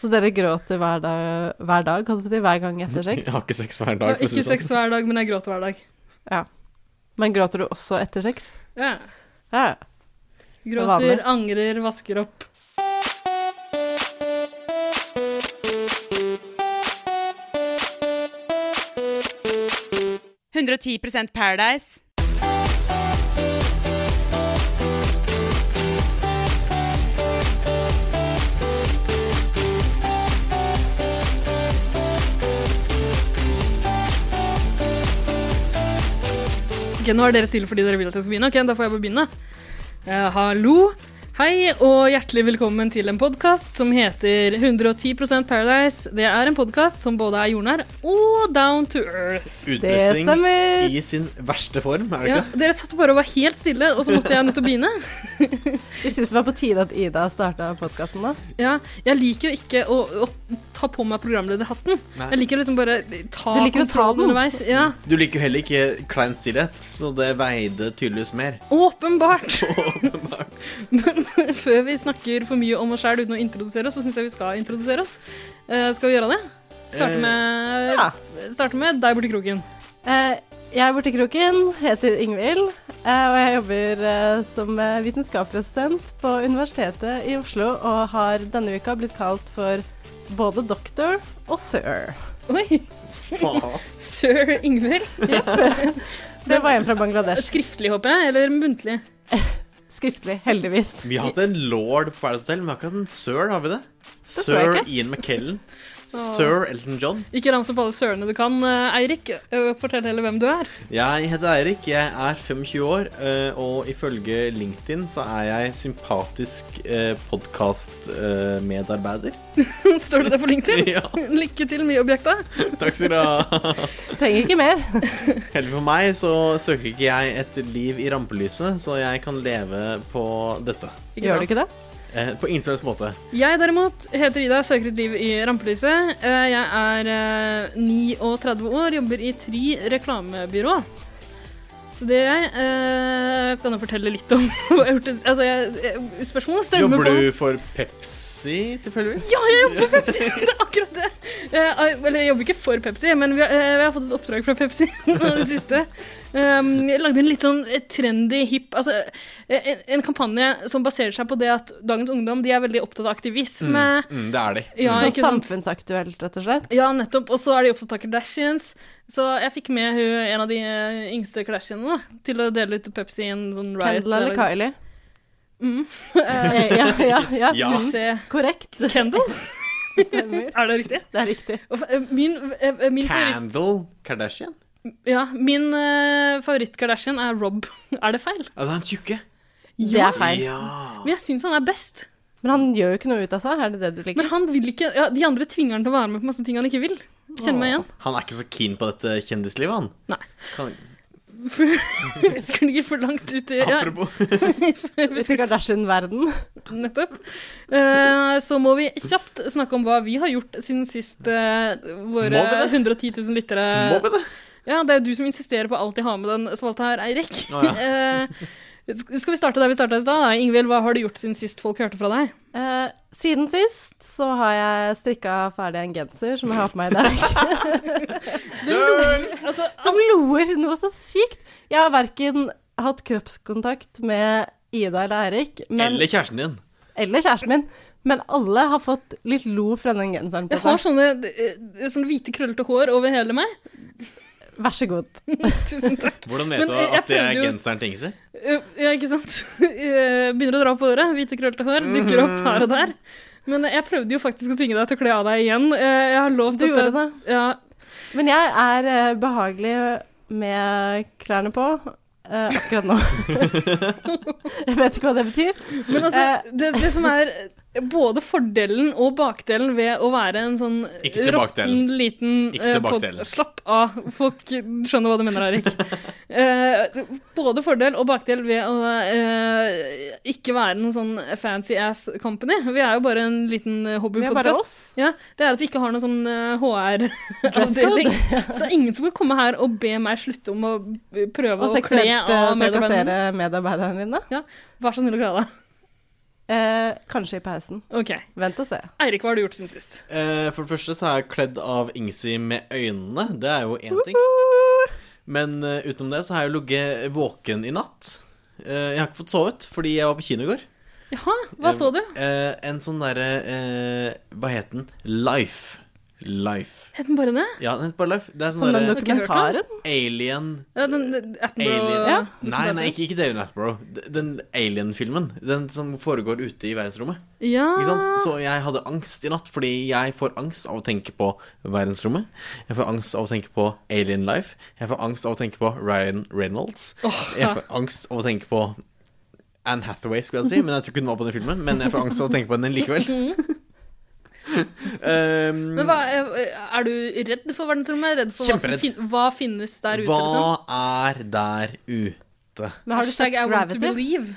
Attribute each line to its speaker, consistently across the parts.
Speaker 1: Så dere gråter hver dag, hver dag, holdt jeg på å si, hver gang etter
Speaker 2: Jeg
Speaker 1: sex?
Speaker 2: har ikke sex hver
Speaker 3: Jeg
Speaker 2: dag,
Speaker 3: har
Speaker 2: for å si
Speaker 3: ikke
Speaker 2: det
Speaker 3: sex
Speaker 2: sånn.
Speaker 3: hver dag, men jeg gråter hver dag.
Speaker 1: Ja. Men gråter du også etter sex?
Speaker 3: Ja.
Speaker 1: Ja. Vanlig.
Speaker 3: Gråter, angrer, vasker opp.
Speaker 4: Paradise.
Speaker 3: Ok, nå er dere stille fordi dere vil at jeg skal begynne. Ok, da får jeg bare begynne. Eh, hallo. Hei, og hjertelig velkommen til en podkast som heter 110 Paradise. Det er en podkast som både er jordnær og down to earth.
Speaker 1: Det
Speaker 2: Utpressing
Speaker 1: stemmer.
Speaker 2: i sin verste form, er det
Speaker 3: Ja,
Speaker 2: ikke?
Speaker 3: dere satt bare og var helt stille, og så måtte jeg nødt til å begynne.
Speaker 1: Vi syns det var på tide at Ida starta podkasten, da.
Speaker 3: Ja, jeg liker jo ikke å, å ta på meg programlederhatten.
Speaker 2: Nei.
Speaker 3: Jeg liker å liksom bare ta
Speaker 1: Du liker å ta
Speaker 3: kontrollen
Speaker 1: den.
Speaker 3: underveis. Ja,
Speaker 2: Du liker jo heller ikke klein stillhet, så det veide tydeligvis mer.
Speaker 3: åpenbart.
Speaker 2: Åpenbart.
Speaker 3: Men før vi snakker for mye om oss sjæl uten å introdusere oss, så syns jeg vi skal introdusere oss. Eh, skal vi gjøre det? Starte
Speaker 2: Eh,
Speaker 3: med,
Speaker 1: Ja.
Speaker 3: starte med deg borti kroken.
Speaker 1: Eh, Jeg er borti kroken, heter Ingvild, eh, og jeg jobber eh, som eh, vitenskapelig assistent på Universitetet i Oslo og har denne uka blitt kalt for både doktor og sir.
Speaker 3: Oi!
Speaker 2: Faen.
Speaker 3: Sir Ingvild.
Speaker 1: Det var en fra Bangladesh.
Speaker 3: Skriftlig, håper jeg, eller muntlig?
Speaker 1: Skriftlig, heldigvis.
Speaker 2: Vi har hatt en lord på Paradise Hotel, men vi har ikke hatt en sir, har vi det?
Speaker 1: tror jeg
Speaker 2: Sir
Speaker 1: ikke.
Speaker 2: Ian McKellen.
Speaker 3: Åh.
Speaker 2: Sir Elton John.
Speaker 3: Ikke rams opp alle sørene du kan, eh, Eirik. Eh, Fortell heller hvem du er.
Speaker 2: Jeg heter Eirik, jeg er 25 år, eh, og ifølge LinkedIn så er jeg sympatisk eh, podkastmedarbeider.
Speaker 3: Står det der på LinkedIn?
Speaker 2: Ja.
Speaker 3: Lykke til med objekta.
Speaker 2: Takk skal du ha.
Speaker 1: Trenger ikke mer.
Speaker 2: Heller for meg så søker ikke jeg et liv i rampelyset, så jeg kan leve på dette.
Speaker 1: Gjør du ikke det?
Speaker 2: Eh, På ingen som helst måte.
Speaker 3: Jeg derimot heter Ida, søker et liv i rampelyset. Eh, Jeg er eh, 39 år, jobber i Try reklamebyrå. Så det gjør jeg. Eh, Kan jeg fortelle litt om hva jeg har gjort? Altså, jeg, jeg- spørsmålet strømmer
Speaker 2: Jobber
Speaker 3: på.
Speaker 2: du for Pepsi, tilfeldigvis?
Speaker 3: Ja, jeg jobber for Pepsi! Det er akkurat det. Eh, Eller jeg jobber ikke for Pepsi, men vi har, eh, vi har fått et oppdrag fra Pepsi det siste. Um, jeg lagde en litt sånn trendy, hip altså, en, en kampanje som baserer seg på det at dagens ungdom de er veldig opptatt av aktivisme.
Speaker 2: Mm, det er de.
Speaker 3: Ja,
Speaker 1: Sånn
Speaker 3: ikke sant?
Speaker 1: samfunnsaktuelt, rett og slett.
Speaker 3: Ja, nettopp. Og så er de opptatt av Kardashians. Så jeg fikk med hun, en av de eh, yngste Kardashianene da, til å dele ut Pepsi i en sånn riot.
Speaker 1: Kendal eller Kylie?
Speaker 3: Mm.
Speaker 1: Eh, Ja, ja, ja.
Speaker 2: Ja.
Speaker 3: Skal vi se
Speaker 1: Korrekt.
Speaker 3: Kendall?
Speaker 1: Stemmer.
Speaker 3: Er det riktig?
Speaker 1: Det er riktig.
Speaker 3: Og fa- eh, Min, eh, eh, min, favoritt,
Speaker 2: Candle Kardashian?
Speaker 3: ja, min eh, favoritt-Kardashian er Rob. Er det feil?
Speaker 2: Ja, det er han tjukke.
Speaker 1: Det er feil.
Speaker 2: Ja.
Speaker 3: Men jeg syns han er best.
Speaker 1: Men han gjør jo ikke noe ut av seg, er det det du liker?
Speaker 3: Men han vil ikke ja, De andre tvinger han til å være med på masse ting han ikke vil. Kjenner meg igjen.
Speaker 2: Han er ikke så keen på dette kjendislivet, han.
Speaker 3: Nei.
Speaker 2: Kan,
Speaker 3: Vi sklir for langt ut i ja,
Speaker 2: apropos.
Speaker 1: Vi skal Kardashian-verden.
Speaker 3: Nettopp. Eh, så må vi kjapt snakke om hva vi har gjort siden sist eh, våre
Speaker 2: Må vi det?
Speaker 3: 110 000 lyttere
Speaker 2: Må vi det?
Speaker 3: Ja, det er jo du som insisterer på alltid ha med den spalta her, Eirik.
Speaker 2: Å, ja.
Speaker 3: Eh, sk- skal vi starte der vi starta i stad? da? Ingvild, hva har du gjort siden sist folk hørte fra deg?
Speaker 1: Eh, siden sist så har jeg strikka ferdig en genser som jeg har på meg i dag.
Speaker 3: Altså,
Speaker 1: Som loer noe så sykt! Jeg har verken hatt kroppskontakt med Ida eller Eirik, men,
Speaker 2: Eller kjæresten din.
Speaker 1: eller kjæresten min, men alle har fått litt lo fra den genseren. på
Speaker 3: jeg har
Speaker 1: seg.
Speaker 3: sånne, eh, sånne hvite, krøllete hår over hele meg.
Speaker 1: Vær så god.
Speaker 3: Tusen takk.
Speaker 2: Hvordan
Speaker 3: Men,
Speaker 2: vet du
Speaker 3: eh, jeg
Speaker 2: at det er
Speaker 3: prøvde jo-
Speaker 2: genseren til Ingsi?
Speaker 3: Eh, Ja, ikke sant? Eh, Begynner å dra på året. Hvite, krøllete hår dukker opp her og
Speaker 2: Mhm.
Speaker 3: der. Men jeg prøvde jo faktisk å tvinge deg til å kle av deg igjen. Eh, Jeg har lovt
Speaker 1: Du
Speaker 3: at
Speaker 1: gjorde
Speaker 3: jeg-
Speaker 1: det.
Speaker 3: Ja,
Speaker 1: Men jeg er eh, behagelig med klærne på eh, akkurat nå. jeg vet ikke hva det betyr.
Speaker 3: Men altså,
Speaker 1: Eh.
Speaker 3: det, det som er både fordelen og bakdelen ved å være en sånn
Speaker 2: Ikke se bakdelen.
Speaker 3: liten
Speaker 2: Ikke se
Speaker 3: eh, pod-
Speaker 2: bakdelen.
Speaker 3: Slapp av, folk skjønner hva du mener, Erik. Eh, både fordel og bakdel ved å eh, ikke være noen sånn fancy ass company. Vi er jo bare en liten
Speaker 1: Vi er bare
Speaker 3: hobbypodkast.
Speaker 1: oss.
Speaker 3: Ja, det er at vi ikke har noen sånn eh, HR-avdeling.
Speaker 1: Dresscode.
Speaker 3: Så det er ingen som vil komme her og be meg slutte om å eh, prøve
Speaker 1: Og
Speaker 3: å kle
Speaker 1: seksuelt eh,
Speaker 3: av medarbeiderne.
Speaker 1: trakassere medarbeiderne dine.
Speaker 3: Vær så snill å kle av deg.
Speaker 1: Eh, kanskje i pausen.
Speaker 3: Ok.
Speaker 1: Vent og se.
Speaker 3: Eirik, hva har du gjort siden sist?
Speaker 2: Eh, for det første så er jeg kledd av Ingsi med øynene. Det er jo én ting. Men eh, utenom det så har jeg jo ligget våken i natt. Eh, jeg har ikke fått sovet fordi jeg var på kino i går.
Speaker 3: Jaha, hva så du?
Speaker 2: Eh, en sånn derre eh, Hva het den? Life. Life.
Speaker 3: Het den bare det?
Speaker 2: Ja, den heter bare Life. Det er
Speaker 1: Som
Speaker 2: sånn
Speaker 1: den
Speaker 2: derre
Speaker 3: dok-
Speaker 1: dokumentaren.
Speaker 2: alien
Speaker 3: Ja, den, den
Speaker 2: Alien.
Speaker 3: Attenborough
Speaker 1: Ja.
Speaker 2: Nei, nei, ikke, ikke David Attenborough. D- Den alien-filmen. Den som foregår ute i verdensrommet.
Speaker 3: Ja.
Speaker 2: Ikke sant? Så jeg hadde angst i natt, fordi jeg får angst av å tenke på verdensrommet. Jeg får angst av å tenke på Alien Life. Jeg får angst av å tenke på Ryan Reynolds.
Speaker 3: Åh,
Speaker 2: Jeg får angst av å tenke på Anne Hathaway, skulle jeg si. Men jeg tror ikke hun var på den filmen. Men jeg får angst av å tenke på henne likevel. Um,
Speaker 3: Men hva, eh, er du redd for verdensrommet? Redd for hva, som
Speaker 2: Kjemperedd.
Speaker 3: fin hva finnes der ute? liksom?
Speaker 2: hva er der ute?
Speaker 1: Men har du sett
Speaker 3: Hashtag I want to
Speaker 1: Gravity?
Speaker 3: believe.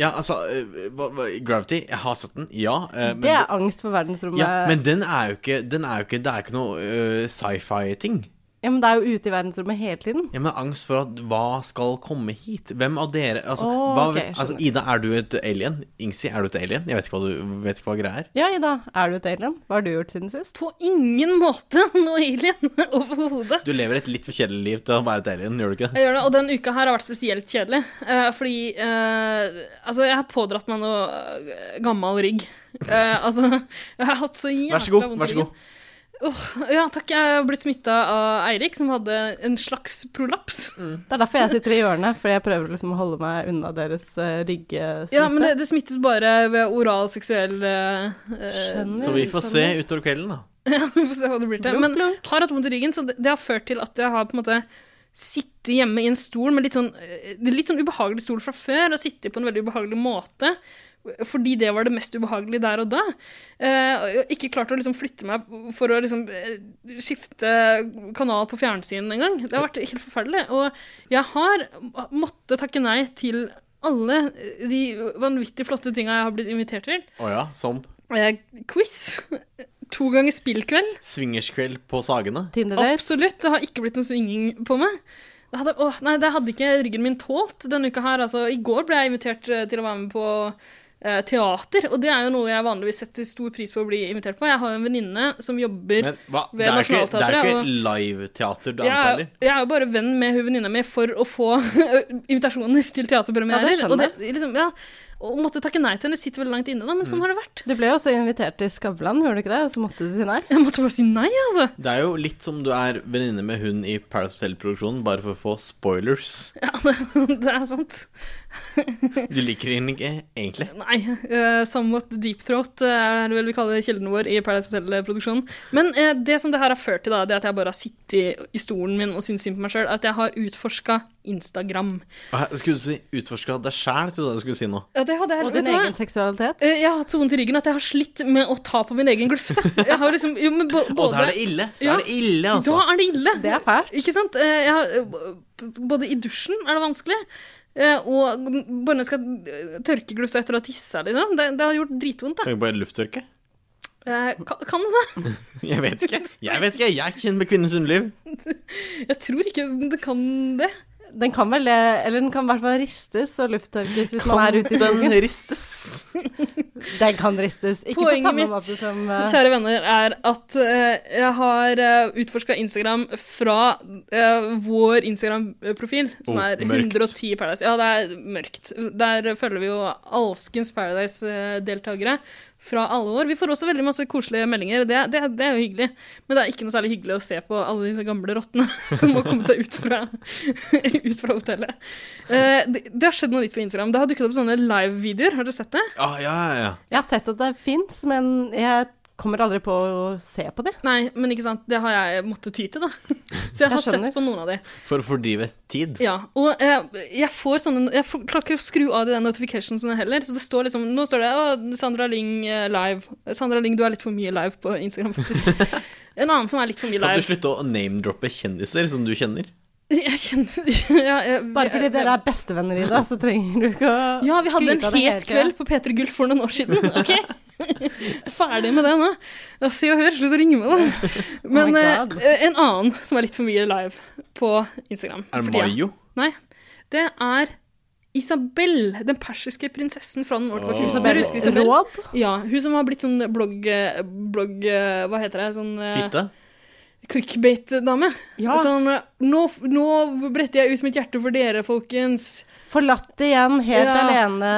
Speaker 2: Ja, altså eh, hva, hva, Gravity, jeg har sett den, ja. eh, men
Speaker 1: Det er angst for verdensrommet.
Speaker 2: ja, men den er jo ikke, den er jo ikke Det er ikke noe eh, sci-fi-ting.
Speaker 1: Ja, men det er jo ute i verdensrommet hele tiden.
Speaker 2: Ja, men angst for at hva skal komme hit? Hvem av dere altså,
Speaker 1: Åh,
Speaker 2: hva,
Speaker 1: ok, skjønner.
Speaker 2: altså Ida, er du et alien? Ingsi, er du et alien? Jeg vet ikke hva, du, vet ikke hva greia er.
Speaker 1: Ja, Ida, er du et alien? Hva har du gjort siden sist?
Speaker 3: På ingen måte noe alien overhodet.
Speaker 2: Du lever et litt for kjedelig liv til å være et alien, gjør du ikke? det?
Speaker 3: Jeg gjør det, og den uka her har vært spesielt kjedelig. eh, fordi eh, altså, jeg har pådratt meg noe eh, gammel rygg. Eh, altså, jeg har hatt så jævla
Speaker 2: Vær så god.
Speaker 3: vondt i
Speaker 2: vær så
Speaker 3: ryggen.
Speaker 2: god
Speaker 3: Ja, takk. Jeg har blitt smitta av Eirik, som hadde en slags prolaps.
Speaker 1: Det er derfor jeg sitter i hjørnet, for jeg prøver liksom å holde meg unna deres uh, ryggesmitte.
Speaker 3: Ja, men det, det smittes bare ved oral seksuell eh, eh,
Speaker 1: Skjønner.
Speaker 2: Så vi får se utover kvelden, da.
Speaker 3: Vi får se hva det blir til.
Speaker 1: Blunk,
Speaker 3: Men har hatt vondt i ryggen, så det, det har ført til at jeg har på en måte sittet hjemme i en stol med litt sånn, eh, det er litt sånn ubehagelig stol fra før, og sittet på en veldig ubehagelig måte. Fordi det var det mest ubehagelige der og da. Eh, og jeg har ikke klart å liksom flytte meg for å liksom eh, skifte kanal på fjernsyn engang. Det har vært helt forferdelig. Og jeg har måttet takke nei til alle de vanvittig flotte tinga jeg har blitt invitert til.
Speaker 2: Å ja, som
Speaker 3: Eh, quiz. To ganger spillkveld.
Speaker 2: swingerskveld på Sagene.
Speaker 1: Tinder-date.
Speaker 3: Absolutt. Det har ikke blitt noe svinging på meg. Det hadde, åh, nei, det hadde ikke ryggen min tålt denne uka her. Altså, I går ble jeg invitert eh, til å være med på eh, teater, og det er jo noe jeg vanligvis setter stor pris på å bli invitert på. Jeg har jo en venninne som jobber
Speaker 2: Men hva?
Speaker 3: Ved
Speaker 2: Det er jo ikke, det er jo
Speaker 3: Nationaltheatret,
Speaker 2: ikke liveteater du
Speaker 3: jeg, er-
Speaker 2: anbefaler.
Speaker 3: jeg er jo bare venn med hun venninna mi for å få invitasjoner til
Speaker 1: Ja,
Speaker 3: teaterpremierer.
Speaker 1: det skjønner
Speaker 3: og det, liksom, ja, og måtte takke nei til henne. Sitter veldig langt inne, da, men
Speaker 2: Mm.
Speaker 3: sånn har det vært.
Speaker 1: Du ble jo også invitert til Skavlan, gjorde du ikke det? Og så måtte du si nei.
Speaker 3: Jeg måtte bare si nei, altså.
Speaker 2: Det er jo litt som du er venninne med hun i Paris Hotel-produksjonen, bare for å få spoilers.
Speaker 3: Det er sant.
Speaker 2: Du liker henne ikke egentlig.
Speaker 3: Nei. eh, somewhat deep throat eh, er det vel vi kaller kilden vår i Paradise Hotel-produksjonen. Men eh, det som det her har ført til, da, det er at jeg bare har sittet i- i stolen min og syntes synd på meg sjøl, at jeg har utforska Instagram.
Speaker 2: Hva, Skulle du si 'utforska deg sjæl', trodde jeg du skulle si nå.
Speaker 3: Ja, det hadde jeg,
Speaker 1: Og din
Speaker 3: vet du hva?
Speaker 1: egen seksualitet.
Speaker 3: Eh, Jeg har hatt så vondt i ryggen at jeg har slitt med å ta på min egen glufse. Jeg har liksom, jo, men bo-
Speaker 2: Og da
Speaker 3: både,
Speaker 2: er det ille! Da
Speaker 3: Ja.
Speaker 2: er det ille, altså.
Speaker 3: da er det ille.
Speaker 1: Det er fælt.
Speaker 3: Ikke sant? Eh, Jeg, har- eh, b- både i dusjen er det vanskelig, eh, og bare når jeg skal eh, tørke glussa etter å ha tissa, liksom. Det, det har gjort dritvondt, da.
Speaker 2: Kan vi bare lufttørke?
Speaker 3: Eh, Kan, kan det det?
Speaker 2: Jeg vet ikke. Jeg vet ikke, jeg kjenner med kvinnens underliv.
Speaker 3: Jeg tror ikke det kan det.
Speaker 1: Den kan vel det, eller den kan i hvert fall ristes og lufttørkes hvis man er ute i
Speaker 2: Den
Speaker 1: skogen.
Speaker 2: ristes.
Speaker 1: Den kan ristes. Ikke
Speaker 3: Poenget
Speaker 1: på samme
Speaker 3: mitt,
Speaker 1: måte som eh,
Speaker 3: Kjære venner, er at eh, jeg har uh, utforska Instagram fra eh, vår Instagram-profil, som
Speaker 2: Oh,
Speaker 3: er
Speaker 2: mørkt.
Speaker 3: 110 Paradise. Ja, det er mørkt. Der følger vi jo alskens Paradise-deltakere fra alle år. Vi får også veldig masse koselige meldinger, det, det, det er jo hyggelig. Men det er ikke noe særlig hyggelig å se på alle disse gamle rottene som må komme seg ut fra, ut fra hotellet. Eh, det, det har skjedd noe nytt på Instagram. Det har dukket opp sånne live-videoer, har dere sett det?
Speaker 2: Ja, ja, ja, ja.
Speaker 1: Jeg har sett at det fins, men jeg kommer aldri på å se på det.
Speaker 3: Nei, men ikke sant, det har jeg måttet ty til, da. Så jeg har
Speaker 1: skjønner.
Speaker 3: sett på noen av de.
Speaker 2: For å fordrive tid.
Speaker 3: Ja, Og eh, jeg får sånne Jeg får, klarer ikke å skru av de der notificationsene heller. Så det står liksom Nå står det å, 'Sandra Lyng eh, live'. Sandra Lyng, du er litt for mye live på Instagram, faktisk. En annen som er litt for mye
Speaker 2: Kan du
Speaker 3: live.
Speaker 2: slutte å name-droppe kjendiser som du kjenner?
Speaker 3: Jeg kjenner ja, jeg-
Speaker 1: Bare fordi
Speaker 3: jeg-
Speaker 1: dere er bestevenner, Ida, så trenger du ikke å
Speaker 3: Ja, vi hadde en
Speaker 1: skryte av det
Speaker 3: het
Speaker 1: hele tiden.
Speaker 3: kveld på P3 Gull for noen år siden. Ok? Ferdig med det nå. Ja, se og hør, slutt å ringe meg, da. Men
Speaker 1: Oh my
Speaker 3: eh,
Speaker 1: God.
Speaker 3: en annen som er litt for mye live på Instagram.
Speaker 2: Er det
Speaker 3: fordi-
Speaker 2: Mayo?
Speaker 3: Nei. Det er Isabel, den persiske prinsessen fra den årte
Speaker 2: Åh.
Speaker 3: oh.
Speaker 2: Isabel
Speaker 3: Isabel. Isabel.
Speaker 1: Råd?
Speaker 3: Ja, hun som har blitt sånn blogg... blogg hva heter det? Sånn eh,
Speaker 2: Fitte?
Speaker 3: clickbait-dame.
Speaker 1: Ja.
Speaker 3: Sånn nå, nå bretter jeg ut mitt hjerte for dere, folkens.
Speaker 1: Forlatt igjen, helt
Speaker 3: Ja.
Speaker 1: alene,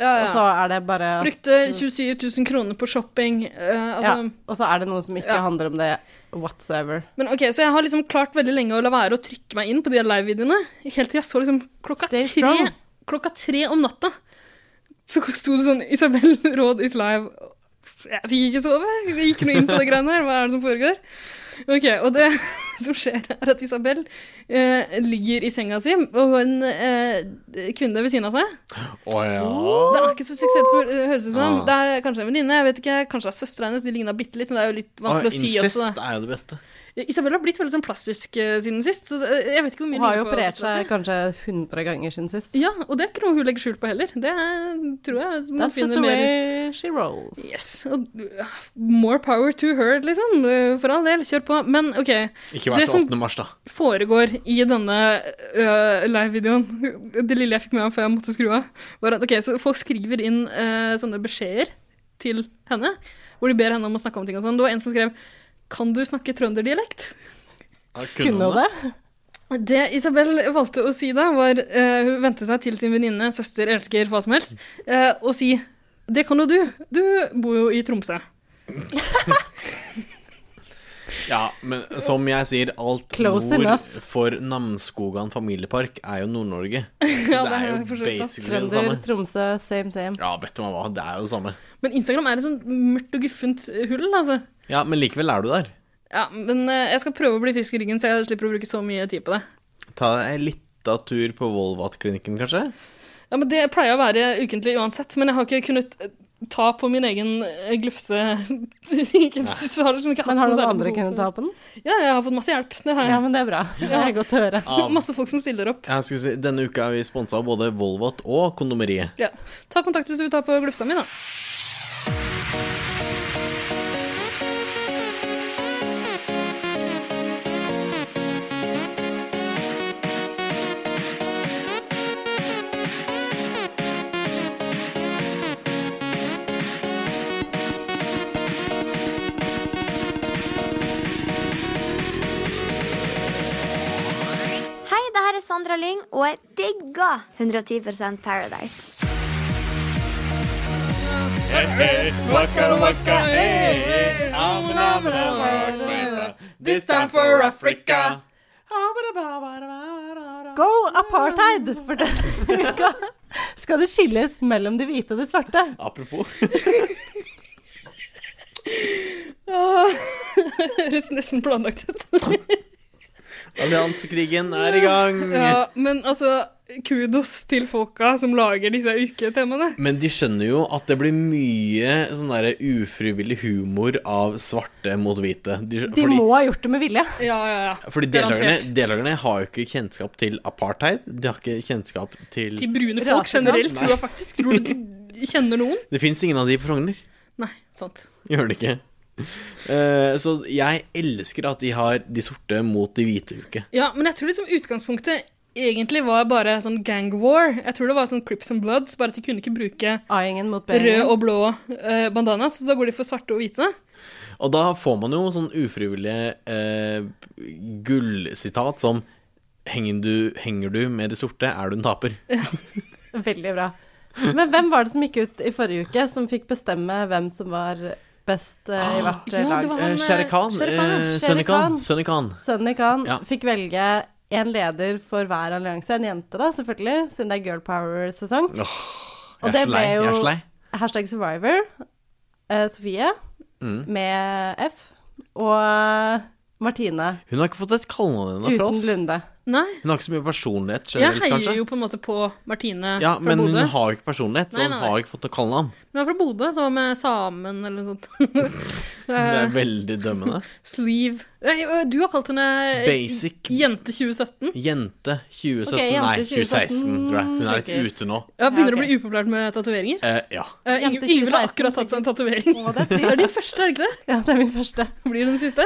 Speaker 3: Ja,
Speaker 1: og så
Speaker 3: ja.
Speaker 1: er det bare at-
Speaker 3: Brukte 27 000 kroner på shopping. eh,
Speaker 1: ja,
Speaker 3: altså,
Speaker 1: Og så er det noe som ikke
Speaker 3: Ja.
Speaker 1: handler om det whatsoever.
Speaker 3: Men ok, Så jeg har liksom klart veldig lenge å la være å trykke meg inn på de der live-videoene. Helt til jeg så liksom klokka
Speaker 1: Stay
Speaker 3: tre,
Speaker 1: strong.
Speaker 3: klokka tre om natta. Så sto det sånn 'Isabel Råd is live'. Jeg fikk ikke sove. Jeg gikk noe inn på det greiene her. Hva er det som foregår? Ok, Og det som skjer, er at Isabel eh, ligger i senga si, og en eh, kvinne ved siden av seg
Speaker 2: Å ja.
Speaker 3: Det er ikke så seksuelt som det høres ut som.
Speaker 2: Ah.
Speaker 3: Det er kanskje en venninne, jeg vet ikke, kanskje det er søstera hennes. De ligna bitte litt, men det er jo litt
Speaker 2: Å,
Speaker 3: vanskelig å si
Speaker 2: Ah, incest
Speaker 3: også. da.
Speaker 2: er jo det beste.
Speaker 3: Isabel har blitt veldig sånn plastisk eh, siden sist, så eh, jeg vet ikke hvor mye
Speaker 1: Hun har jo
Speaker 3: ligner på
Speaker 1: operert
Speaker 3: søstera
Speaker 1: seg
Speaker 3: si.
Speaker 1: kanskje 100 ganger siden sist.
Speaker 3: Ja, og det er ikke noe hun legger skjul på heller. Det er, tror jeg man
Speaker 1: That's just
Speaker 3: finner
Speaker 1: the
Speaker 3: mer
Speaker 1: way she rolls.
Speaker 3: Yes. Og, uh, more power to her, liksom. Uh, For all del, kjør på. Men OK,
Speaker 2: Ikke
Speaker 3: Det
Speaker 2: vær til
Speaker 3: som-
Speaker 2: 8. mars, da.
Speaker 3: foregår i denne uh, live-videoen Det lille jeg fikk med meg før jeg måtte skru av, var at ok, så folk skriver inn uh, sånne beskjeder til henne, hvor de ber henne om å snakke om ting og sånn. Det var en som skrev Kan du snakke trønderdialekt?
Speaker 2: Ja,
Speaker 1: Kunne hun det?
Speaker 3: Det Isabel valgte å si da, var eh, Hun ventet seg til sin venninne, søster, elsker, hva som helst, eh, og si Det kan jo du. Du bor jo i Tromsø.
Speaker 2: Ja, men som jeg sier, alt
Speaker 1: Close
Speaker 2: nord
Speaker 1: enough.
Speaker 2: for Namsskogan familiepark er jo Nord-Norge.
Speaker 3: Ja,
Speaker 2: det
Speaker 3: det
Speaker 2: er jo
Speaker 3: har jeg for så vidt sagt.
Speaker 2: basically det
Speaker 1: Trønder,
Speaker 2: samme.
Speaker 1: Tromsø, same, same.
Speaker 2: Ja, vet du hva, det er jo det samme.
Speaker 3: Men Instagram er et sånt mørkt og guffent hull, altså.
Speaker 2: Ja, men likevel er du der.
Speaker 3: Ja, men eh, jeg skal prøve å bli frisk i ryggen, så jeg slipper å bruke så mye tid på det.
Speaker 2: Ta deg en lita tur på Volvat-klinikken, kanskje?
Speaker 3: Ja, men Det pleier å være ukentlig uansett, men jeg har ikke kunnet eh, ta på min egen eh, glufse. Ikke- så har jeg liksom ikke hatt
Speaker 1: Men har
Speaker 3: noe
Speaker 1: noen
Speaker 3: særlig
Speaker 1: andre
Speaker 3: behov
Speaker 1: kunnet
Speaker 3: for-
Speaker 1: ta på den?
Speaker 3: Ja, jeg har fått masse hjelp. Det har
Speaker 1: Ja,
Speaker 3: jeg.
Speaker 1: men det er bra. Det er godt å høre.
Speaker 2: Av-
Speaker 3: Masse folk som stiller opp.
Speaker 2: Jeg skulle si, Denne uka er vi sponsa av både Volvat og Kondomeriet.
Speaker 3: Ja. Ta kontakt hvis du vil ta på glufsa mi, da.
Speaker 5: Hei, det her er Sandra Lyng, og jeg digger 110 Paradise.
Speaker 3: This time for Africa.
Speaker 1: Go apartheid! For denne uka skal det skilles mellom de hvite og de svarte.
Speaker 2: Apropos.
Speaker 3: Åh, Høres nesten planlagt ut.
Speaker 2: Alliansekrigen er i gang.
Speaker 3: Ja, men altså, kudos til folka som lager disse uketemaene.
Speaker 2: Men de skjønner jo at det blir mye sånn der ufrivillig humor av svarte mot hvite. De, skjø-
Speaker 1: De
Speaker 2: fordi,
Speaker 1: må ha gjort det med vilje.
Speaker 3: Ja, ja, ja.
Speaker 2: fordi deltakerne,
Speaker 3: Garantert.
Speaker 2: deltakerne har jo ikke kjennskap til apartheid. De har ikke kjennskap til
Speaker 3: Til brune folk
Speaker 1: Rasekamp?
Speaker 3: generelt, tror jeg faktisk. Tror du de kjenner noen?
Speaker 2: Det fins ingen av de på Frogner.
Speaker 3: Nei, sant.
Speaker 2: Gjør det ikke? Eh, så jeg elsker at de har de sorte mot de hvite uke.
Speaker 3: Ja, men jeg tror liksom utgangspunktet egentlig var bare sånn gang war. Jeg tror det var sånn Crips and Bloods, bare at de kunne ikke bruke
Speaker 1: A-gjengen mot
Speaker 3: rød
Speaker 1: B-gjengen.
Speaker 3: og blå eh, bandana, så da går de for svarte og hvite.
Speaker 2: Og da får man jo sånn ufrivillige eh, gullsitat som henger du, henger du med de sorte, er du en taper.
Speaker 1: Veldig bra. Men hvem var det som gikk ut i forrige uke, som fikk bestemme hvem som var best eh, i hvert eh,
Speaker 3: Ja, det
Speaker 1: lag?
Speaker 3: var
Speaker 2: Eh,
Speaker 3: han
Speaker 2: Shere Khan.
Speaker 1: Shere Khan,
Speaker 2: eh,
Speaker 1: Shere
Speaker 2: Sunny Khan.
Speaker 1: Khan.
Speaker 2: Sunny Khan.
Speaker 1: Sunny Khan
Speaker 2: Ja.
Speaker 1: fikk velge en leder for hver allianse. En jente, da, selvfølgelig, siden det er girl power-sesong.
Speaker 2: Jeg
Speaker 1: Og
Speaker 2: er
Speaker 1: det
Speaker 2: så
Speaker 1: ble
Speaker 2: lei, Jeg er
Speaker 1: jo
Speaker 2: så lei.
Speaker 1: Hashtag Survivor. eh, Sofie
Speaker 2: Mm.
Speaker 1: med F. Og Martine
Speaker 2: Hun har ikke fått et kallenavn ennå fra
Speaker 1: uten
Speaker 2: oss.
Speaker 1: Lunde.
Speaker 3: Nei,
Speaker 2: Hun har ikke så mye personlighet
Speaker 3: jeg
Speaker 2: generelt,
Speaker 3: heier
Speaker 2: kanskje.
Speaker 3: jo på en måte på Martine
Speaker 2: Ja,
Speaker 3: fra
Speaker 2: men hun
Speaker 3: Bodø.
Speaker 2: har jo ikke personlighet, så
Speaker 3: Nei,
Speaker 2: hun
Speaker 3: nei, nei.
Speaker 2: har ikke fått noe kallenavn.
Speaker 3: Hun er fra Bodø, så var med samen eller noe sånt.
Speaker 2: Det
Speaker 3: Eh,
Speaker 2: er veldig dømmende.
Speaker 3: Sleeve Nei, ø, du har kalt henne eh,
Speaker 2: Basic
Speaker 3: Jente 2017.
Speaker 2: jente 2017.
Speaker 1: Ok, jente
Speaker 2: Nei, 2016,
Speaker 1: 2016,
Speaker 2: tror jeg. Hun er litt
Speaker 1: tenker.
Speaker 2: ute nå.
Speaker 3: Ja, begynner
Speaker 1: Ja, ok.
Speaker 3: å bli upopulært med tatoveringer.
Speaker 2: Eh, ja.
Speaker 3: Uh,
Speaker 1: Jente
Speaker 3: Ingvild har
Speaker 1: 2016,
Speaker 3: akkurat tatt seg en tatovering.
Speaker 1: Å, det er
Speaker 3: Det er
Speaker 1: trist.
Speaker 3: din første, er det ikke det?
Speaker 1: Ja, det er min første.
Speaker 3: Blir det den siste?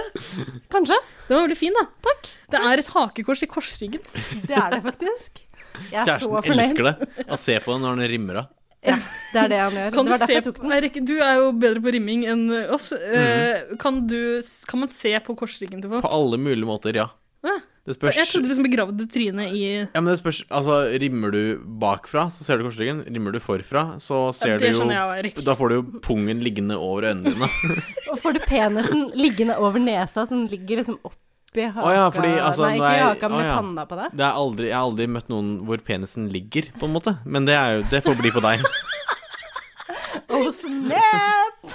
Speaker 1: Kanskje.
Speaker 3: Den var veldig fin, da.
Speaker 1: Takk.
Speaker 3: Det er et hakekors i korsryggen.
Speaker 1: Det er det faktisk. Jeg er så
Speaker 2: Kjæresten
Speaker 1: fornøyd.
Speaker 2: elsker det. Han ser på det når han rimmer av.
Speaker 1: Ja, det er det han gjør.
Speaker 3: Kan
Speaker 1: det
Speaker 3: du,
Speaker 1: var derfor
Speaker 3: se,
Speaker 1: jeg tok den.
Speaker 3: nei, Rikke, du er jo bedre på rimming enn oss. Eh, Kan, du, kan man se på korsryggen til folk?
Speaker 2: Mhm. På alle mulige måter, ja.
Speaker 3: Ja.
Speaker 2: Det
Speaker 3: For
Speaker 2: spørs
Speaker 3: Jeg trodde du liksom begravde trynet i
Speaker 2: Ja, men det spørs Altså, rimmer du bakfra, så ser du korsryggen. Rimmer du forfra, så ser
Speaker 3: Ja, det
Speaker 2: du jo
Speaker 3: skjønner jeg, Erik.
Speaker 2: Da får du jo pungen liggende over øynene dine.
Speaker 1: Og får du penisen liggende over nesa, som ligger liksom oppi haka
Speaker 2: ja, fordi, altså,
Speaker 1: Nei,
Speaker 2: nå
Speaker 1: ikke
Speaker 2: er-
Speaker 1: i haka, men
Speaker 2: å, ja.
Speaker 1: i panna på deg.
Speaker 2: Det er aldri, jeg har aldri møtt noen hvor penisen ligger, på en måte. Men det, er jo, det får bli på deg.
Speaker 1: Oh, snap!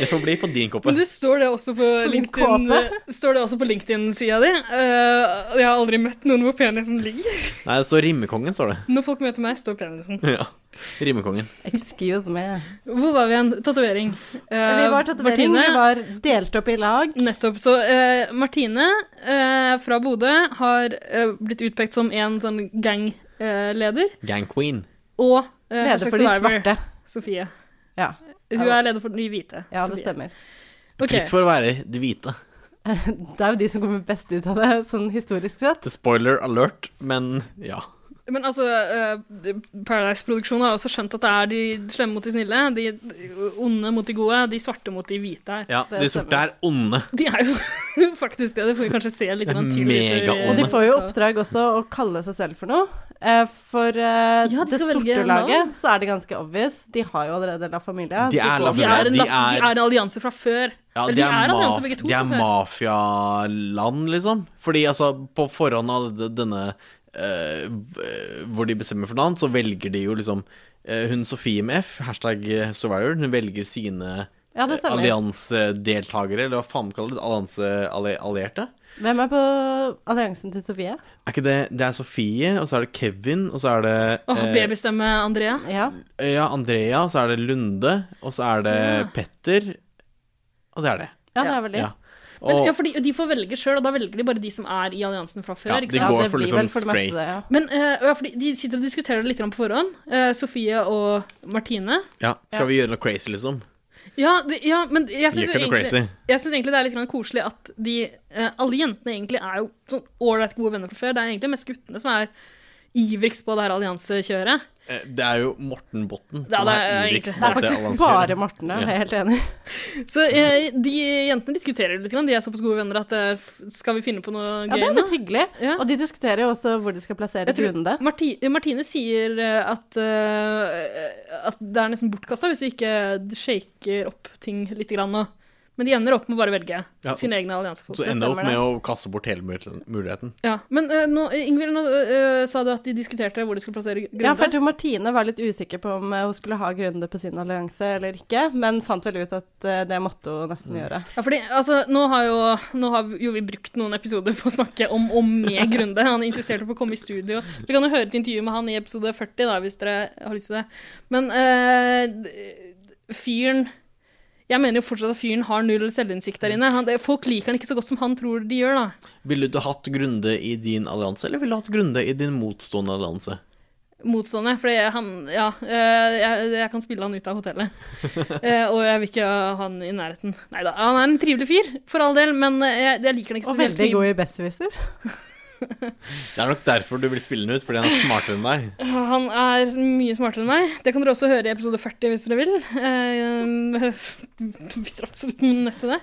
Speaker 2: Det får bli på din koppe.
Speaker 3: Men du står det også på
Speaker 1: min
Speaker 3: LinkedIn,
Speaker 1: kåpe.
Speaker 3: eh, står det også på LinkedIn-sida di. Eh, jeg har aldri møtt noen hvor penisen ligger.
Speaker 2: Nei, det står Rimmekongen, står det.
Speaker 3: Når folk møter meg, står penisen.
Speaker 2: Ja. Rimmekongen.
Speaker 1: Excuse me.
Speaker 3: Hvor var vi igjen? Tatovering. Eh,
Speaker 1: Vi var tatovering,
Speaker 3: Martine-
Speaker 1: vi var delt opp i lag.
Speaker 3: Nettopp. Så eh, Martine eh, fra Bodø har eh, blitt utpekt som en sånn gangleder.
Speaker 2: Gang queen.
Speaker 3: og uh,
Speaker 1: Leder for de svarte.
Speaker 3: Sofie.
Speaker 1: Ja,
Speaker 3: Hun er leder for de hvite.
Speaker 1: ja det
Speaker 3: Sofie.
Speaker 1: stemmer.
Speaker 3: Ok.
Speaker 2: Fritt for å være de hvite.
Speaker 1: Det er jo de som kommer best ut av det, sånn historisk sett.
Speaker 2: Det er spoiler alert, men ja.
Speaker 3: Men altså, eh, Paradise-produksjonen har også skjønt at det er de slemme mot de snille, de onde mot de gode, de svarte mot de hvite her.
Speaker 2: ja
Speaker 1: Det
Speaker 2: de sorte
Speaker 1: stemmer.
Speaker 2: er onde.
Speaker 3: De er jo faktisk det, det får vi kanskje se litt
Speaker 2: Det er
Speaker 3: grann tidlig ut i-
Speaker 2: megaonde.
Speaker 1: Og de får jo oppdrag også å kalle seg selv for noe. Eh, For eh,
Speaker 3: Ja, de
Speaker 1: det
Speaker 3: skal velge
Speaker 1: sorte
Speaker 3: navn.
Speaker 1: laget, så er det ganske obvious. De har jo allerede La Familia.
Speaker 2: De er La
Speaker 1: går-
Speaker 3: De er, en,
Speaker 2: De
Speaker 3: la-
Speaker 2: er-
Speaker 3: de er en allianse fra før.
Speaker 2: Ja,
Speaker 3: Eller
Speaker 2: de er,
Speaker 3: allianse
Speaker 2: maf
Speaker 3: begge to.
Speaker 2: de
Speaker 3: fra
Speaker 2: er
Speaker 3: før.
Speaker 2: mafialand, liksom. Fordi altså, på forhånd av det- denne eh, v- Hvor de bestemmer for navn, så velger de jo liksom eh, Hun Sofie med F, hashtag eh, survivor, hun velger sine
Speaker 1: Ja, det
Speaker 2: eh,
Speaker 1: stemmer.
Speaker 2: alliansedeltakere, eller hva faen kaller de det? Allianseallierte?
Speaker 1: Hvem er på alliansen til Sofie?
Speaker 2: Er ikke det Det er Sofie, og så er det Kevin, og så er det
Speaker 3: Åh,
Speaker 2: eh,
Speaker 3: babystemme Andrea.
Speaker 1: Ja.
Speaker 2: ja, Andrea, og så er det Lunde, og så er det Petter. Og det er det.
Speaker 1: ja, det er vel de.
Speaker 2: Ja.
Speaker 3: Men,
Speaker 2: Og
Speaker 3: ja, fordi de får velge sjøl, og da velger de bare de som er i alliansen fra før.
Speaker 2: Ja,
Speaker 3: ikke
Speaker 2: de
Speaker 3: sant?
Speaker 2: går
Speaker 1: det
Speaker 2: for
Speaker 1: blir
Speaker 2: liksom
Speaker 1: vel det meste
Speaker 2: straight.
Speaker 1: det, ja.
Speaker 3: Men eh, ja, fordi de sitter og diskuterer det litt grann på forhånd, eh, Sofie og Martine.
Speaker 2: ja, skal vi gjøre noe crazy, liksom?
Speaker 3: Ja, det, ja men jeg syns
Speaker 2: Gjør
Speaker 3: jo
Speaker 2: ikke noe
Speaker 3: egentlig,
Speaker 2: crazy.
Speaker 3: jeg synes egentlig det er litt grann koselig at de, eh, alle jentene egentlig er jo sånn ålreit gode venner fra før. Det er egentlig mest guttene som er ivrigst på det her alliansekjøret.
Speaker 2: Eh, Det er jo Morten Botten
Speaker 3: Ja,
Speaker 2: som
Speaker 3: det
Speaker 2: er
Speaker 3: er
Speaker 2: Ibriks
Speaker 3: egentlig-
Speaker 1: Det er
Speaker 2: bak det
Speaker 1: faktisk
Speaker 2: alliansekjøret.
Speaker 1: bare Morten, ja.
Speaker 2: Ja.
Speaker 1: Jeg er helt enig.
Speaker 3: Så eh, de jentene diskuterer litt, grann. de er såpass gode venner at eh, f- skal vi finne på noe
Speaker 1: Ja, det
Speaker 3: gøy
Speaker 1: er
Speaker 3: nå?
Speaker 1: litt hyggelig.
Speaker 3: Ja.
Speaker 1: Og de diskuterer jo også hvor de skal plassere
Speaker 3: Jeg tror-
Speaker 1: Grunde.
Speaker 3: Marti, Martine sier eh, at, eh, at det er nesten bortkasta hvis vi ikke shaker opp ting litt grann nå. Men de ender opp med å bare velge
Speaker 2: Ja, og-
Speaker 3: sine egne alliansefolk.
Speaker 2: Så ender jeg opp
Speaker 1: stemmer,
Speaker 2: med å kaste bort hele mul- muligheten.
Speaker 3: Ja, men eh, nå, Ingvild, nå eh, sa du at de diskuterte hvor de skulle plassere Grunde.
Speaker 1: Ja, for jeg tror Martine var litt usikker på om eh, hun skulle ha Grunde på sin allianse eller ikke, men fant vel ut at eh, det måtte hun
Speaker 2: Mm.
Speaker 1: nesten gjøre.
Speaker 3: Ja, fordi, altså, nå, har jo, nå har jo vi brukt noen episoder på å snakke om og med Grunde. Han er interessert på å komme i studio. Dere kan jo høre et intervju med han i episode 40, da, hvis dere har lyst til det. Men eh, d- fyren Jeg mener jo fortsatt at fyren har null selvinnsikt der inne. Han, det, folk liker han ikke så godt som han tror de gjør, da.
Speaker 2: Ville du hatt Grunde i din allianse, eller ville du hatt Grunde i din motstående allianse?
Speaker 3: Motstående. Fordi han Ja, eh, jeg, jeg kan spille han ut av hotellet. Eh, og jeg vil ikke ha han i nærheten. Nei da. Han er en trivelig fyr, for all del, men eh, jeg, jeg liker han ikke
Speaker 1: Og
Speaker 3: spesielt
Speaker 1: veldig
Speaker 3: mye.
Speaker 1: god i Besserwisser.
Speaker 2: Det er nok derfor du vil spille den ut, fordi han er smartere enn deg.
Speaker 3: Han er mye smartere enn meg. Det kan dere også høre i episode 40 hvis dere vil. Eh, hvis dere absolutt er nødt til det.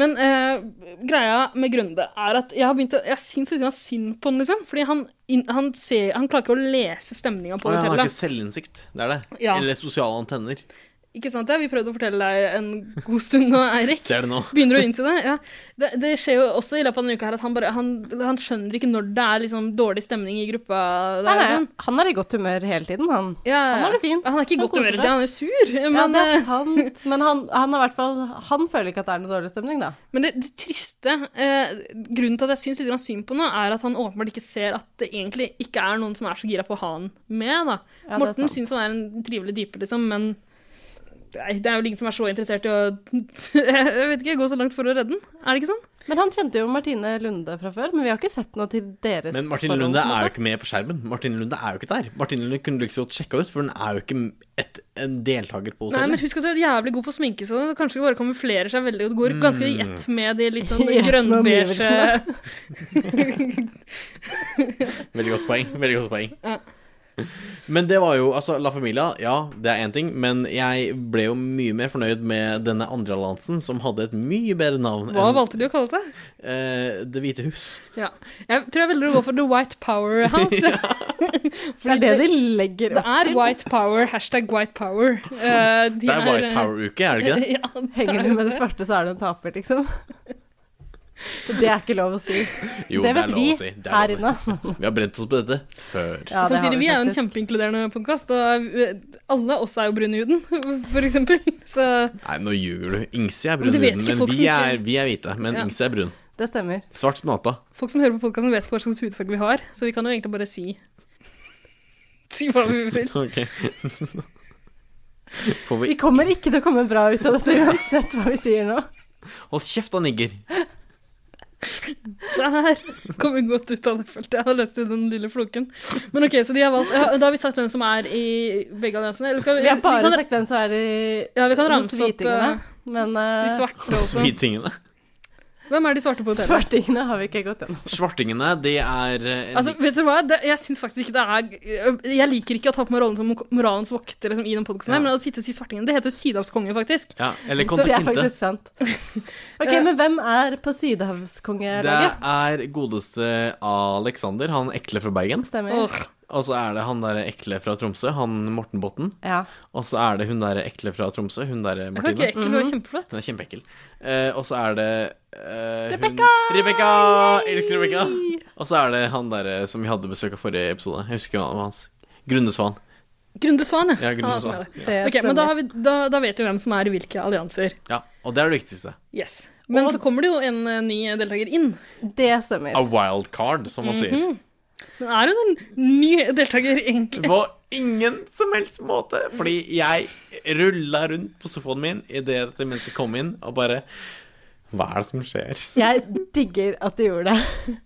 Speaker 3: Men eh, greia med Grunde er at jeg har begynt å Jeg syns litt grann synd på han, liksom. Fordi han, inn- han, ser, han klarer ikke å lese stemninga på
Speaker 2: Å, ja, han har
Speaker 3: hotellet.
Speaker 2: ikke selvinnsikt, det er det.
Speaker 3: Ja.
Speaker 2: Eller sosiale antenner.
Speaker 3: Ikke sant? Det? Vi prøvde å fortelle deg en god stund nå, Eirik.
Speaker 2: Ser det nå.
Speaker 3: Begynner å innse det? Ja. Det, det skjer jo også i løpet av denne uka her at han, bare, han, han skjønner ikke når det er liksom dårlig stemning i gruppa. Der,
Speaker 1: Nei,
Speaker 3: og
Speaker 1: nei,
Speaker 3: sånn.
Speaker 1: han er i godt humør hele tiden, han.
Speaker 3: Ja,
Speaker 1: Han har det fint.
Speaker 3: Han er ikke i
Speaker 1: Han
Speaker 3: godt
Speaker 1: koser
Speaker 3: humør,
Speaker 1: seg.
Speaker 3: han er sur. Men,
Speaker 1: Ja, det
Speaker 3: eh,
Speaker 1: er sant, men han, han, har i hvert fall, han føler ikke at det er noe dårlig stemning, da.
Speaker 3: Men det, det triste eh, Grunnen til at jeg syns litt grann synd på ham, er at han åpenbart ikke ser at det egentlig ikke er noen som er så gira på å ha han med. Da.
Speaker 1: Ja, det er
Speaker 3: Morten
Speaker 1: sant.
Speaker 3: syns han er en trivelig type, liksom, men nei, det er jo ingen som er så interessert i å Jeg vet ikke, gå så langt for å redde den. Er det ikke sånn?
Speaker 1: Men han kjente jo Martine Lunde fra før, men vi har ikke sett noe til deres
Speaker 2: Men Martin
Speaker 1: forhold,
Speaker 2: Lunde
Speaker 1: på en
Speaker 2: er jo
Speaker 1: måte.
Speaker 2: ikke med på skjermen. Martin Lunde er jo ikke der. Martin Lunde kunne du ikke så godt sjekka ut, for hun er jo ikke et, en deltaker på
Speaker 3: Nei, men
Speaker 2: hotellet.
Speaker 3: Husk at du er jævlig god på å sminke, så kanskje du bare kamuflerer seg veldig og du går
Speaker 2: Mm.
Speaker 3: ganske i ett med de litt sånn
Speaker 1: I ett med
Speaker 3: grønnbeige
Speaker 1: omgivelsene.
Speaker 2: Veldig godt poeng. Veldig godt poeng. Men det var jo altså La Familia, ja, det er én ting, men jeg ble jo mye mer fornøyd med denne andre alliansen, som hadde et mye bedre navn
Speaker 3: Hva
Speaker 2: enn
Speaker 3: valgte de å kalle seg?
Speaker 2: eh, Det hvite hus.
Speaker 3: Ja. Jeg tror jeg velger å gå for The White Power House.
Speaker 1: For det er det de legger
Speaker 3: Det
Speaker 1: opp
Speaker 3: er
Speaker 1: til.
Speaker 3: White Power. Hashtag White Power. Eh, de
Speaker 2: Det er White Power-uke, er det ikke det?
Speaker 3: Ja, det
Speaker 1: Henger
Speaker 3: er
Speaker 1: du
Speaker 3: jo
Speaker 1: med det
Speaker 3: det.
Speaker 1: svarte, så er du en taper, liksom. Det er ikke lov å si.
Speaker 2: Jo,
Speaker 1: det
Speaker 2: er
Speaker 1: vet
Speaker 2: lov
Speaker 1: vi
Speaker 2: å si, det er
Speaker 1: her
Speaker 2: lov å si.
Speaker 1: inne.
Speaker 2: Vi har brent oss på dette før.
Speaker 1: Ja, det har
Speaker 3: Samtidig, vi er jo en
Speaker 1: faktisk.
Speaker 3: kjempeinkluderende podkast, og eh, alle oss er jo brune i huden, for eksempel. Så
Speaker 2: Nei, nå ljuger du. Ingsi er
Speaker 3: Men
Speaker 2: brun
Speaker 3: det
Speaker 2: i
Speaker 3: vet
Speaker 2: huden,
Speaker 3: ikke
Speaker 2: men
Speaker 3: folk
Speaker 2: vi
Speaker 3: som ikke-
Speaker 2: er, vi er hvite. Men
Speaker 3: Ja.
Speaker 2: Ingsi er brun.
Speaker 1: Det stemmer.
Speaker 2: Svart som natta.
Speaker 3: folk som hører på podkasten, vet hva slags hudfarge vi har, så vi kan jo egentlig bare si Si hva vi vil.
Speaker 2: Ok. Får vi
Speaker 1: Vi kommer ikke til å komme bra ut av dette uansett hva vi sier nå.
Speaker 2: Hold kjeft, da, nigger.
Speaker 3: Så her kom vi godt ut av det, følte jeg. Da løste vi den lille floken. Men ok, så de har valgt ja, Da har vi sagt hvem som er i begge alliansene. Eller skal vi,
Speaker 1: Vi har bare
Speaker 3: vi kan,
Speaker 1: sagt hvem som er de
Speaker 3: Ja, vi kan
Speaker 1: de
Speaker 3: ramse opp,
Speaker 1: svitingene,
Speaker 3: eh,
Speaker 1: Men
Speaker 3: de
Speaker 1: eh,
Speaker 3: svarte også.
Speaker 2: Svitingene.
Speaker 3: Hvem er de svarte på hotellet?
Speaker 1: svartingene har vi ikke gått gjennom.
Speaker 2: Svartingene, det er eh,
Speaker 3: Altså, vet du hva? Det, jeg syns faktisk ikke det er Jeg liker ikke å ta på meg rollen som moralens vokter liksom, i den podkasten,
Speaker 2: Ja.
Speaker 3: men å sitte og si svartingen Det heter sydhavskonge, faktisk.
Speaker 2: ja, Eller
Speaker 1: Det
Speaker 3: Så-
Speaker 1: er
Speaker 2: Conte Kinte.
Speaker 1: faktisk sant. Ok, men hvem er på
Speaker 2: Det
Speaker 1: Sydhavskongelaget?
Speaker 2: er godeste Alexander, han ekle fra Bergen.
Speaker 1: Stemmer.
Speaker 3: Åh,
Speaker 2: Og så er det han der ekle fra Tromsø, han Morten Botten.
Speaker 1: Ja.
Speaker 2: Og så er det hun der ekle fra Tromsø, hun der
Speaker 3: jeg var
Speaker 2: Martine.
Speaker 3: ikke Mhm. ekkel, du er kjempeflott.
Speaker 2: Hun er kjempeekkel. Eh, og så er det eh, hun-
Speaker 1: Rebecca!
Speaker 2: Rebecca! Elsker Rebecca! Og så er det han derre som vi hadde besøk av forrige episode. Jeg husker ikke hva han var hans. Grundesvan.
Speaker 3: Grunde Svan, ja.
Speaker 2: Ja,
Speaker 3: Han er
Speaker 2: Grunde
Speaker 3: også
Speaker 2: Svan.
Speaker 3: med der.
Speaker 1: Det
Speaker 3: Ok, men da, har vi, da, da vet vi hvem som er i hvilke allianser.
Speaker 2: Ja, og det er det viktigste.
Speaker 3: Yes. Men
Speaker 1: Og-
Speaker 3: så kommer det jo en eh, ny deltaker inn.
Speaker 1: Det stemmer.
Speaker 2: A wild card, som man
Speaker 3: Mhm.
Speaker 2: sier.
Speaker 3: Men er hun en ny deltaker, egentlig?
Speaker 2: På ingen som helst måte. Fordi jeg rulla rundt på sofaen min idet dette mennesket kom inn, og bare Hva er det som skjer?
Speaker 1: Jeg digger at du gjorde det.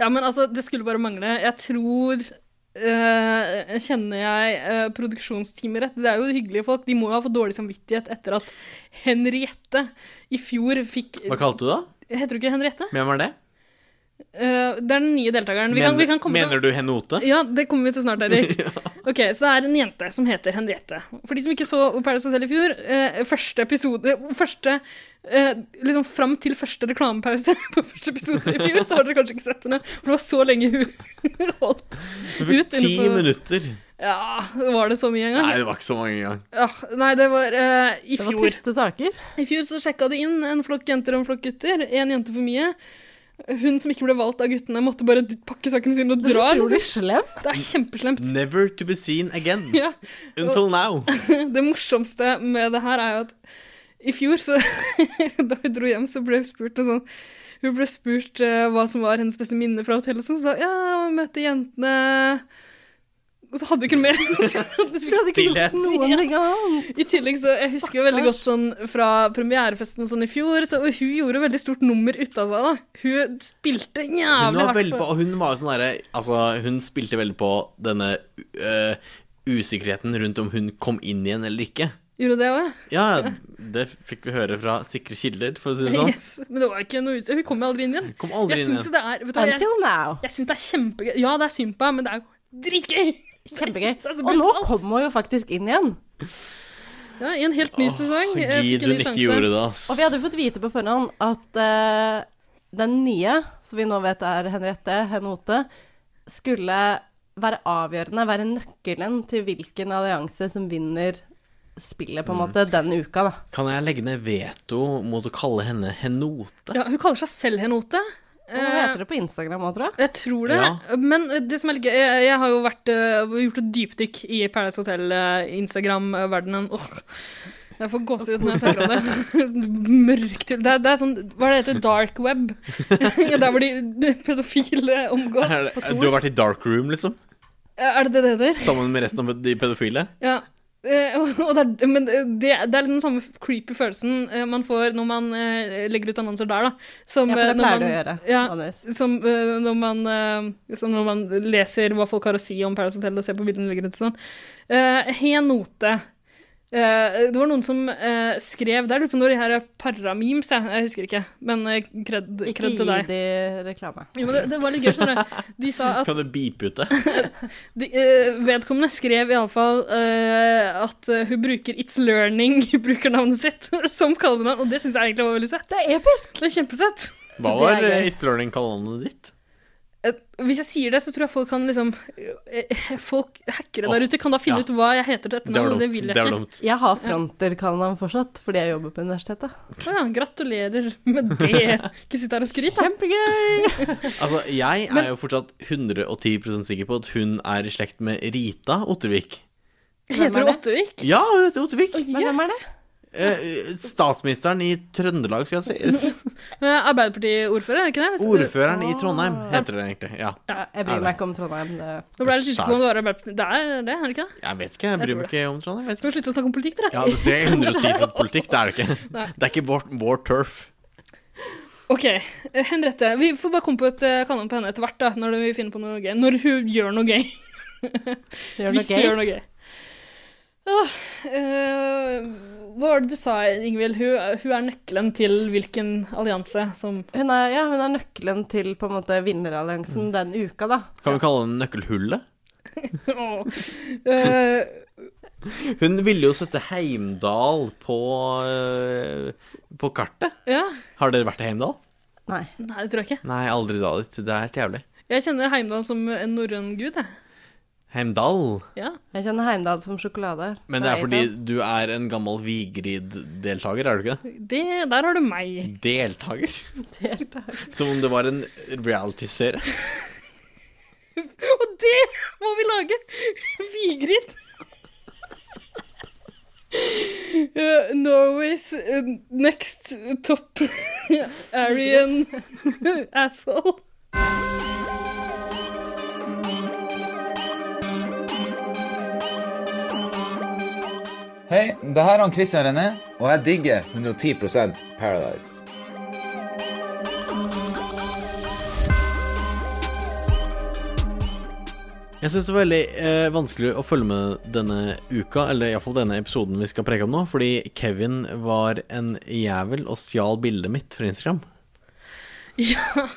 Speaker 3: Ja, men altså, det skulle bare mangle. Jeg tror eh, kjenner jeg eh, produksjonsteamet rett? Det er jo hyggelige folk. De må jo ha fått dårlig samvittighet etter at Henriette i fjor fikk
Speaker 2: Hva kalte du det?
Speaker 3: Heter du ikke Henriette?
Speaker 2: Hvem er det?
Speaker 3: Eh, det er den nye deltakeren. Vi kan, vi kan komme til-
Speaker 2: mener du Henote?
Speaker 3: Ja, det kommer vi til snart, Erik. Ok, Så det er en jente som heter Henriette. For de som ikke så Paradise Hotel i fjor, eh, første episode første, eh, liksom Fram til første reklamepause på første episode i fjor, så har dere kanskje ikke sett henne. For det var så lenge hun holdt ut.
Speaker 2: Ti
Speaker 3: innenfor-
Speaker 2: minutter.
Speaker 3: Ja, var det så mye en gang?
Speaker 2: Nei, det var ikke så mange engang.
Speaker 3: Ja, nei, det var eh, i
Speaker 1: Det var
Speaker 3: fjor.
Speaker 1: triste saker.
Speaker 3: I fjor så sjekka de inn en flokk jenter og en flokk gutter. Én jente for mye. Hun som ikke ble valgt av guttene, måtte bare pakke sakene sine og
Speaker 1: Det
Speaker 3: dra.
Speaker 1: er utrolig
Speaker 3: Liksom.
Speaker 1: slem.
Speaker 3: Det er kjempeslemt.
Speaker 2: Never to be seen again.
Speaker 3: Ja.
Speaker 2: Until now.
Speaker 3: Det morsomste med det her er jo at i fjor, så, da hun dro hjem, så ble hun spurt noe sånn Hun ble spurt eh, hva som var hennes beste minne fra hotellet, så hun sa ja, hun møtte jentene Og så hadde hun ikke noe mer. Så hun hadde
Speaker 1: Du hadde ikke
Speaker 2: Stillhet.
Speaker 1: gjort noen ting annet.
Speaker 3: I tillegg så, Jeg husker jo veldig godt sånn fra premierefesten og sånn i fjor, så og hun gjorde veldig stort nummer ut av seg. da. Hun spilte
Speaker 2: Hun
Speaker 3: jævlig
Speaker 2: var
Speaker 3: hardt.
Speaker 2: veldig på, og hun var jo sånn derre Altså, hun spilte veldig på denne øh, usikkerheten rundt om hun kom inn igjen eller ikke.
Speaker 3: Gjorde det også,
Speaker 2: Ja, det fikk vi høre fra sikre kilder, for å si det
Speaker 3: ja.
Speaker 2: sånn.
Speaker 3: Yes. Men det var ikke noe ut... Hun kom jo aldri inn igjen.
Speaker 2: Kom aldri
Speaker 3: Jeg
Speaker 2: inn
Speaker 3: syns
Speaker 2: igjen.
Speaker 3: jo det er vet du, hva, jeg,
Speaker 1: Until now.
Speaker 3: jeg synes det er kjempegøy. Ja, det er synd på henne, men det er jo dritgøy!
Speaker 1: Kjempegøy.
Speaker 3: Det er så
Speaker 1: Og nå
Speaker 3: brutalt.
Speaker 1: kom hun jo faktisk inn igjen.
Speaker 3: Ja, I en helt ny sesong. eh, fikk
Speaker 2: Gid
Speaker 3: en ny
Speaker 2: hun ikke
Speaker 3: sjanse.
Speaker 2: gjorde det, ass.
Speaker 1: Og vi hadde jo fått vite på forhånd at eh, den nye, som vi nå vet er Henriette Henote, skulle være avgjørende, være nøkkelen til hvilken allianse som vinner spillet, på en måte, den uka, da.
Speaker 2: Kan jeg legge ned veto mot å kalle henne Henote?
Speaker 3: Ja, hun kaller seg selv Henote.
Speaker 1: Og Hva
Speaker 3: Eh,
Speaker 1: heter det på Instagram òg, tror jeg?
Speaker 3: Jeg tror det.
Speaker 2: Ja.
Speaker 3: Men eh, det som er litt gøy Jeg, jeg har jo vært, eh, gjort et dypdykk i Paradise Hotel-Instagram-verdenen. Åh, Jeg får gåsehud når jeg snakker om det. Mørkt hull. Det, er- det er sånn Hva er det heter? Dark web? Ja, Der hvor de de pedofile omgås.
Speaker 2: Er det,
Speaker 3: på Tor.
Speaker 2: du har vært i dark room, liksom?
Speaker 3: Er det det det heter?
Speaker 2: Sammen med resten av de pedofile?
Speaker 3: Ja. Eh, og det er, men det, det er litt den samme creepy følelsen eh, man får når man eh, legger ut annonser der, da. Som,
Speaker 1: Ja, for
Speaker 3: eh,
Speaker 1: det
Speaker 3: når
Speaker 1: pleier du å
Speaker 3: man-
Speaker 1: gjøre.
Speaker 3: Ja,
Speaker 1: vanligvis.
Speaker 3: som, eh, når man, eh, som når man leser hva folk har å si om Paradise Hotel og ser på bildene de legger ut og sånn. Uh, Henote. Eh, det var noen som eh, skrev der, lurer på når de her er paramemes, jeg, jeg husker ikke, men eh, kred,
Speaker 1: Ikke
Speaker 3: kred
Speaker 1: gi
Speaker 3: til deg.
Speaker 1: de reklame.
Speaker 3: Jo, men det, det var litt gøy, skjønner du. De sa at
Speaker 2: Kan du beepe ut det?
Speaker 3: de, eh, vedkommende skrev iallfall uh, at eh, hun bruker It's Learning, brukernavnet sitt, som kallenavn, og det syns jeg egentlig var veldig søtt.
Speaker 1: Det er episk!
Speaker 3: Det er kjempesøtt.
Speaker 1: Det
Speaker 2: Hva
Speaker 1: er
Speaker 2: var eh,
Speaker 1: gøy.
Speaker 2: It's Learning-kalenderen ditt?
Speaker 3: Eh, Hvis jeg sier det, så tror jeg folk kan liksom eh, Folk, hackere
Speaker 2: Åh,
Speaker 3: der ute, kan da finne
Speaker 2: ja.
Speaker 3: ut hva jeg heter til
Speaker 2: Det var
Speaker 3: etternavn, og det
Speaker 2: dumt. Det
Speaker 3: vil jeg
Speaker 2: var
Speaker 3: ikke.
Speaker 2: dumt.
Speaker 1: Jeg har fronterkallenavn fortsatt, fordi jeg jobber på universitetet.
Speaker 3: Å ja, gratulerer med det. Ikke sitt her og skryt, da.
Speaker 1: Kjempegøy!
Speaker 2: Altså, jeg er jo fortsatt 110 sikker på at hun er i slekt med Rita Ottervik.
Speaker 1: Hvem er
Speaker 3: Heter du
Speaker 1: det?
Speaker 3: Ottervik?
Speaker 2: Ja, hun heter Ottervik!
Speaker 3: Å,
Speaker 1: Men hvem er
Speaker 3: jøss.
Speaker 2: Eh, statsministeren i Trøndelag, skal jeg si.
Speaker 3: Eh, Arbeiderparti-ordfører, er det ikke det? Hvis-
Speaker 2: Ordføreren i Trondheim, heter det egentlig. Ja.
Speaker 1: Ja, Jeg bryr meg ikke om Trondheim. Det.
Speaker 3: Nå ble jeg litt usikker på om det var Arbeiderpartiet. Det er det, er det ikke det?
Speaker 2: Jeg vet ikke, jeg bryr
Speaker 3: tror
Speaker 2: meg ikke om Trondheim. Jeg vet ikke.
Speaker 3: Skal vi slutte å snakke om politikk, dere?
Speaker 2: Ja, det er 110 politikk, det er det ikke.
Speaker 3: Nei.
Speaker 2: Det er ikke vår, vår turf.
Speaker 3: Ok, eh, Henriette. Vi får bare komme på et eh, kallenavn på henne etter hvert, da, når vi finner på noe gøy. Når hun gjør noe gøy.
Speaker 1: Gjør
Speaker 3: Hvis
Speaker 1: det
Speaker 3: hun gjør
Speaker 1: gøy.
Speaker 3: noe gøy. Åh, eh, hva var det du sa, Ingvild? Hun, er- hun er nøkkelen til hvilken allianse som
Speaker 1: Hun er, ja, hun er nøkkelen til på en måte vinneralliansen
Speaker 3: Mm.
Speaker 1: den uka, da.
Speaker 2: Kan vi kalle den nøkkelhullet?
Speaker 3: Åh. Eh,
Speaker 2: Hun ville jo sette Heimdal på, eh, på kartet.
Speaker 3: Ja.
Speaker 2: Har dere vært i Heimdal?
Speaker 1: Nei.
Speaker 3: Nei, det tror jeg ikke.
Speaker 2: Nei, aldri da dit. Det er helt jævlig.
Speaker 3: Jeg kjenner Heimdal som en norrøn gud, jeg.
Speaker 2: Heimdal.
Speaker 3: Ja.
Speaker 1: Jeg kjenner Heimdal som sjokolade.
Speaker 2: Men det er
Speaker 1: Nei,
Speaker 2: fordi
Speaker 1: da.
Speaker 2: du er en gammel Vigrid-deltaker, er du ikke det?
Speaker 3: Det, der har du meg.
Speaker 2: Deltaker?
Speaker 1: Helt ærlig.
Speaker 2: Som om det var en reality-serie.
Speaker 3: Og det må vi lage! Vigrid. Eh, Norway's eh, next top Aryan asshole.
Speaker 6: Hei, det her er han Christian René, og jeg digger 110 Paradise.
Speaker 2: Jeg syns det var veldig eh, vanskelig å følge med denne uka, eller iallfall denne episoden vi skal preke om nå, fordi Kevin var en jævel og stjal bildet mitt fra Instagram.
Speaker 3: Ja.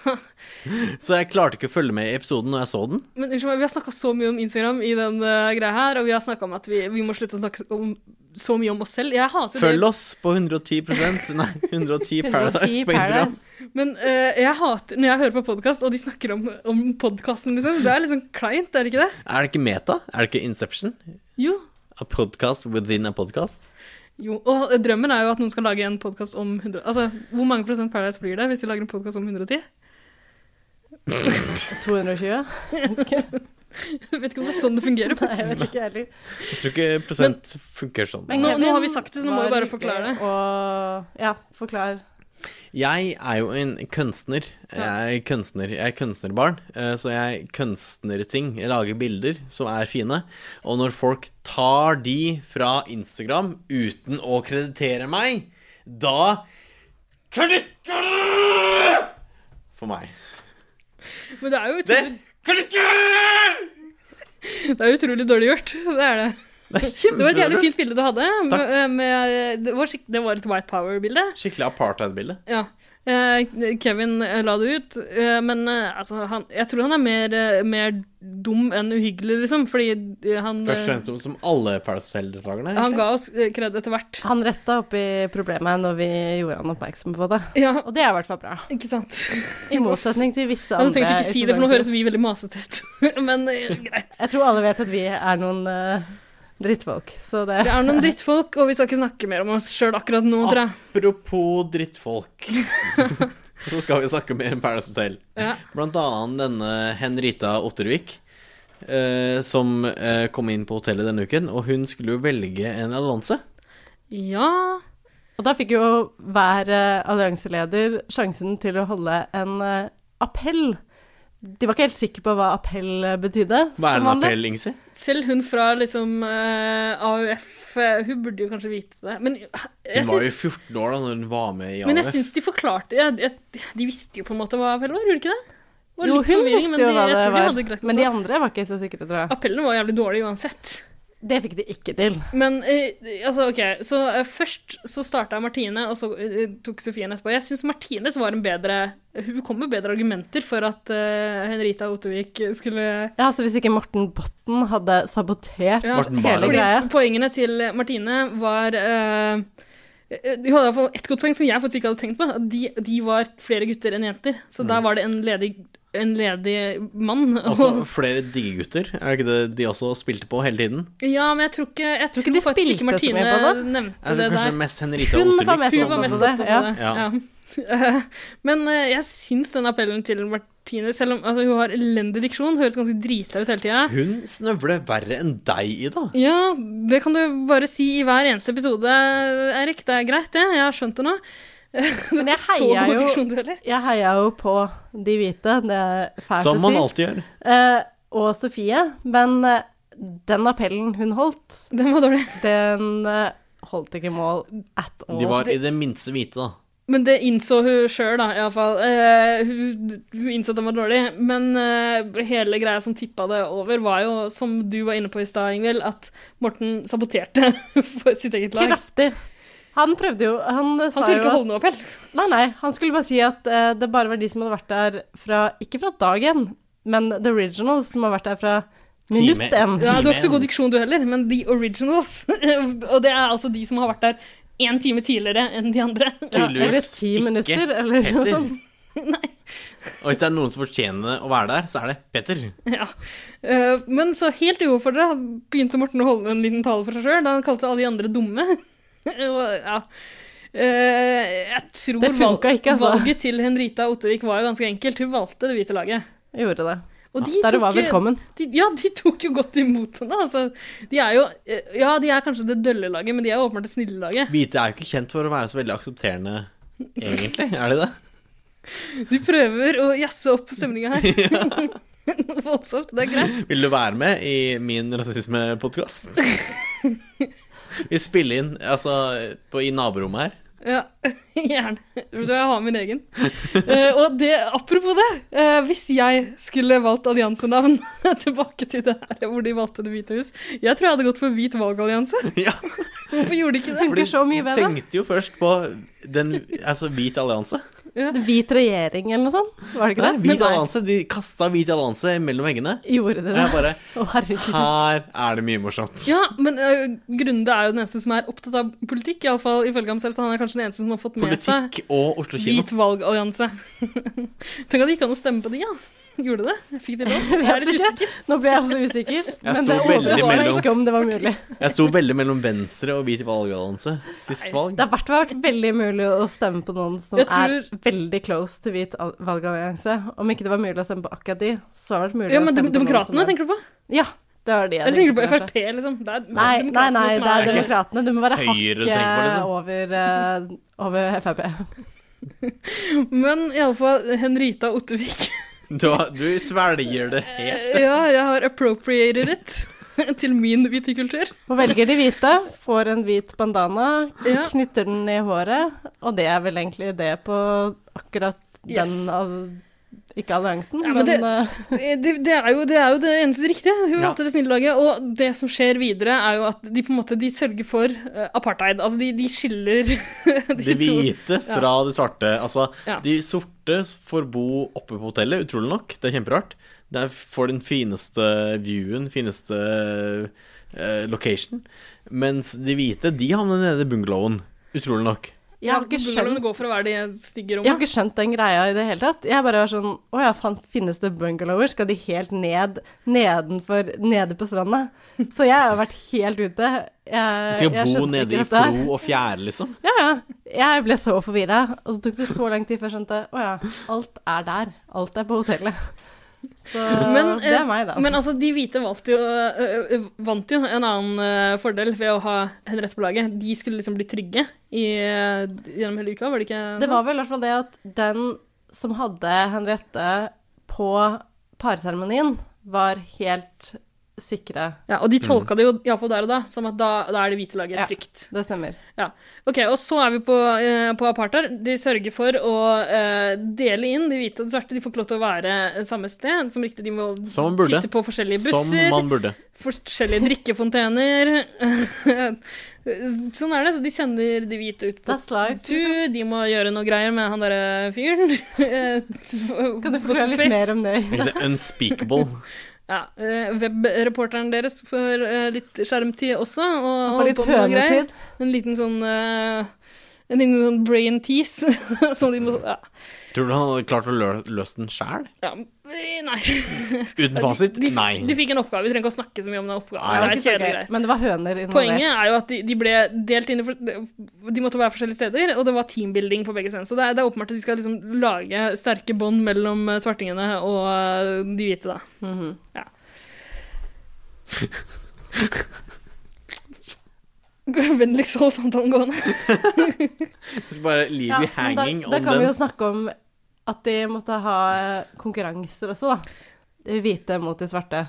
Speaker 2: Så jeg klarte ikke å følge med i episoden når jeg så den.
Speaker 3: Men unnskyld meg, vi har snakka så mye om Instagram i den eh, greia her, og vi har snakka om at vi, vi må slutte å snakke om, så mye om oss selv. Jeg hater det.
Speaker 2: Følg oss på 110 Nei, 110 Paradise
Speaker 1: 110
Speaker 2: på Instagram.
Speaker 1: Paradise.
Speaker 3: Men eh, jeg hater når jeg hører på podkast, og de snakker om, om podkasten, liksom. Det er liksom kleint, er det ikke det?
Speaker 2: Er det ikke Meta? Er det ikke Inception?
Speaker 3: Jo.
Speaker 2: A podcast within a podcast?
Speaker 3: jo. Og drømmen er jo at noen skal lage en podkast om 100 Altså, hvor mange prosent Paradise blir det hvis vi lager en podkast om 110?
Speaker 1: 220?
Speaker 3: Jeg vet ikke om det er sånn det fungerer,
Speaker 1: Nei, jeg
Speaker 3: faktisk.
Speaker 1: vet ikke heller.
Speaker 2: Jeg tror ikke prosent funker sånn.
Speaker 3: Men- Nå- nå
Speaker 1: Kevin
Speaker 3: har vi sagt det, så nå må
Speaker 1: var
Speaker 3: du bare
Speaker 1: hyggelig
Speaker 3: forklare det.
Speaker 1: Og ja, forklar.
Speaker 2: Jeg er jo en kunstner. Jeg er kunstner, jeg er kunstnerbarn, eh, så jeg kunstner ting. Jeg lager bilder som er fine. Og når folk tar de fra Instagram uten å kreditere meg, da klikker det! For meg.
Speaker 3: Men det er jo
Speaker 2: Det
Speaker 3: utrolig,
Speaker 2: klikker!
Speaker 3: det er utrolig dårlig gjort. Det er det.
Speaker 2: Det er
Speaker 3: Det var et jævlig
Speaker 2: kjempebra.
Speaker 3: fint bilde du hadde.
Speaker 2: Takk.
Speaker 3: Med, med, det, var skikk- det var et White Power-bilde.
Speaker 2: Skikkelig apartheid-bilde.
Speaker 3: Ja. Eh, Kevin eh, la det ut, eh, men eh, altså, han, jeg tror han er mer, eh, mer dum enn uhyggelig, liksom, fordi eh, han eh,
Speaker 2: Først og fremst noe som alle Paradise Hotel-deltakerne.
Speaker 3: Han ga oss eh, cred etter hvert.
Speaker 1: Han retta opp i problemet når vi gjorde han oppmerksom på det.
Speaker 3: Ja,
Speaker 1: Og det er i hvert fall bra.
Speaker 3: ikke sant?
Speaker 1: I motsetning til visse
Speaker 3: Jeg hadde
Speaker 1: andre.
Speaker 3: tenkt å ikke
Speaker 1: i
Speaker 3: si det, for nå
Speaker 1: sesong to.
Speaker 3: høres vi veldig masete ut. Men eh, greit.
Speaker 1: Jeg tror alle vet at vi er noen eh, drittfolk, så det
Speaker 3: Det er noen drittfolk, og vi skal ikke snakke mer om oss sjøl akkurat
Speaker 2: Ah.
Speaker 3: nå, tror jeg.
Speaker 2: Apropos drittfolk, så skal vi snakke mer om Paradise Hotel.
Speaker 3: Ja.
Speaker 2: Blant annet denne Henrita Ottervik, eh, som eh, kom inn på hotellet denne uken, og hun skulle jo velge en allianse.
Speaker 3: ja.
Speaker 1: Og da fikk jo hver eh, allianseleder sjansen til å holde en eh, appell. De var ikke helt sikre på hva appell eh, betydde.
Speaker 2: Hva er
Speaker 1: som
Speaker 2: en
Speaker 1: vanlig.
Speaker 2: appell, Ingsi?
Speaker 3: Selv hun fra liksom eh, AUF eh, Hun burde jo kanskje vite det. Men eh, jeg
Speaker 2: Hun var jo
Speaker 3: syns-
Speaker 2: 14 år da når hun var med i
Speaker 3: Men jeg
Speaker 2: AUF.
Speaker 3: syns de forklarte jeg, jeg, De visste jo på en måte hva appellen var, gjorde de ikke det? Det var
Speaker 1: Jo,
Speaker 3: litt
Speaker 1: hun
Speaker 3: forvirring, men
Speaker 1: visste jo
Speaker 3: de-
Speaker 1: hva
Speaker 3: jeg
Speaker 1: det
Speaker 3: tror de
Speaker 1: var,
Speaker 3: hadde greit
Speaker 1: men de
Speaker 3: på det.
Speaker 1: andre var ikke så sikre, tror jeg.
Speaker 3: Appellen var jævlig dårlig uansett.
Speaker 1: Det fikk de ikke til.
Speaker 3: Men eh, altså, ok, så eh, først så starta Martine, og så eh, tok Sofien etterpå. Jeg syns Martines var en bedre Hun kom med bedre argumenter for at eh, Henrita Ottervik skulle
Speaker 1: Ja, altså Hvis ikke Morten Botten hadde sabotert
Speaker 3: Ja,
Speaker 2: Morten
Speaker 1: hele
Speaker 2: Barlow.
Speaker 3: Fordi
Speaker 1: greia
Speaker 3: poengene til Martine var eh, Hun hadde i hvert fall ett godt poeng som jeg faktisk ikke hadde tenkt på. At de, de var flere gutter enn jenter. Så
Speaker 2: Mm.
Speaker 3: der var det en ledig, en ledig mann.
Speaker 2: Altså,
Speaker 3: Og,
Speaker 2: flere digge gutter, er det ikke det de også spilte på hele tiden?
Speaker 3: ja, men jeg tror ikke Jeg
Speaker 1: Tror
Speaker 3: tror,
Speaker 1: ikke de
Speaker 3: faktisk
Speaker 1: spilte så
Speaker 3: ikke Martine
Speaker 1: mye på det.
Speaker 3: nevnte
Speaker 2: Altså,
Speaker 3: det
Speaker 2: kanskje
Speaker 3: der.
Speaker 2: mest sånn Henrita
Speaker 1: Hun var
Speaker 2: Ottervik.
Speaker 1: mest
Speaker 2: som-
Speaker 3: Hun var mest
Speaker 1: det,
Speaker 3: opptatt
Speaker 1: ja.
Speaker 3: av det.
Speaker 2: Ja.
Speaker 3: Ja. Men eh, jeg syns den appellen til Martine, selv om altså, hun har elendig diksjon, høres ganske drita ut hele tida.
Speaker 2: Hun snøvler verre enn deg, Ida.
Speaker 3: Ja, det kan du bare si i hver eneste episode, Erik. Det er greit, det. Jeg har skjønt det nå.
Speaker 1: Men jeg
Speaker 3: Så
Speaker 1: heia
Speaker 3: god
Speaker 1: jo-
Speaker 3: diksjon du heller.
Speaker 1: Jeg heia jo på de hvite, det er fælt
Speaker 2: Som
Speaker 1: å
Speaker 2: man
Speaker 1: si.
Speaker 2: alltid gjør.
Speaker 1: Eh, og Sofie. Men eh, den appellen hun holdt,
Speaker 3: Den var dårlig.
Speaker 1: den eh, holdt ikke mål at all.
Speaker 2: De var i det minste hvite, da.
Speaker 3: Men det innså hun sjøl, da, iallfall. Uh, hun, hun innså at den var dårlig. Men eh, hele greia som tippa det over, var jo, som du var inne på i stad, Ingvild, at Morten saboterte for sitt eget lag.
Speaker 1: Kraftig. Han prøvde jo Han, eh,
Speaker 3: Han
Speaker 1: sa jo
Speaker 3: skulle ikke
Speaker 1: at
Speaker 3: holde noe appell.
Speaker 1: Nei, nei. Han skulle bare si at eh, det bare var de som hadde vært der fra Ikke fra dagen, men the originals som har vært der fra
Speaker 2: Time.
Speaker 1: minutt én.
Speaker 3: Ja, du har ikke så
Speaker 2: Timen.
Speaker 3: god diksjon du heller, men The Originals. og det er altså de som har vært der én time tidligere enn de andre.
Speaker 1: Ja, eller
Speaker 2: Tydeligvis
Speaker 1: ti
Speaker 2: ikke
Speaker 1: minutter, eller noe
Speaker 2: Petter.
Speaker 1: sånt.
Speaker 2: Og hvis det er noen som fortjener å være der, så er det Petter.
Speaker 3: Ja. Eh, Men så helt uoppfordra begynte Morten å holde en liten tale for seg sjøl, da han kalte alle de andre dumme. Og, ja. Eh, jeg tror
Speaker 1: Det funka
Speaker 3: valg-
Speaker 1: ikke, altså.
Speaker 3: valget til Henrita Ottervik var jo ganske enkelt. Hun valgte det hvite laget.
Speaker 1: Gjorde det.
Speaker 3: Og de
Speaker 1: Der du var
Speaker 3: tok-
Speaker 1: velkommen.
Speaker 3: De, ja, de tok jo godt imot henne. Altså, de er jo eh, Ja, de er kanskje det dølle laget, men de er jo åpenbart det snille laget.
Speaker 2: Hvite er jo ikke kjent for å være så veldig aksepterende, egentlig. Er de det?
Speaker 3: De prøver å jazze opp stemninga her. Voldsomt. Det er greit.
Speaker 2: Vil du være med i min rasismepodkast? Vi spiller inn altså, på, i naborommet her.
Speaker 3: Ja, gjerne. Vet du hva, Jeg har min egen. Eh, og det, apropos det, eh, hvis jeg skulle valgt alliansenavn Tilbake til det her hvor de valgte Det hvite hus. Jeg tror jeg hadde gått for Hvit valgallianse.
Speaker 2: Ja,
Speaker 3: Hvorfor gjorde de ikke det?
Speaker 1: Funker så mye
Speaker 2: de
Speaker 1: bedre.
Speaker 2: tenkte jo først på den, altså, Hvit allianse.
Speaker 1: Hvit regjering eller noe sånt, var det ikke
Speaker 2: Nei,
Speaker 1: det?
Speaker 2: hvit
Speaker 1: Men nei,
Speaker 2: allianse. De kasta Hvit allianse mellom veggene.
Speaker 1: Gjorde de
Speaker 2: Og
Speaker 1: det?
Speaker 2: jeg bare
Speaker 1: Å, herregud.
Speaker 2: Her er det mye morsomt.
Speaker 3: Ja, men uh, Grunde er jo den eneste som er opptatt av politikk, iallfall ifølge ham selv. Så han er kanskje den eneste som har fått med
Speaker 2: Politikk og Oslo
Speaker 3: seg
Speaker 2: kino.
Speaker 3: Hvit valgallianse. Tenk at det gikk an å stemme på de, ja. Gjorde det? Jeg fikk de lov? Jeg er litt
Speaker 1: ikke.
Speaker 3: usikker.
Speaker 1: Nå ble jeg også usikker. Men
Speaker 2: sto
Speaker 1: det
Speaker 2: veldig
Speaker 1: overrasker meg
Speaker 2: mellom.
Speaker 1: ikke om det var mulig.
Speaker 2: Jeg sto veldig mellom venstre og hvit valgallianse sist valg.
Speaker 1: Det har vært, vært veldig mulig å stemme på noen som
Speaker 3: Jeg tror-
Speaker 1: er veldig close til hvit al- valgallianse. Om ikke det var mulig å stemme på akkurat de, så har det vært mulig
Speaker 3: Ja, men
Speaker 1: å
Speaker 3: dem-
Speaker 1: stemme
Speaker 3: Demokratene,
Speaker 1: på noen som er-
Speaker 3: tenker du på?
Speaker 1: Ja, det var de jeg
Speaker 3: Eller tenker du på
Speaker 1: tenkte kanskje.
Speaker 3: Frp, liksom? Det er
Speaker 1: Nei, nei, nei,
Speaker 3: demokratene som
Speaker 1: det er
Speaker 2: det.
Speaker 1: demokratene. Du må være
Speaker 2: Høyre du
Speaker 1: hakket
Speaker 2: tenker på, liksom.
Speaker 1: over, eh, over Frp.
Speaker 3: Men iallfall Henrita Ottervik.
Speaker 2: Du, du svelger det
Speaker 3: Eh,
Speaker 2: helt.
Speaker 3: Ja, jeg har appropriated it til min hvitekultur.
Speaker 1: Og velger de hvite, får en hvit bandana,
Speaker 3: Ja.
Speaker 1: knytter den i håret, og det er vel egentlig det på akkurat den
Speaker 3: Yes.
Speaker 1: al Ikke alliansen,
Speaker 3: Ja,
Speaker 1: men,
Speaker 3: men det-
Speaker 1: eh,
Speaker 3: Det, det, er jo, det er jo det eneste riktige. Hun
Speaker 2: Ja.
Speaker 3: valgte det snille laget. Og det som skjer videre, er jo at de på en måte de sørger for eh, apartheid. Altså, de, de skiller de
Speaker 2: Det
Speaker 3: to.
Speaker 2: hvite fra det svarte. Altså,
Speaker 3: Ja.
Speaker 2: de sorte får bo oppe på hotellet, utrolig nok. Det er kjemperart. Der får den fineste viewen, fineste eh, location. Mens de hvite, de havner nede i bungalowen. Utrolig nok.
Speaker 1: jeg, har ikke
Speaker 3: Bungalowen
Speaker 1: skjønt,
Speaker 3: går for å være de stygge
Speaker 1: jeg har
Speaker 3: rommene.
Speaker 1: ikke skjønt den greia i det hele tatt. Jeg bare var sånn Å ja, faen, finnes det bungalower? Skal de helt ned nedenfor Nede på stranda? Så jeg har vært helt ute. Jeg,
Speaker 2: De skal
Speaker 1: Eh, jeg
Speaker 2: bo
Speaker 1: skjønte
Speaker 2: nede
Speaker 1: ikke
Speaker 2: i
Speaker 1: dette her.
Speaker 2: flo og fjære, liksom.
Speaker 1: Ja, ja. Jeg ble så forvirra, og så tok det så lang tid før jeg skjønte Å ja, alt er der. Alt er på hotellet. Så
Speaker 3: Men,
Speaker 1: det
Speaker 3: eh,
Speaker 1: er meg, da.
Speaker 3: Men altså, de hvite valgte jo, eh, eh, vant jo en annen eh, fordel ved å ha Henriette på laget. De skulle liksom bli trygge i, eh, gjennom hele uka, var det ikke
Speaker 1: det var vel i hvert fall det at den som hadde Henriette på parseremonien, var helt sikre.
Speaker 3: Ja, og de tolka det jo iallfall der og da som at da, da er det hvite laget
Speaker 1: Mm. Ja.
Speaker 3: trygt.
Speaker 1: Det stemmer.
Speaker 3: Ja. Ok, og så er vi på, eh, på apartheid. De sørger for å eh, dele inn de hvite og de svarte. De får ikke lov til å være eh, samme sted. Som riktig, de må
Speaker 2: Som man burde.
Speaker 3: sitte på forskjellige
Speaker 2: Som
Speaker 3: busser,
Speaker 2: man burde.
Speaker 3: forskjellige drikkefontener. sånn er det. Så de sender de hvite ut på
Speaker 1: That's life. liksom.
Speaker 3: tur. De må gjøre noe greier med han derre fyren.
Speaker 1: Kan du forklare litt mer om det?
Speaker 2: Er ikke det unspeakable?
Speaker 3: ja, eh, Webreporteren deres får eh, litt skjermtid også, og
Speaker 1: For
Speaker 3: holder
Speaker 1: litt
Speaker 3: på med noe greier.
Speaker 1: hønetid.
Speaker 3: En liten sånn eh, En liten sånn brain tease. som de må ja,
Speaker 2: Tror du han hadde klart å lø- løst den sjæl?
Speaker 3: ja, eh, Nei.
Speaker 2: Uten fasit?
Speaker 3: De,
Speaker 2: Nei.
Speaker 3: de fikk en oppgave. Vi trenger ikke å snakke så mye om den oppgaven.
Speaker 2: Nei,
Speaker 3: det er kjedelige greier.
Speaker 1: Men det var høner involvert.
Speaker 3: Poenget er jo at de, de ble delt inn i for, De måtte være forskjellige steder, og det var teambuilding på begge steder. Så det er, det er åpenbart at de skal liksom lage sterke bånd mellom eh, svartingene og eh, de hvite, da.
Speaker 1: Mhm.
Speaker 3: Ja. Vennligst hold samtalen gående.
Speaker 2: Så Bare leave you
Speaker 1: men
Speaker 2: hanging
Speaker 1: da, da
Speaker 2: on
Speaker 1: kan vi jo
Speaker 2: den.
Speaker 1: snakke om at de måtte ha konkurranser også, da. De hvite mot de svarte.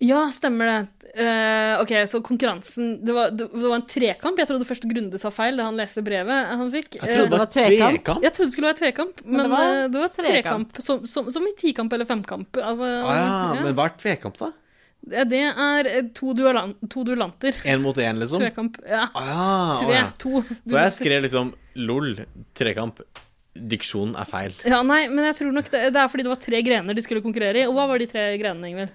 Speaker 3: Ja, stemmer det. Eh, ok, så konkurransen det var, det, det var en trekamp. Jeg trodde først Grunde sa feil da han leste brevet han fikk.
Speaker 2: Jeg trodde
Speaker 1: det
Speaker 2: det
Speaker 1: var
Speaker 2: var
Speaker 1: tvekamp.
Speaker 3: Eh,
Speaker 2: tvekamp.
Speaker 3: jeg trodde det skulle være tvekamp, men,
Speaker 1: det var
Speaker 3: eh, det var
Speaker 1: trekamp.
Speaker 3: trekamp. Som, som, som i tikamp eller femkamp. Altså,
Speaker 2: Ah, ja,
Speaker 3: ja.
Speaker 2: men hva er tvekamp, da?
Speaker 3: Ja, Det er eh, to, dualan to duellanter.
Speaker 2: Én mot én, liksom?
Speaker 3: Trekamp. Ja.
Speaker 2: Ah, ja,
Speaker 3: Tre.
Speaker 2: å ja.
Speaker 3: To.
Speaker 2: For jeg skrev liksom LOL, trekamp. Diksjonen er feil.
Speaker 3: Ja, nei, men jeg tror nok det, det er fordi det var tre grener de skulle konkurrere i. Og hva var de tre grenene, Ingvild?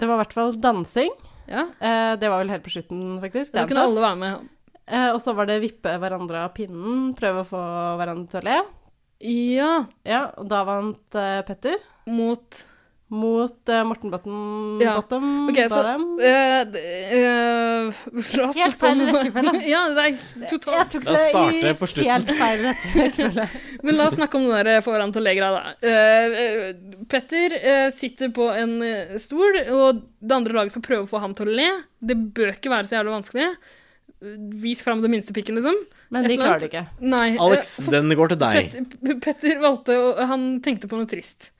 Speaker 1: Det var i hvert fall dansing.
Speaker 3: Ja,
Speaker 1: Eh, det var vel helt på slutten, faktisk.
Speaker 3: Da
Speaker 1: Dance
Speaker 3: kunne
Speaker 1: off.
Speaker 3: alle være med.
Speaker 1: Eh, og så var det vippe hverandre av pinnen, prøve å få hverandre til å le.
Speaker 3: Ja,
Speaker 1: Ja, og da vant eh, Petter
Speaker 3: mot
Speaker 1: mot eh, Morten Bottom.
Speaker 3: Ja.
Speaker 1: Bottom
Speaker 3: Ok, så
Speaker 1: Bottom.
Speaker 3: eh, d- eh, La oss
Speaker 1: Helt
Speaker 3: snakke om-
Speaker 1: feil rekkefølge.
Speaker 3: ja, det er
Speaker 1: Jeg
Speaker 3: totalt
Speaker 1: tok
Speaker 2: Da
Speaker 1: det
Speaker 2: starter
Speaker 1: i
Speaker 2: jeg på slutten.
Speaker 1: helt feil rekkefølge.
Speaker 3: Men la oss snakke om den der få hverandre til å le greia, da. Eh, eh, Petter eh, sitter på en eh, stol, og det andre laget skal prøve å få ham til å le. Det bør ikke være så jævlig vanskelig. Vis fram den minste pikken, liksom.
Speaker 1: Men
Speaker 3: Et
Speaker 1: de
Speaker 3: eller
Speaker 1: klarer det
Speaker 3: annet.
Speaker 1: ikke.
Speaker 3: Nei. eh,
Speaker 2: Alex,
Speaker 3: for-
Speaker 2: den går til deg.
Speaker 3: Petter, P- Petter valgte å Han tenkte på noe trist.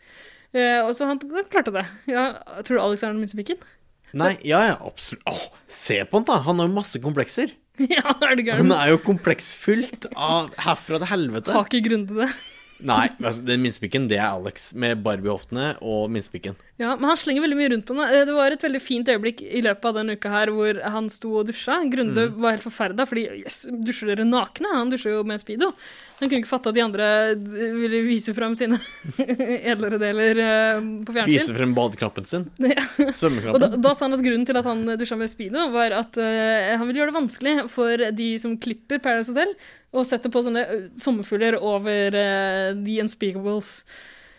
Speaker 3: Eh, og så han han klarte det. Ja, tror du Alex er den minste pikken?
Speaker 2: Nei, ja, ja, absolutt. Åh, se på han, da. Han har jo masse komplekser.
Speaker 3: ja, er du
Speaker 2: Han
Speaker 3: gæren?
Speaker 2: er jo kompleksfullt av herfra til helvete.
Speaker 3: Har ikke grunde det.
Speaker 2: Nei, altså, den minstepikken, det er Alex. Med Barbie-hoftene og minstepikken.
Speaker 3: Ja, men han slenger veldig mye rundt på henne. Eh, Det var et veldig fint øyeblikk i løpet av den uka her hvor han sto og dusja. Grunde var helt forferda, fordi jøss, dusjer dere nakne? Han dusjer jo med speedo. Han kunne ikke fatte at de andre eh, ville vise fram sine edlere deler eh, på
Speaker 2: Viser
Speaker 3: fjernsyn.
Speaker 2: frem badeknappen sin.
Speaker 3: Ja. Og da,
Speaker 2: Svømmeknappen.
Speaker 3: da sa han at grunnen til at han dusja med speedo, var at eh, han ville gjøre det vanskelig for de som klipper Paradise Hotel, å sette på sånne eh, sommerfugler over eh, The Unspeakables.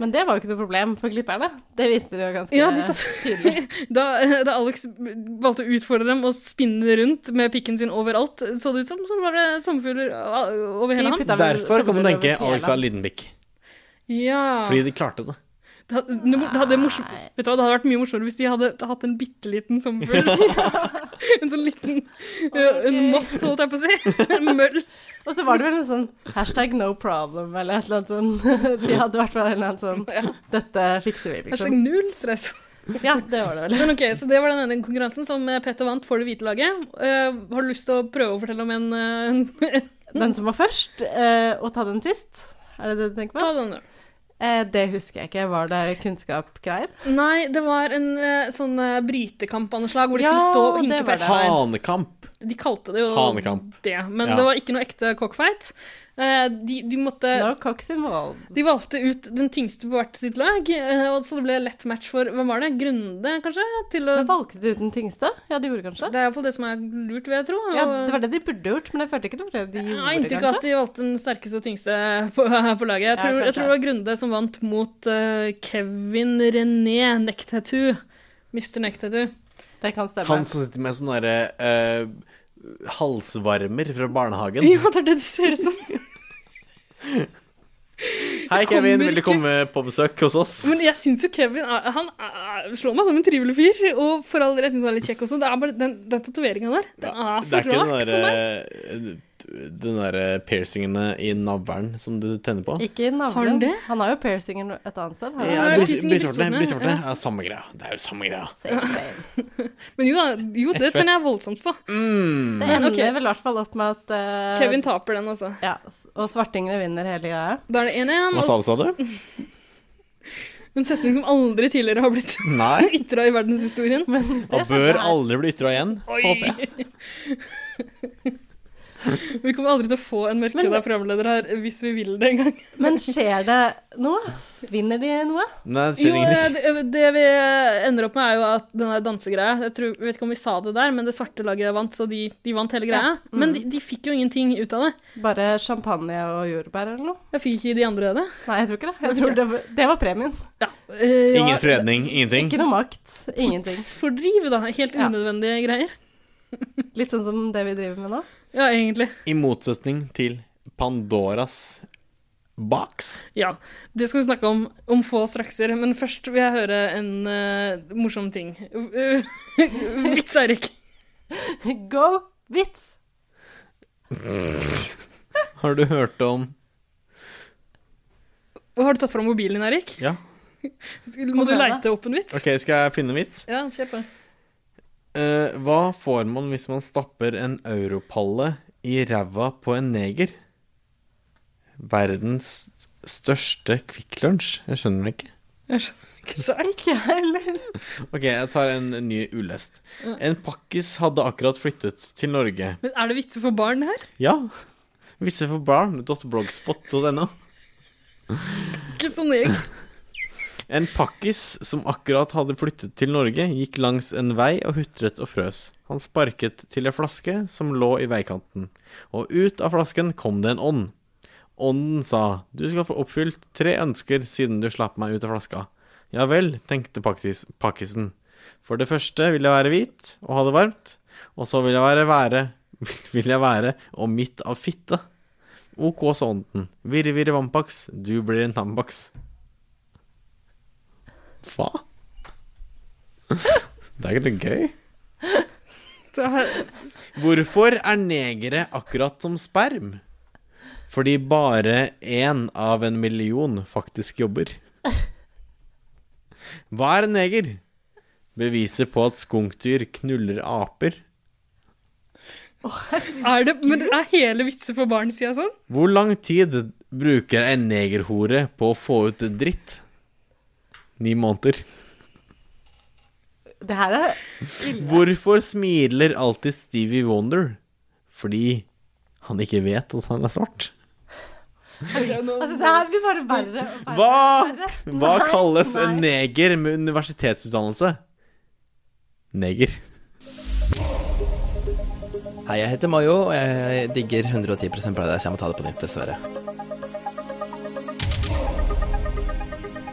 Speaker 1: Men det var jo ikke noe problem for klipperne. Det viste de jo ganske
Speaker 3: Ja, de sa-
Speaker 1: tydelig.
Speaker 3: Da, da Alex valgte å utfordre dem og spinne rundt med pikken sin overalt, så det ut som så var det sommerfugler ah, over hele
Speaker 1: De
Speaker 3: ham.
Speaker 1: putta vel
Speaker 2: Derfor kan man
Speaker 1: sommerfugler
Speaker 2: tenke
Speaker 1: over hele
Speaker 2: Alex har liten pikk.
Speaker 3: Ja.
Speaker 2: Fordi de klarte det.
Speaker 3: Det hadde, det hadde, morsom, vet du hva, det hadde vært mye morsommere hvis de hadde hatt en bitte liten sommerfugl. en sånn liten eh, En moth, holdt jeg på å si. En møll.
Speaker 1: Og så var det vel en sånn hashtag no problem, eller et eller annet sånn. De hadde i hvert fall en eller annen sånn
Speaker 3: Ja.
Speaker 1: Dette fikser vi,
Speaker 3: Hashtag
Speaker 1: liksom.
Speaker 3: null stress.
Speaker 1: Ja, det var det vel.
Speaker 3: Men ok, Så det var den ene konkurransen som eh, Petter vant for det hvite laget. Eh, har du lyst til å prøve å fortelle om en eh,
Speaker 1: Den som var først, eh, og ta den sist. Er det det du tenker
Speaker 3: Ta
Speaker 1: på?
Speaker 3: den, du.
Speaker 1: Eh, det husker jeg ikke. Var det kunnskapgreier?
Speaker 3: Nei, det var en eh, sånn eh, brytekamp av noe slag, hvor de
Speaker 1: Ja,
Speaker 3: skulle stå og hinke
Speaker 1: det
Speaker 3: på
Speaker 1: var
Speaker 3: ett
Speaker 1: det.
Speaker 3: bein.
Speaker 2: Hanekamp.
Speaker 3: De kalte det jo
Speaker 2: Hanekamp.
Speaker 3: det, men
Speaker 2: Ja.
Speaker 3: det var ikke noe ekte cockfight. Eh, De, de, måtte,
Speaker 1: No cocks involved.
Speaker 3: de valgte ut den tyngste på hvert sitt lag, eh, og så det ble lett match for Hvem var det? Grunde, kanskje? Til å,
Speaker 1: Men valgte du den tyngste? Ja, de gjorde kanskje?
Speaker 3: det er iallfall det som er lurt, vil jeg tro.
Speaker 1: Ja, det var det de burde gjort, men jeg følte ikke det var det de
Speaker 3: jeg har
Speaker 1: gjorde,
Speaker 3: inntrykk av
Speaker 1: kanskje.
Speaker 3: at de valgte den sterkeste og tyngste på, på laget. Jeg
Speaker 1: Ja,
Speaker 3: tror, jeg
Speaker 1: kanskje.
Speaker 3: tror det var Grunde som vant mot eh, Kevin René Necktattoo. Mr. Necktattoo.
Speaker 1: Det kan stemme.
Speaker 2: Han som sitter med sånn derre eh, halsvarmer fra barnehagen.
Speaker 3: Ja, det er det det ser ut som.
Speaker 2: Hei, Kevin.
Speaker 3: kommer
Speaker 2: Vil du
Speaker 3: ikke-
Speaker 2: komme på besøk hos oss?
Speaker 3: Men jeg syns jo Kevin er, han er, slår meg som en trivelig fyr. Og for all del, jeg syns han er litt kjekk også. Det er bare den, den tatoveringa der. Den er
Speaker 2: Det er
Speaker 3: for
Speaker 2: ikke
Speaker 3: rar
Speaker 2: den
Speaker 3: for meg.
Speaker 2: derre den derre piercingene i navlen som du tenner på.
Speaker 1: Ikke i navlen.
Speaker 3: Har han det?
Speaker 1: Han har jo piercinger et annet sted. har han?
Speaker 2: Ja,
Speaker 3: det er
Speaker 2: brys-
Speaker 3: piercing i
Speaker 2: Brystvortene
Speaker 3: brystvortene,
Speaker 2: brystvortene er samme greia. Det er jo samme greia.
Speaker 3: Men jo da, jo, det
Speaker 2: Ett fett.
Speaker 3: tenner jeg voldsomt på.
Speaker 2: Mm.
Speaker 1: Det
Speaker 3: Men,
Speaker 1: ender
Speaker 3: ok.
Speaker 1: vel i hvert fall opp med at eh,
Speaker 3: Kevin taper den, altså.
Speaker 1: ja, s- Og svartingene vinner hele greia.
Speaker 3: Da er det 1-1.
Speaker 2: Hva sa
Speaker 3: og
Speaker 2: du, sa du?
Speaker 3: En setning som aldri tidligere har blitt
Speaker 2: Nei.
Speaker 3: ytra i verdenshistorien.
Speaker 2: Og bør aldri bli ytra igjen.
Speaker 3: Oi! Vi kommer aldri til å få en
Speaker 1: Men-
Speaker 3: mørkhåra programleder her hvis vi vil det en gang.
Speaker 1: Men skjer det noe? Vinner de noe?
Speaker 2: Nei, det
Speaker 3: Jo,
Speaker 2: skjer ingenting.
Speaker 3: det, det vi ender opp med, er jo at den der dansegreia Jeg tror, jeg vet ikke om vi sa det der, men det svarte laget vant, så de, de vant hele greia.
Speaker 2: Mm.
Speaker 3: Men de, de fikk jo ingenting ut av det.
Speaker 1: Bare champagne og jordbær eller noe?
Speaker 3: Jeg fikk ikke de andre det.
Speaker 1: Nei, jeg tror ikke det. Jeg tror det, var- det var premien.
Speaker 3: Ja. eh, ja,
Speaker 2: Ingen fredning, ingenting.
Speaker 1: Ikke noe makt. Ingenting.
Speaker 3: Tidsfordriv, da. Helt
Speaker 1: Ja.
Speaker 3: unødvendige greier.
Speaker 1: Litt sånn som det vi driver med nå.
Speaker 3: Ja, egentlig.
Speaker 2: I motsetning til Pandoras box.
Speaker 3: Ja. Det skal vi snakke om om få strakser, men først vil jeg høre en eh, morsom ting. Uh, Vits, Eirik.
Speaker 1: Go vits!
Speaker 2: Har du hørt om
Speaker 3: Har du tatt fram mobilen din, Eirik?
Speaker 2: Ja.
Speaker 3: Må du
Speaker 1: Kom igjen, da.
Speaker 3: leite opp en vits?
Speaker 2: OK, skal jeg finne en vits?
Speaker 3: Ja, kjør på.
Speaker 2: Eh, hva får man hvis man stapper en europalle i ræva på en neger? Verdens største Kvikk Lunsj? Jeg skjønner det ikke.
Speaker 3: Jeg skjønner ikke sjøl.
Speaker 1: Ikke jeg heller.
Speaker 2: OK, jeg tar en ny ulest. En pakkis hadde akkurat flyttet til Norge.
Speaker 3: Men er det vitser for barn her?
Speaker 2: Ja. Visseforbarn.blogspot.no.
Speaker 3: Ikke sånn jeg.
Speaker 2: En pakkis som akkurat hadde flyttet til Norge, gikk langs en vei og hutret og frøs. Han sparket til en flaske som lå i veikanten, og ut av flasken kom det en ånd. Ånden sa, du skal få oppfylt tre ønsker siden du slapp meg ut av flaska. Ja vel, tenkte pakkis, pakkisen. For det første vil jeg være hvit og ha det varmt, og så vil jeg være være, vil jeg være omgitt av fitte. Ok, sa ånden. Virre, virre, vampaks, du blir en tambaks. Hva? Det er ikke noe gøy.
Speaker 3: Det er,
Speaker 2: Hvorfor er negere akkurat som sperm? Fordi bare én av en million faktisk jobber. Hva er en neger? Beviset på at skunkdyr knuller aper.
Speaker 3: er det, men er hele vitser for barn, sier jeg sånn?
Speaker 2: Hvor lang tid bruker en negerhore på å få ut dritt? Ni måneder.
Speaker 1: Det her er
Speaker 2: Hvorfor smiler alltid Stevie Wonder? Fordi han ikke vet at han er svart.
Speaker 1: Altså, det her blir bare verre og verre.
Speaker 2: Hva, hva
Speaker 1: Nei,
Speaker 2: kalles en
Speaker 1: nei.
Speaker 2: neger med universitetsutdannelse? Neger.
Speaker 7: Hei, jeg heter Mayo, og jeg digger 110 Paradise. Jeg må ta det på nytt, dessverre.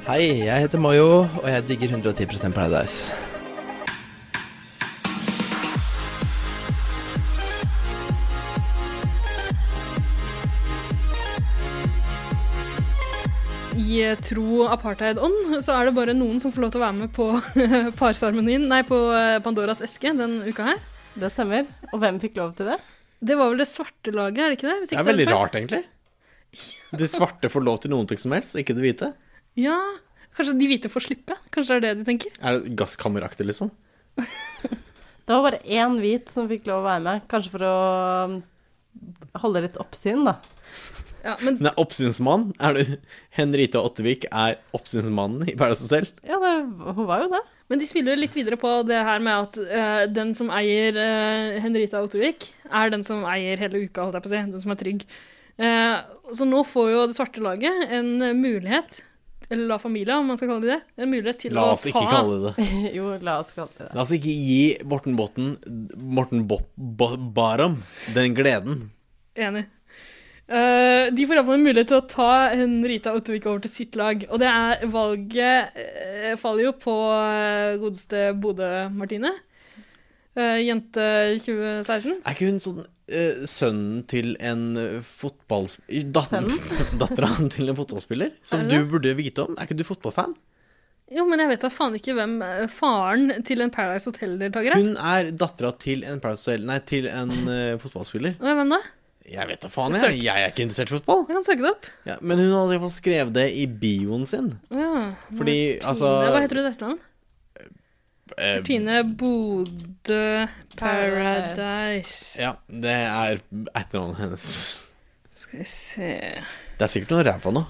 Speaker 7: Hei, jeg heter Mayo, og jeg digger 110 Paradise.
Speaker 3: I eh, tro apartheid-ånd så er det bare noen som får lov til å være med på parseremonien, nei, på eh, Pandoras eske den uka her.
Speaker 1: Det stemmer. Og hvem fikk lov til det?
Speaker 3: Det var vel det svarte laget, er det ikke det? Hvis
Speaker 2: Det
Speaker 3: ikke
Speaker 2: er veldig
Speaker 3: feil.
Speaker 2: rart, egentlig. De svarte får lov til noen ting som helst, og ikke det hvite.
Speaker 3: Ja, Kanskje de hvite får slippe? Kanskje det er det de tenker?
Speaker 2: Er det gasskammeraktig, liksom?
Speaker 1: Det var bare én hvit som fikk lov å være med. Kanskje for å um, holde litt oppsyn, da.
Speaker 3: Ja, men
Speaker 2: Hun er oppsynsmann. Er du Henrita Ottevik er oppsynsmannen i Paradise Hotel.
Speaker 1: Ja, det, hun var jo det.
Speaker 3: Men de spiller jo litt videre på det her med at eh, den som eier eh, Henrita Ottervik, er den som eier hele uka, holdt jeg på å si. Den som er trygg. Eh, så nå får jo det svarte laget en eh, mulighet, eller La Familia, om man skal kalle det det, en mulighet til
Speaker 2: La
Speaker 3: å
Speaker 2: oss ikke
Speaker 3: ta-
Speaker 2: kalle det det.
Speaker 1: Jo, la oss kalle det det.
Speaker 2: La oss ikke gi Morten Botten Morten Bo Bo Baram den gleden.
Speaker 3: Enig. Eh, de får iallfall en mulighet til å ta Henrita Ottervik over til sitt lag. Og det er valget eh, faller jo på eh, godeste Bodø-Martine. Eh, jente 2016.
Speaker 2: Er ikke hun sånn eh, sønnen til en uh, fotballspiller Dattera til en fotballspiller? Som
Speaker 3: Er
Speaker 2: du
Speaker 3: det?
Speaker 2: burde vite om? Er ikke du fotballfan?
Speaker 3: Jo, men jeg vet da faen ikke hvem eh, faren til en Paradise Hotel-deltaker er.
Speaker 2: Hun er dattera til en Paradise Hotel Nei, til en eh, fotballspiller.
Speaker 3: Og Hvem da?
Speaker 2: Jeg vet da faen, jeg. Jeg er ikke interessert i fotball.
Speaker 3: Jeg kan søke det opp.
Speaker 2: Ja, men hun hadde iallfall skrevet det i bioen sin.
Speaker 3: Å Ja.
Speaker 2: Fordi, altså
Speaker 3: Tine, Hva heter du i dette landet?
Speaker 2: eh,
Speaker 3: Tine Bodø Paradise.
Speaker 2: Ja, det er etternavnet hennes.
Speaker 3: Skal vi se
Speaker 2: Det er sikkert noe ræva nå.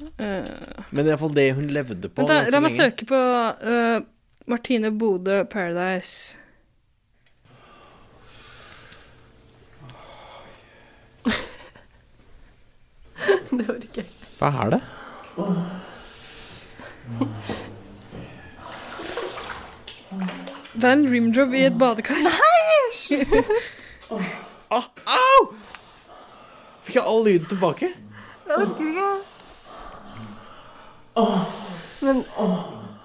Speaker 3: Eh,
Speaker 2: Men det er iallfall det hun levde på.
Speaker 3: Vent, da.
Speaker 2: ganske
Speaker 3: La meg
Speaker 2: lenge.
Speaker 3: søke på eh, Martine Bodø Paradise.
Speaker 1: Det orker jeg ikke.
Speaker 2: Hva er det?
Speaker 3: Det er en rimjob i et badekar.
Speaker 2: Ah, au! Fikk jeg all lyden tilbake?
Speaker 1: Jeg orker ikke. Men
Speaker 2: Ah.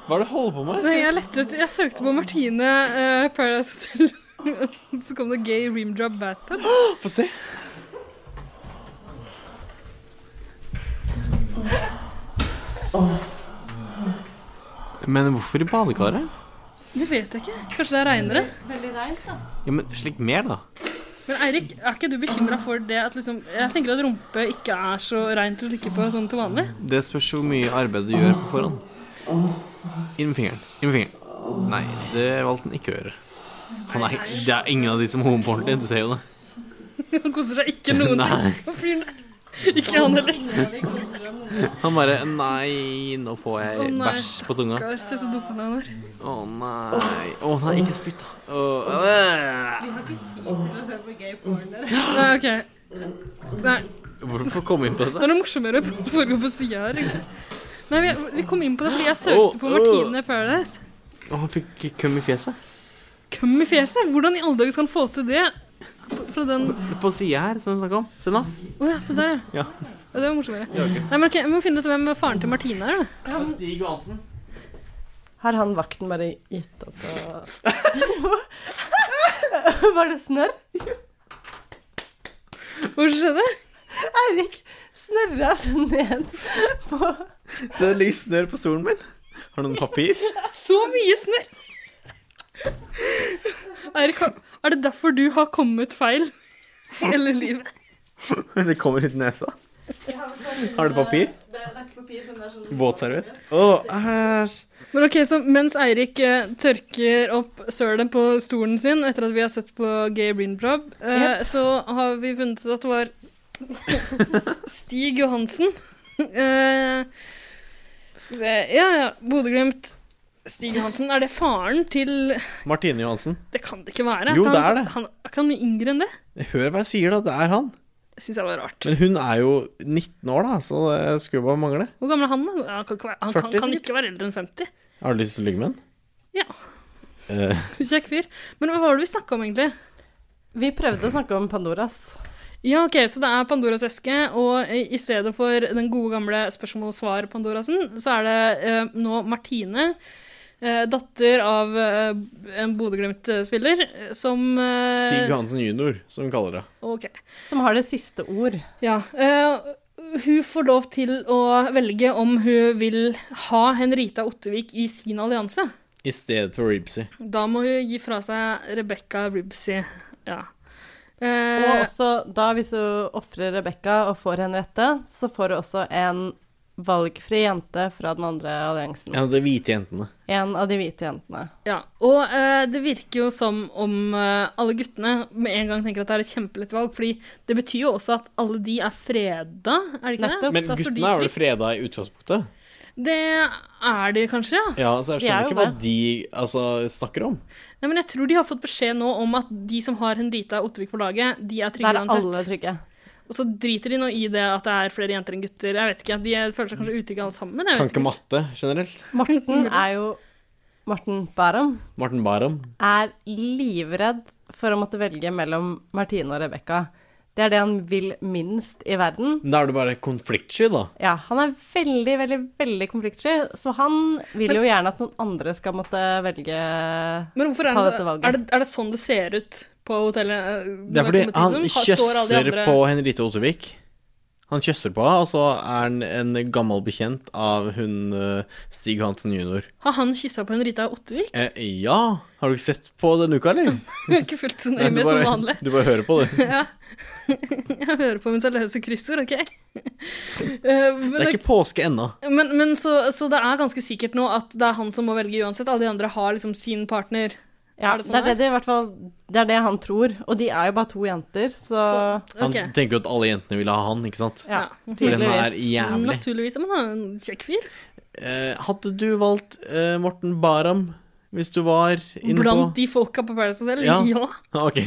Speaker 2: Hva er det du holder på med?
Speaker 3: Nei, jeg lette ut Jeg søkte på Martine eh, Paradise Hotel. Så kom det gay rimjob bathtub.
Speaker 2: Få se. Men hvorfor i badekaret?
Speaker 3: Det vet jeg ikke. Kanskje det er regnere?
Speaker 2: Ja, men Slik mer, da.
Speaker 3: Men Eirik, er ikke du bekymra for det at liksom Jeg tenker at rumpe ikke er så reint å drikke på sånn til vanlig.
Speaker 2: Det spørs hvor mye arbeid du gjør på forhånd. Inn med fingeren. Inn med fingeren. Nei, det valgte han ikke å gjøre. Han er, det er ingen av de som homoporter din, du ser jo det.
Speaker 3: Han koser seg ikke noen ting.
Speaker 2: Nei.
Speaker 3: Og fyren- Ikke han heller.
Speaker 2: Han bare Nei, nå får jeg
Speaker 3: Å, nei,
Speaker 2: bæsj på tunga.
Speaker 3: Stakkar, Se så dopa han er.
Speaker 2: Å nei. Å nei, ikke spytt, da. eh. Å,
Speaker 3: Nei, OK. Nei,
Speaker 2: øh. Hvorfor kom vi inn på
Speaker 3: det
Speaker 2: dette?
Speaker 3: er noe morsommere på- foregå på sida her, egentlig. Nei, vi, vi kom inn på det fordi jeg
Speaker 2: Åh,
Speaker 3: søkte på Martine Paradise.
Speaker 2: Å, han fikk køm i fjeset.
Speaker 3: Køm i fjeset? Hvordan i alle dager skal han få til det? Fra den
Speaker 2: På sida her, som vi snakka om. Se nå.
Speaker 3: Å ja, se der,
Speaker 2: Ja.
Speaker 3: Ja, Det var morsommere. Nei, men ok, Vi må finne ut hvem faren til Martine er, da.
Speaker 2: Stig Johansen.
Speaker 1: har han vakten bare gitt opp og Var det snørr?
Speaker 3: Hva skjedde?
Speaker 1: Eirik snørra seg ned på
Speaker 2: Det ligger snørr på stolen min. Har du noen papir?
Speaker 3: Så mye snørr! Eirik, har- er det derfor du har kommet feil hele livet?
Speaker 2: Det kommer ut nesa. Har du papir?
Speaker 1: Det er ikke papir, men det er sånn
Speaker 2: Våtserviett? Å, æsj.
Speaker 3: Men ok, så Mens Eirik eh, tørker opp sølet på stolen sin etter at vi har sett på Gay Brindrob, eh, så har vi funnet ut at det var Stig Johansen. eh, skal vi se Ja, ja. Bodø-Glimt. Stig Johansen. Er det faren til
Speaker 2: Martine Johansen.
Speaker 3: Det kan det ikke være.
Speaker 2: Jo,
Speaker 3: Kan
Speaker 2: det
Speaker 3: han-
Speaker 2: er det.
Speaker 3: Han, er ikke han mye yngre enn det?
Speaker 2: Hør hva jeg sier, da. Det er han.
Speaker 3: Jeg Syns jeg var rart.
Speaker 2: Men hun er jo 19 år, da, så det skulle bare mangle.
Speaker 3: Hvor gammel er han, da? Han kan ikke være, han
Speaker 2: 40
Speaker 3: kan, kan
Speaker 2: sikkert.
Speaker 3: ikke være eldre enn 50.
Speaker 2: Har du lyst til å ligge med henne?
Speaker 3: Ja,
Speaker 2: Eh,
Speaker 3: kjekk fyr. Men hva var det vi snakka om, egentlig?
Speaker 1: Vi prøvde å snakke om Pandoras.
Speaker 3: Ja, ok, så det er Pandoras eske, og i i stedet for den gode gamle spørsmål og svar Pandorasen, så er det eh, nå Martine, eh, datter av eh, en Bodø-Glimt-spiller, eh, som eh,
Speaker 2: Stig Johansen jr., som hun kaller det.
Speaker 3: Ok,
Speaker 1: Som har det siste ord.
Speaker 3: ja. eh, hun får lov til å velge om hun vil ha Henrita Ottevik i sin allianse.
Speaker 2: I stedet for Reepsy.
Speaker 3: Da må hun gi fra seg Rebekka Ribsey. Ja.
Speaker 1: Og
Speaker 3: Eh,
Speaker 1: også da, hvis du ofrer Rebekka og får Henriette, så får du også en valgfri jente fra den andre alliansen.
Speaker 2: En av de hvite jentene.
Speaker 1: En av de hvite jentene.
Speaker 3: Ja, og eh, det virker jo som om eh, alle guttene med en gang tenker at det er et kjempelett valg, fordi det betyr jo også at alle de er freda, er det ikke det?
Speaker 1: Nettopp.
Speaker 2: Men
Speaker 3: Da står altså, de
Speaker 2: guttene er vel
Speaker 3: fritt.
Speaker 2: freda i utgangspunktet?
Speaker 3: Det er de kanskje, ja.
Speaker 2: Ja,
Speaker 1: De
Speaker 2: så jeg
Speaker 1: er
Speaker 2: skjønner
Speaker 1: jo
Speaker 2: ikke hva de altså, snakker om.
Speaker 3: Nei, men jeg tror de har fått beskjed nå om at de som har Henrita Ottevik på laget, de er trygge
Speaker 1: Der er alle
Speaker 3: uansett.
Speaker 1: trygge.
Speaker 3: Og så driter de nå i det at det er flere jenter enn gutter. Jeg vet ikke, De føler seg kanskje utrygge alle sammen. Jeg
Speaker 2: Kan
Speaker 3: vet
Speaker 2: ikke matte generelt.
Speaker 1: Morten er jo Morten Bærum
Speaker 2: Martin Baram.
Speaker 1: er livredd for å måtte velge mellom Martine og Rebekka. Det er det han vil minst i verden.
Speaker 2: Men Da er du bare konfliktsky, da.
Speaker 1: Ja, han er veldig, veldig, veldig konfliktsky, så han vil jo gjerne at noen andre skal måtte velge
Speaker 3: Men hvorfor er
Speaker 1: Ta
Speaker 3: det,
Speaker 1: dette
Speaker 3: så,
Speaker 1: valget.
Speaker 3: er, det, er det sånn det ser ut på hotellet? eh,
Speaker 2: Det er
Speaker 3: når
Speaker 2: fordi
Speaker 3: kommer til
Speaker 2: han
Speaker 3: dem? Har- står alle de
Speaker 2: kjøsser
Speaker 3: andre-
Speaker 2: på Henrite Ottervik. Han Han kjøsser på henne, og så er han en gammel bekjent av hun eh, Stig Hansen jr.
Speaker 3: Har han kyssa på Henrita Ottervik?
Speaker 2: Eh, ja, har du ikke sett på denne uka, eller?
Speaker 3: Jeg har ikke fulgt så nøye
Speaker 2: Nei, du
Speaker 3: med som
Speaker 2: bare-
Speaker 3: vanlig.
Speaker 2: Du bare hører på, du.
Speaker 3: Ja. Jeg hører på mens jeg løser kryssord, OK? Eh, Men,
Speaker 2: Det er ikke påske ennå.
Speaker 3: men, men så, så det er ganske sikkert nå at det er han som må velge uansett. Alle de andre har liksom sin partner.
Speaker 1: Ja,
Speaker 3: Er det
Speaker 1: det,
Speaker 3: sånn
Speaker 1: er det, de, i hvert fall, det er det han tror. Og de er jo bare to jenter, så,
Speaker 3: Så,
Speaker 2: Han
Speaker 3: ok.
Speaker 2: tenker jo at alle jentene ville ha han, ikke sant?
Speaker 1: ja,
Speaker 3: ja.
Speaker 2: For den er
Speaker 1: tydeligvis.
Speaker 2: jævlig.
Speaker 3: Naturligvis. Men han er en kjekk fyr.
Speaker 2: Eh, hadde du valgt eh, Morten Baram hvis du var inne
Speaker 3: Blant
Speaker 2: på
Speaker 3: de folka på Paradise Hotel. Ja.
Speaker 2: Ja. Ok.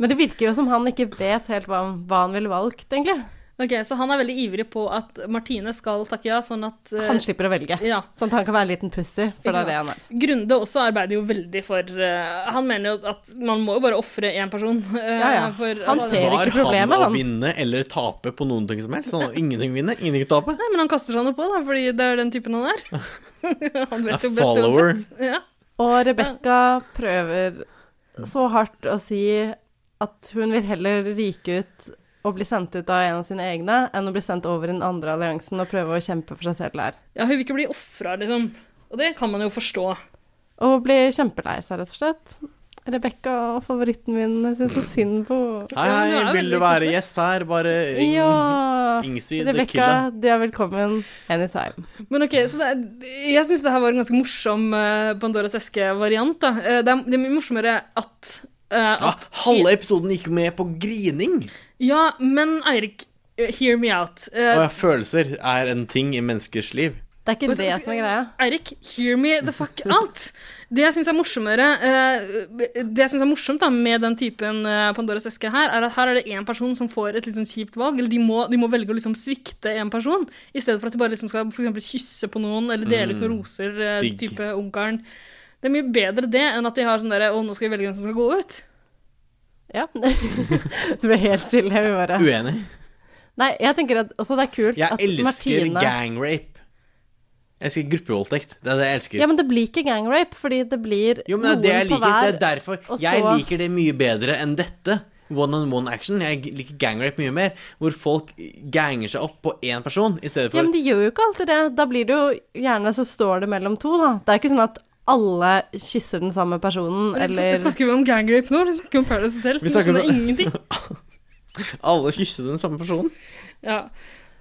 Speaker 1: Men det virker jo som han ikke vet helt hva, han- hva han ville valgt, egentlig.
Speaker 3: Ok, Så han er veldig ivrig på at Martine skal takke ja, sånn at eh,
Speaker 1: Han slipper å velge.
Speaker 3: ja.
Speaker 1: Sånn at han kan være en liten pussy, for det
Speaker 3: Ikke
Speaker 1: er det
Speaker 3: sant?
Speaker 1: han er.
Speaker 3: Grunde også arbeider jo veldig for eh, Han mener jo at man må jo bare ofre én person. eh,
Speaker 1: Ja, ja.
Speaker 3: For,
Speaker 1: Han ser-
Speaker 2: Var
Speaker 1: ikke problemet,
Speaker 2: han å
Speaker 1: han.
Speaker 2: vinne eller tape på noen ting som helst? Han har ingenting å vinne, ingenting å tape.
Speaker 3: Nei, men han kaster seg noe på, da, fordi det er den typen han er. han vet
Speaker 2: A
Speaker 3: jo best
Speaker 2: follower.
Speaker 3: uansett. Ja.
Speaker 1: Og Rebekka prøver så hardt å si at hun vil heller ryke ut og bli sendt ut av en av sine egne, enn å bli sendt over i den andre alliansen og prøve å kjempe for seg selv der.
Speaker 3: ja, hun vil ikke bli ofra, liksom. Og det kan man jo forstå.
Speaker 1: Og hun blir kjempelei seg, rett og slett. Rebekka og favoritten min syns så synd på henne.
Speaker 2: Hei,
Speaker 3: Ja,
Speaker 2: hei,
Speaker 3: men det
Speaker 2: vil
Speaker 3: er
Speaker 2: du
Speaker 3: veldig
Speaker 2: være
Speaker 3: koselig.
Speaker 2: gjest her? Bare ring
Speaker 1: Ja!
Speaker 2: Ingsi the
Speaker 1: Rebekka,
Speaker 2: Killa.
Speaker 1: du er velkommen anytime.
Speaker 3: Men ok, så det er, Jeg syns det her var en ganske morsom eh, Pandoras eske-variant. da. Eh, det, er, det er mye morsommere at, eh,
Speaker 2: Ja,
Speaker 3: at
Speaker 2: Ah, halve episoden gikk med på grining.
Speaker 3: Ja, men Eirik, eh, hear me out.
Speaker 2: Og
Speaker 3: Eh,
Speaker 2: ja, følelser er en ting i menneskers liv.
Speaker 1: Det er ikke det som er greia.
Speaker 3: Eirik, hear me the fuck out. Det jeg syns er morsommere eh, Det jeg synes er morsomt da, med den typen eh, Pandoras eske her, er at her er det én person som får et litt sånn kjipt valg. Eller de må, de må velge å liksom svikte én person, i stedet for at de bare liksom skal for eksempel kysse på noen eller dele ut noen roser. eh,
Speaker 2: Mm. digg.
Speaker 3: type Ungarn. Det er mye bedre det enn at de har sånn derre Å, nå skal vi velge hvem som skal gå ut.
Speaker 1: Ja. du ble helt stille. Jeg vil bare
Speaker 2: Uenig.
Speaker 1: Nei, jeg tenker at også det er kult
Speaker 2: Jeg
Speaker 1: at
Speaker 2: elsker
Speaker 1: Martine
Speaker 2: gang rape. Jeg elsker gruppevoldtekt. Det er det jeg elsker.
Speaker 1: Ja, men det blir ikke gang rape, fordi det blir
Speaker 2: Jo, men det er det jeg
Speaker 1: noen på
Speaker 2: liker.
Speaker 1: hver
Speaker 2: Det er derfor
Speaker 1: og
Speaker 2: jeg
Speaker 1: så-
Speaker 2: liker det mye bedre enn dette. One on one action. Jeg liker gangrape mye mer. Hvor folk ganger seg opp på én person i stedet for
Speaker 1: Ja, men de gjør jo ikke alltid det. Da blir det jo gjerne så står det mellom to, da. Det er ikke sånn at alle kysser den samme personen, eller
Speaker 3: Snakker vi om gang rape nå? Eller snakker vi om Paradise Hotel?
Speaker 2: Vi snakker
Speaker 3: Nå skjønner
Speaker 2: om-
Speaker 3: jeg ingenting.
Speaker 2: alle kysser den samme personen.
Speaker 3: Ja.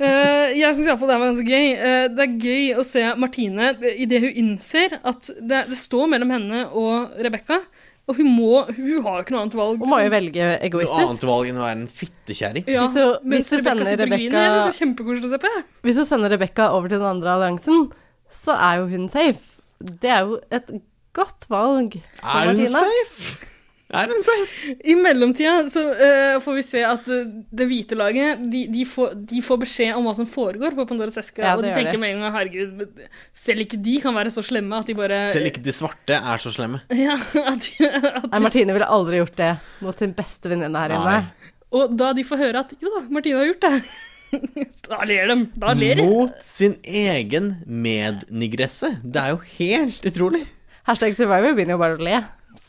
Speaker 3: Eh, jeg syns iallfall det her var ganske gøy. Eh, det er gøy å se Martine idet hun innser at det, det står mellom henne og Rebekka. Og hun må Hun har jo ikke noe annet valg.
Speaker 1: Hun må jo
Speaker 3: liksom.
Speaker 1: velge
Speaker 2: Noe
Speaker 1: egoistisk.
Speaker 2: annet valg enn å være en fittekjerring.
Speaker 3: Ja,
Speaker 1: Hvis du-
Speaker 3: mens
Speaker 1: hvis du
Speaker 3: Rebecca
Speaker 1: sender
Speaker 3: sitter og
Speaker 1: Rebecca-
Speaker 3: griner. Jeg synes det er kjempekoselig å se på. jeg.
Speaker 1: Hvis du sender Rebekka over til den andre alliansen, så er jo hun safe. Det er jo et godt valg for
Speaker 2: Er hun
Speaker 1: Martine.
Speaker 2: safe? Er hun safe?
Speaker 3: I mellomtida så eh, får vi se at eh, det hvite laget de, de, får, de får beskjed om hva som foregår på Pandoras eske.
Speaker 1: Ja,
Speaker 3: og de
Speaker 1: det gjør
Speaker 3: tenker
Speaker 1: de.
Speaker 3: med en gang herregud, selv ikke de kan være så slemme at de bare
Speaker 2: Selv ikke de svarte er så slemme.
Speaker 3: ja, at de, at
Speaker 1: Nei,
Speaker 3: de
Speaker 1: Martine ville aldri gjort det mot sin beste venninne her inne.
Speaker 2: Nei.
Speaker 3: Og da de får høre at jo da, Martine har gjort det, da ler de. Da ler de.
Speaker 2: Mot sin egen mednigresse. Det er jo helt utrolig.
Speaker 1: Hashtag survivor begynner jo bare å le.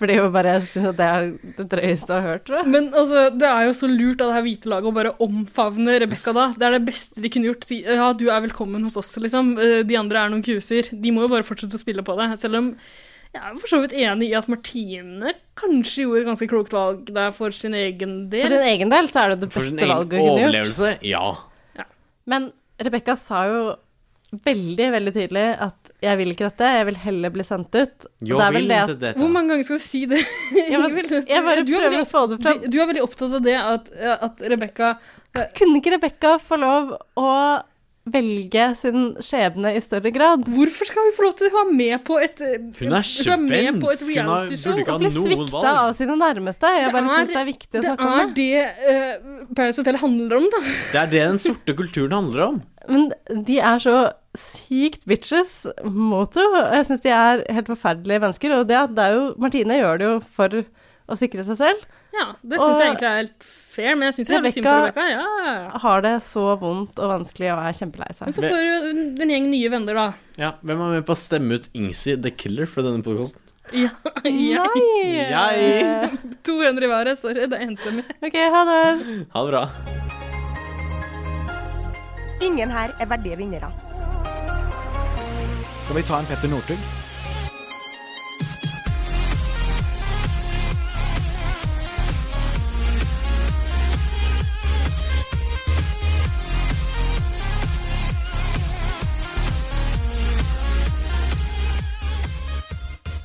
Speaker 1: Fordi hun bare syns at det er det drøyeste hun har hørt, tror jeg.
Speaker 3: Men altså, det er jo så lurt av det her hvite laget å bare omfavne Rebekka da. Det er det beste de kunne gjort. Si ja, du er velkommen hos oss, liksom. Eh, De andre er noen kuser. De må jo bare fortsette å spille på det. Selv om jeg er for så vidt enig i at Martine kanskje gjorde et ganske klokt valg der for sin egen
Speaker 1: For
Speaker 3: del.
Speaker 1: sin egen del så er det det
Speaker 2: For sin
Speaker 1: beste
Speaker 2: egen
Speaker 1: valget hun kunne gjort.
Speaker 2: overlevelse, ja.
Speaker 1: Men Rebekka sa jo veldig, veldig tydelig at 'jeg vil ikke dette, jeg vil heller bli sendt ut'. Og
Speaker 2: Jo,
Speaker 1: det er vel
Speaker 2: vil
Speaker 1: det
Speaker 2: ikke
Speaker 1: at
Speaker 2: dette.
Speaker 3: Hvor mange ganger skal du si det?
Speaker 1: jeg, bare-
Speaker 3: Ingvild?
Speaker 1: jeg bare
Speaker 3: Du er veldig
Speaker 1: prøver å få det fram.
Speaker 3: opp- Du er veldig opptatt av det at, at Rebekka
Speaker 1: Kunne ikke Rebekka få lov å velge sin skjebne i større grad?
Speaker 3: Hvorfor skal hun få lov til å være med på et
Speaker 2: Hun er
Speaker 3: med på et
Speaker 2: svensk. Hun har-
Speaker 3: realityshow?
Speaker 2: burde ikke
Speaker 1: Å
Speaker 2: ha
Speaker 1: bli
Speaker 2: noen
Speaker 1: svikta
Speaker 2: valg.
Speaker 1: av sine nærmeste. Jeg
Speaker 3: Det
Speaker 1: bare
Speaker 3: er-
Speaker 1: syns det er viktig å
Speaker 3: Det
Speaker 1: snakke om
Speaker 3: er
Speaker 1: det.
Speaker 3: det eh, Paradise Hotel handler om, da.
Speaker 2: Det er det den sorte kulturen handler om.
Speaker 1: Men de er så sykt bitches mot henne. og Jeg syns de er helt forferdelige mennesker. Og det, at det er jo, Martine gjør det jo for å sikre seg selv.
Speaker 3: Ja, Det syns jeg
Speaker 1: Og-
Speaker 3: egentlig er helt fair, men jeg syns det er synd på
Speaker 1: Rebecca-
Speaker 3: Rebekka. Ja, ja, ja.
Speaker 1: Har det så vondt og vanskelig og er kjempelei seg.
Speaker 3: Men så får hun en gjeng nye venner, da.
Speaker 2: Ja, Hvem er med på å stemme ut Ingsi the Killer fra denne podkasten?
Speaker 3: Ja, ja.
Speaker 1: Nei!
Speaker 2: Jeg.
Speaker 3: To venner i været. Sorry, det er enstemmig.
Speaker 1: OK, ha det.
Speaker 2: Ha det bra.
Speaker 8: Ingen her er verdige vinnere.
Speaker 9: Skal vi ta en Petter Northug?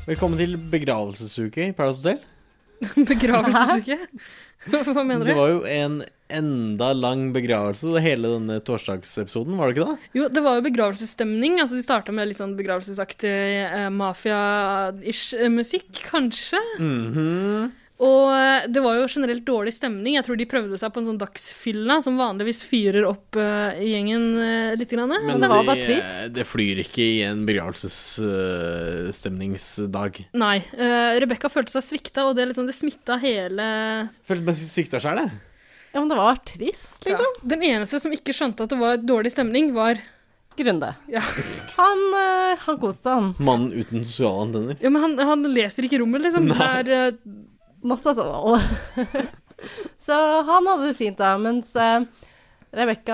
Speaker 2: Velkommen til begravelsesuke i Paradise Hotel.
Speaker 3: Begravelsesuke? Hva mener
Speaker 2: Det
Speaker 3: du?
Speaker 2: var jo en enda lang begravelse det hele denne torsdagsepisoden, var det ikke det?
Speaker 3: Jo, det var jo begravelsesstemning. Altså, de starta med litt sånn begravelsesaktig eh, mafia-ish eh, musikk, kanskje.
Speaker 1: Mm-hmm.
Speaker 2: Mhm.
Speaker 3: Og eh, det var jo generelt dårlig stemning. Jeg tror de prøvde seg på en sånn dagsfylla som vanligvis fyrer opp eh, gjengen eh, litt. Grann, eh.
Speaker 1: Men det var bare trist.
Speaker 2: det flyr ikke i en begravelsesstemningsdag.
Speaker 3: Nei. Uh, Rebekka følte seg svikta, og det, liksom, det smitta hele
Speaker 2: Følte meg sikta sjæl, jeg.
Speaker 1: Ja, men det var trist,
Speaker 3: ja.
Speaker 1: liksom.
Speaker 3: Den eneste som ikke skjønte at det var dårlig stemning, var
Speaker 1: Grunde.
Speaker 3: Ja.
Speaker 1: Han, eh, han koste seg, han.
Speaker 2: Mannen uten sosiale antenner.
Speaker 3: Ja, men han, han leser ikke rommet, liksom. Det er eh,
Speaker 1: Not at all. så han hadde det fint da, mens eh, Rebekka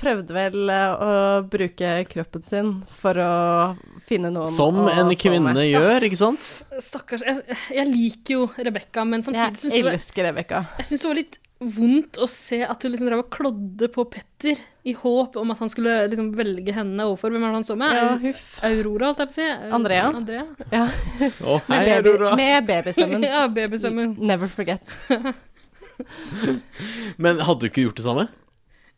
Speaker 1: prøvde vel eh, å bruke kroppen sin for å finne noen
Speaker 2: Som
Speaker 1: å
Speaker 2: en
Speaker 1: stå med.
Speaker 2: kvinne gjør, ikke sant?
Speaker 3: eh, Stakkars. Jeg, jeg liker jo Rebekka, men samtidig syns
Speaker 1: Jeg
Speaker 3: jeg,
Speaker 1: elsker Rebekka.
Speaker 3: jeg syns det var litt vondt å se at hun liksom drev og klodde på Petter i håp om at han skulle liksom velge henne overfor. Hvem er det han står med?
Speaker 1: Ja, huff.
Speaker 3: Aurora, holdt jeg på å si. Au-
Speaker 1: Andrea.
Speaker 3: Andrea.
Speaker 1: Ja.
Speaker 2: Å, hei,
Speaker 1: Med, baby,
Speaker 2: Aurora.
Speaker 1: med babystemmen.
Speaker 3: ja, babystemmen.
Speaker 1: Never forget.
Speaker 2: Men hadde du ikke gjort det samme?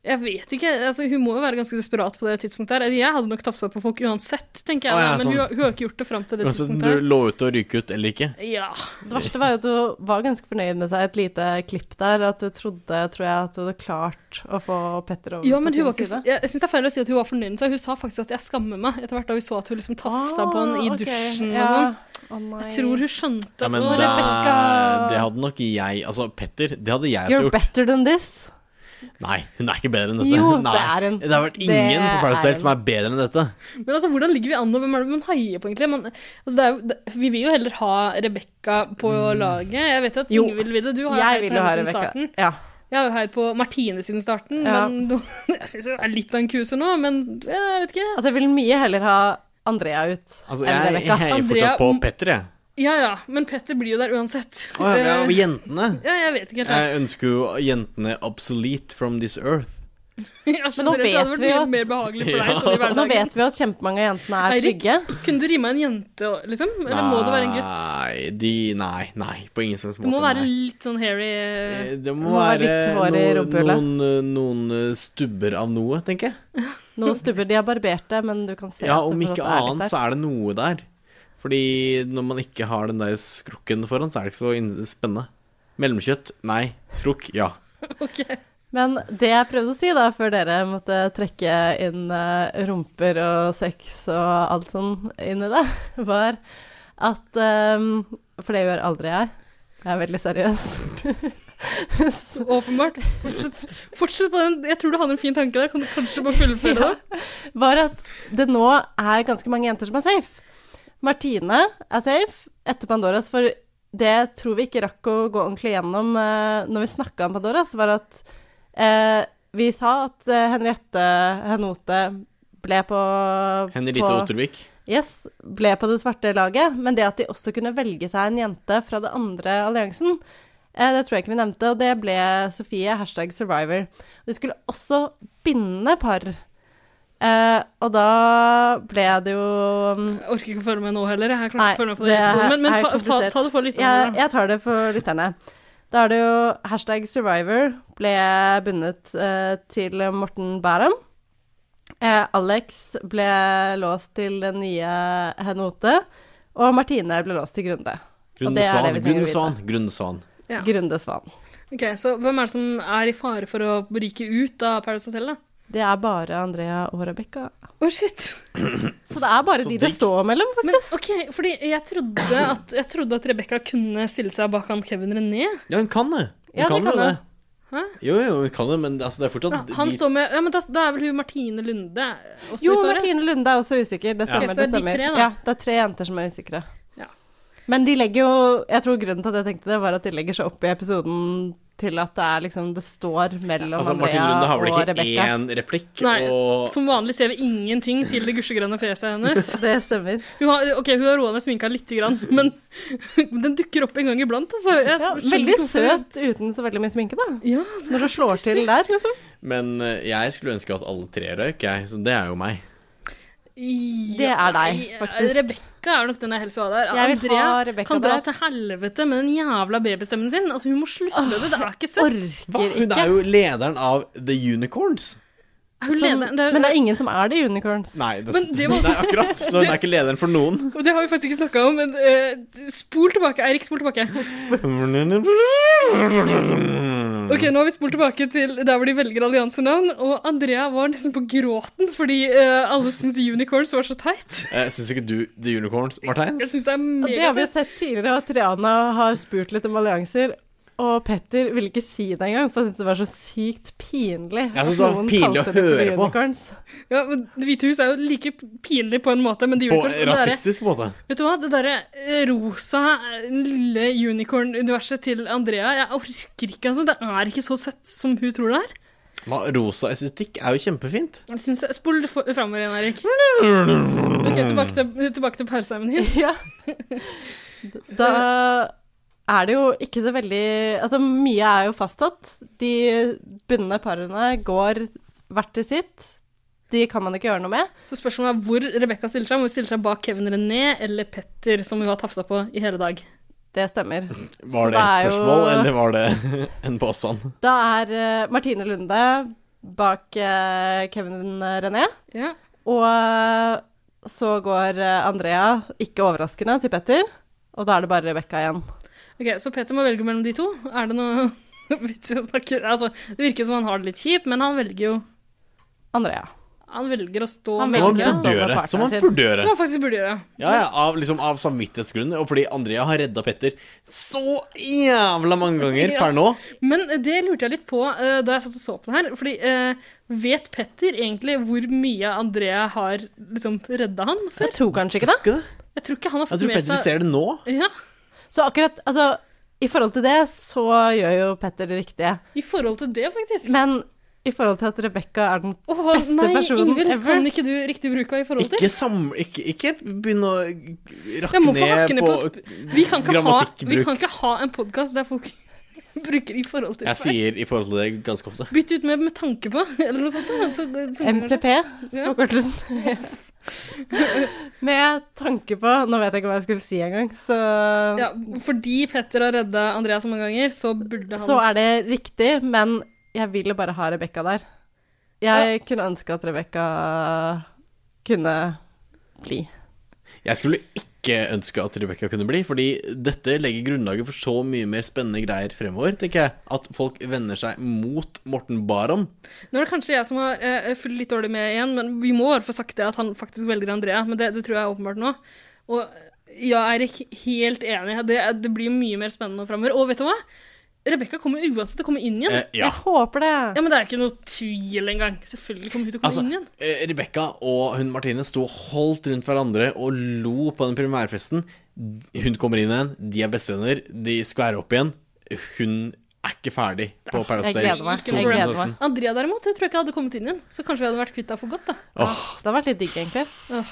Speaker 3: Jeg vet ikke. Altså, hun må jo være ganske desperat på det tidspunktet. her. Jeg hadde nok tafsa på folk uansett, tenker jeg.
Speaker 2: Å, ja,
Speaker 3: men
Speaker 2: sånn.
Speaker 3: hun, har- hun har ikke gjort det fram til det
Speaker 2: Altså,
Speaker 3: tidspunktet.
Speaker 2: du
Speaker 3: her.
Speaker 2: lå ut å ryke ut eller ikke?
Speaker 3: Ja.
Speaker 1: Det verste var jo at hun var ganske fornøyd med seg et lite klipp der, at hun trodde, tror jeg, at hun hadde klart å få Petter over
Speaker 3: ja,
Speaker 1: på
Speaker 3: men hun
Speaker 1: sin
Speaker 3: var ikke,
Speaker 1: side.
Speaker 3: jeg syns det er feil å si at hun var fornøyd med seg. Hun sa faktisk at 'jeg skammer meg' etter hvert da hun så at hun liksom tafsa på han i
Speaker 1: Ah, ok,
Speaker 3: dusjen
Speaker 1: ja.
Speaker 3: og sånn.
Speaker 1: Å, nei.
Speaker 3: Jeg tror hun skjønte
Speaker 2: Ja, men
Speaker 3: at
Speaker 2: det,
Speaker 3: det var
Speaker 1: Rebecca-
Speaker 2: det hadde nok jeg Altså, Petter, det hadde jeg også
Speaker 1: You're
Speaker 2: gjort.
Speaker 1: better than this.
Speaker 2: Nei, hun er ikke bedre enn dette.
Speaker 1: Jo,
Speaker 2: Nei.
Speaker 1: det er hun.
Speaker 2: Det har vært
Speaker 1: Det
Speaker 2: ingen på
Speaker 1: er
Speaker 2: Paradise Hotel
Speaker 1: hun.
Speaker 2: som er bedre enn dette.
Speaker 3: Men altså, hvordan ligger vi an, og hvem er det man heier på, egentlig? Man, altså, det er, jo- det, vi vil jo heller ha Rebekka på
Speaker 2: Mm.
Speaker 3: laget. Jeg vet jo at
Speaker 1: Jo.
Speaker 3: Ingvild vil det. Du har jo
Speaker 1: Jeg
Speaker 3: heiet
Speaker 1: vil
Speaker 3: på
Speaker 1: jo
Speaker 3: henne
Speaker 1: ha
Speaker 3: siden
Speaker 1: Rebekka.
Speaker 3: starten.
Speaker 1: Ja.
Speaker 3: Jeg har jo heiet på Martine siden starten,
Speaker 1: Ja.
Speaker 3: men nå- jeg syns hun er litt av en kuse nå, men jeg vet ikke.
Speaker 1: Altså, jeg vil mye heller ha Andrea ut
Speaker 2: Altså,
Speaker 1: enn
Speaker 2: jeg
Speaker 1: Rebekka.
Speaker 2: heier
Speaker 3: Andrea-
Speaker 2: fortsatt på Petter, jeg.
Speaker 3: Ja ja, men Petter blir jo der uansett.
Speaker 2: Å, ja, men
Speaker 3: Eh,
Speaker 2: ja, jentene.
Speaker 3: ja, jeg vet ikke helt. jeg.
Speaker 2: Jeg ønsker jo jentene obsolete from this earth.
Speaker 1: Men
Speaker 3: Jeg
Speaker 1: nå
Speaker 3: skjønner det. Det
Speaker 1: vet
Speaker 3: hadde vært
Speaker 1: vi
Speaker 3: mye
Speaker 1: at-
Speaker 3: mer behagelig for
Speaker 2: Ja.
Speaker 3: deg sånn i
Speaker 1: Nå
Speaker 3: hverdagen.
Speaker 1: vet vi jo at kjempemange av jentene er
Speaker 3: Eirik.
Speaker 1: trygge.
Speaker 3: Kunne du rimme en jente, liksom? Eller må det være en gutt?
Speaker 2: Nei, de, nei, nei, på ingen slags
Speaker 3: Det
Speaker 2: måte.
Speaker 3: må være
Speaker 2: nei.
Speaker 3: litt sånn hairy eh,
Speaker 2: Eh, Det må
Speaker 1: må være
Speaker 2: være
Speaker 1: litt hår i
Speaker 2: noen,
Speaker 1: rumpehullet.
Speaker 2: noen, eh, noen eh, stubber av noe, tenker jeg.
Speaker 1: Noen stubber de har barbert det, men du kan se
Speaker 2: Ja,
Speaker 1: at det
Speaker 2: Om
Speaker 1: fortsatt
Speaker 2: ikke
Speaker 1: er litt der.
Speaker 2: annet, så er det noe der. Fordi når man ikke har den der skrukken foran, så er det ikke så inn- spennende. Mellomkjøtt? Nei. Skrukk? Ja.
Speaker 3: Ok.
Speaker 1: Men det jeg prøvde å si da, før dere måtte trekke inn eh, rumper og sex og alt sånn inn i det, var at ehm, For det gjør aldri jeg. Jeg er veldig seriøs. Så-
Speaker 3: Åpenbart. Fortsett, fortsett på den. Jeg tror du hadde en fin tanke der. Kan du kanskje bare fullføre den?
Speaker 1: var at det nå er ganske mange jenter som er safe. Martine er safe etter Pandoras, for det tror vi ikke rakk å gå ordentlig gjennom eh, når vi snakka om Pandoras, var at eh, vi sa at eh, Henriette Henote ble på
Speaker 2: Henrite
Speaker 1: på,
Speaker 2: Ottervik.
Speaker 1: Yes, ble på det svarte laget, men det at de også kunne velge seg en jente fra det andre alliansen, eh, det tror jeg ikke vi nevnte, og det ble Sofie, hashtag survivor. De skulle også binde par, eh, og da ble det jo mm,
Speaker 3: Jeg orker ikke å følge med nå heller. Jeg klarer
Speaker 1: Nei,
Speaker 3: ikke å følge med på
Speaker 1: det
Speaker 3: den episoden. Men, men
Speaker 1: er
Speaker 3: ta, ta,
Speaker 1: komplisert.
Speaker 3: ta det for litt.
Speaker 1: jeg,
Speaker 3: Andrea.
Speaker 1: jeg tar det for lytterne. Da er det jo hashtag survivor ble bundet eh, til Morten Bærum. Eh, Alex ble låst til den nye Henote, og Martine ble låst til Grunde. Og
Speaker 2: Grunde
Speaker 1: det er det
Speaker 2: Svan.
Speaker 1: vi trenger å
Speaker 2: Grunde
Speaker 1: vite.
Speaker 2: Svan. Grunde Svan.
Speaker 3: Ja.
Speaker 1: Grunde Svan.
Speaker 3: Ok, Så hvem er det som er i fare for å ryke ut av Paradise Hotel, da?
Speaker 1: Det er bare Andrea og Rebekka.
Speaker 3: Å, shit!
Speaker 1: Så det er bare
Speaker 2: Så
Speaker 1: de det
Speaker 2: digg.
Speaker 1: står mellom,
Speaker 3: Men
Speaker 1: faktisk.
Speaker 3: ok, fordi jeg trodde at, jeg trodde at Rebekka kunne stille seg bak han Kevin René.
Speaker 2: Ja, hun kan det. Hun
Speaker 1: Ja, det
Speaker 2: kan
Speaker 1: kan
Speaker 2: jo
Speaker 1: hun.
Speaker 2: det.
Speaker 3: Hæ?
Speaker 2: Jo, jo, hun kan det, men altså, det er fortsatt
Speaker 3: Han står med Ja, men da, da er vel hun Martine Lunde også
Speaker 1: Jo,
Speaker 3: i fare?
Speaker 1: Martine Lunde er også usikker. Det stemmer.
Speaker 3: Ok,
Speaker 1: det,
Speaker 3: så det er de
Speaker 1: stemmer.
Speaker 3: tre, da.
Speaker 1: ja, det er tre jenter som er usikre.
Speaker 3: Ja.
Speaker 1: Men de legger jo Jeg tror grunnen til at jeg tenkte det, var at de legger seg opp i episoden til at det er liksom Det står mellom
Speaker 2: Altså, Martin Runde
Speaker 1: Andrea
Speaker 2: har vel
Speaker 1: og
Speaker 2: ikke
Speaker 1: Rebekka.
Speaker 2: én replikk,
Speaker 3: Nei,
Speaker 2: og
Speaker 3: Som vanlig ser vi ingenting til det gusjegrønne fjeset hennes.
Speaker 1: Det stemmer.
Speaker 3: Hun har, ok, hun har roa ned sminka lite grann, men den dukker opp en gang iblant. Altså. Jeg
Speaker 1: Ja,
Speaker 3: skjønner
Speaker 1: veldig
Speaker 3: ikke hvorfor.
Speaker 1: søt uten så veldig mye sminke, da.
Speaker 3: Ja,
Speaker 1: Når du slår til der, liksom.
Speaker 2: Men eh, jeg skulle ønske at alle tre røyk, jeg. Så det er jo meg.
Speaker 1: Det er deg, faktisk.
Speaker 3: Rebekka er nok den jeg helst vil ha der.
Speaker 1: Jeg vil ha
Speaker 3: Andrea
Speaker 1: Rebekka
Speaker 3: kan dra
Speaker 1: der.
Speaker 3: til helvete med den jævla babystemmen sin. Altså, hun må slutte med det. Det er ikke søtt.
Speaker 2: Hva?
Speaker 1: Orker
Speaker 2: Hun
Speaker 1: ikke.
Speaker 2: er jo lederen av The Unicorns.
Speaker 3: Er hun
Speaker 1: Sånn,
Speaker 3: leder? Det er-
Speaker 1: men det er ingen som er det i Unicorns.
Speaker 2: Nei, det,
Speaker 3: Men det var
Speaker 2: Nei, akkurat. Så hun er ikke lederen for noen.
Speaker 3: Og det har vi faktisk ikke snakka om, men eh, spol tilbake. Eirik, spol tilbake. Ok, Nå har vi spolt tilbake til der hvor de velger alliansenavn. Og Andrea var nesten på gråten fordi eh, alle syns unicorns var så teit.
Speaker 2: Eh, Syns ikke du The Unicorns, Martein?
Speaker 3: Jeg syns det er
Speaker 1: Og det har vi jo
Speaker 3: meget
Speaker 1: sett tidligere, og Triana har spurt litt om allianser. Og Petter ville ikke si det engang, for han syntes det var så sykt pinlig.
Speaker 2: Jeg
Speaker 1: at
Speaker 2: synes det var
Speaker 1: noen
Speaker 2: pinlig å
Speaker 1: kalte det for
Speaker 2: høre på.
Speaker 1: unicorns.
Speaker 3: ja, men Det hvite hus er jo like pinlig på en måte, men det
Speaker 2: På
Speaker 3: unicorns det derre-
Speaker 2: rasistisk måte.
Speaker 3: Vet du hva, det derre eh, rosa eh, lille unicorn-universet til Andrea, jeg orker ikke, altså. Det er ikke så søtt som hun tror det er.
Speaker 2: Ma, rosa estetikk er jo kjempefint.
Speaker 3: Jeg synes det, spol det for- framover igjen, Erik. Ok, tilbake til, tilbake til parseimen din.
Speaker 1: Ja. Da er det jo ikke så veldig Altså, mye er jo fastsatt. De bundne parene går hvert til sitt. De kan man ikke gjøre noe med.
Speaker 3: Så spørsmålet er hvor Rebekka stiller seg. Om hun stiller seg bak Kevin René eller Petter, som hun har tafsa på i hele dag.
Speaker 1: Det stemmer. Så
Speaker 2: Var det
Speaker 1: er
Speaker 2: et
Speaker 1: jo-
Speaker 2: spørsmål, eller var det en påstand?
Speaker 1: Da er eh, Martine Lunde bak eh, Kevin René.
Speaker 3: Ja.
Speaker 1: Og eh, så går eh, Andrea, ikke overraskende, til Petter. Og da er det bare Rebekka igjen.
Speaker 3: Ok, Så Petter må velge mellom de to. Er det noe vits i å snakke Altså, Det virker som han har det litt kjipt, men han velger jo
Speaker 1: Andrea.
Speaker 3: Han velger å stå
Speaker 1: Han
Speaker 3: med
Speaker 2: Som han
Speaker 1: velger å
Speaker 3: Andrea,
Speaker 1: stå
Speaker 2: burde
Speaker 1: med
Speaker 2: gjøre.
Speaker 1: partneren
Speaker 2: Som han
Speaker 1: sin.
Speaker 2: burde gjøre.
Speaker 3: Som han faktisk burde gjøre.
Speaker 2: Ja, ja, av, liksom, av samvittighetsgrunner, og fordi Andrea har redda Petter så jævla mange ganger
Speaker 3: Ja.
Speaker 2: per nå.
Speaker 3: Men det lurte jeg litt på eh, da jeg satt og så på den her. Fordi eh, vet Petter egentlig hvor mye Andrea har liksom redda han for?
Speaker 1: Jeg tror kanskje ikke det.
Speaker 2: Ikke det?
Speaker 3: Jeg tror ikke han har
Speaker 2: Jeg
Speaker 3: fått
Speaker 2: tror
Speaker 3: med
Speaker 2: Petter
Speaker 3: seg
Speaker 2: ser det nå.
Speaker 3: ja,
Speaker 1: Så akkurat, altså I forhold til det så gjør jo Petter det riktige.
Speaker 3: I forhold til det, faktisk.
Speaker 1: Men i forhold til at Rebekka er den
Speaker 3: Åh,
Speaker 1: beste
Speaker 3: nei,
Speaker 1: personen
Speaker 3: Ingvild,
Speaker 1: ever.
Speaker 3: kan ikke du riktig bruka i forhold til?
Speaker 2: Ikke, sam, ikke, ikke begynn å rakke
Speaker 3: Jeg må få hakke
Speaker 2: ned
Speaker 3: ned på,
Speaker 2: på
Speaker 3: sp- vi, kan ikke ha, vi
Speaker 2: grammatikkbruk.
Speaker 3: kan ikke ha en podkast der folk bruker i forhold til
Speaker 2: Jeg sier i forhold til det ganske ofte.
Speaker 3: Bytt ut med 'med tanke på' eller noe sånt. da, Så funker det.
Speaker 1: MTP,
Speaker 3: Ja.
Speaker 1: forkortelsen. Med tanke på Nå vet jeg ikke hva jeg skulle si engang, så
Speaker 3: Ja, fordi Petter har redda Andrea så mange ganger, så burde han
Speaker 1: Så er det riktig, men jeg vil jo bare ha Rebekka der. Jeg kunne ønske at Rebekka kunne bli.
Speaker 2: Jeg skulle ikke ønske at Rebekka kunne bli, fordi dette legger grunnlaget for så mye mer spennende greier fremover, tenker jeg. At folk vender seg mot Morten Barom.
Speaker 3: Nå er det kanskje jeg som har eh, fulgt litt dårlig med igjen, men vi må bare få sagt det at han faktisk velger Andrea. Men det, det tror jeg er åpenbart nå. Og ja, Eirik, helt enig. Det, det blir mye mer spennende framover. Og vet du hva? Rebekka kommer uansett til å komme inn igjen.
Speaker 2: Eh, ja.
Speaker 1: Jeg håper det.
Speaker 3: Ja, men det er ikke noe tvil engang. Selvfølgelig kommer hun til å komme
Speaker 2: Altså,
Speaker 3: inn igjen.
Speaker 2: eh, Rebekka og hun Martine sto og holdt rundt hverandre og lo på den primærfesten. Hun kommer inn igjen, de er bestevenner, de skværer opp igjen. Hun er ikke ferdig på Paradise
Speaker 1: Jeg
Speaker 2: Hotel.
Speaker 1: gleder meg.
Speaker 3: Ikke
Speaker 1: Jeg
Speaker 3: noe
Speaker 1: gleder meg.
Speaker 3: Andrea derimot, hun tror jeg ikke hadde kommet inn igjen. Så kanskje vi hadde vært kvitt henne for godt, da.
Speaker 1: Det hadde vært litt digg, egentlig.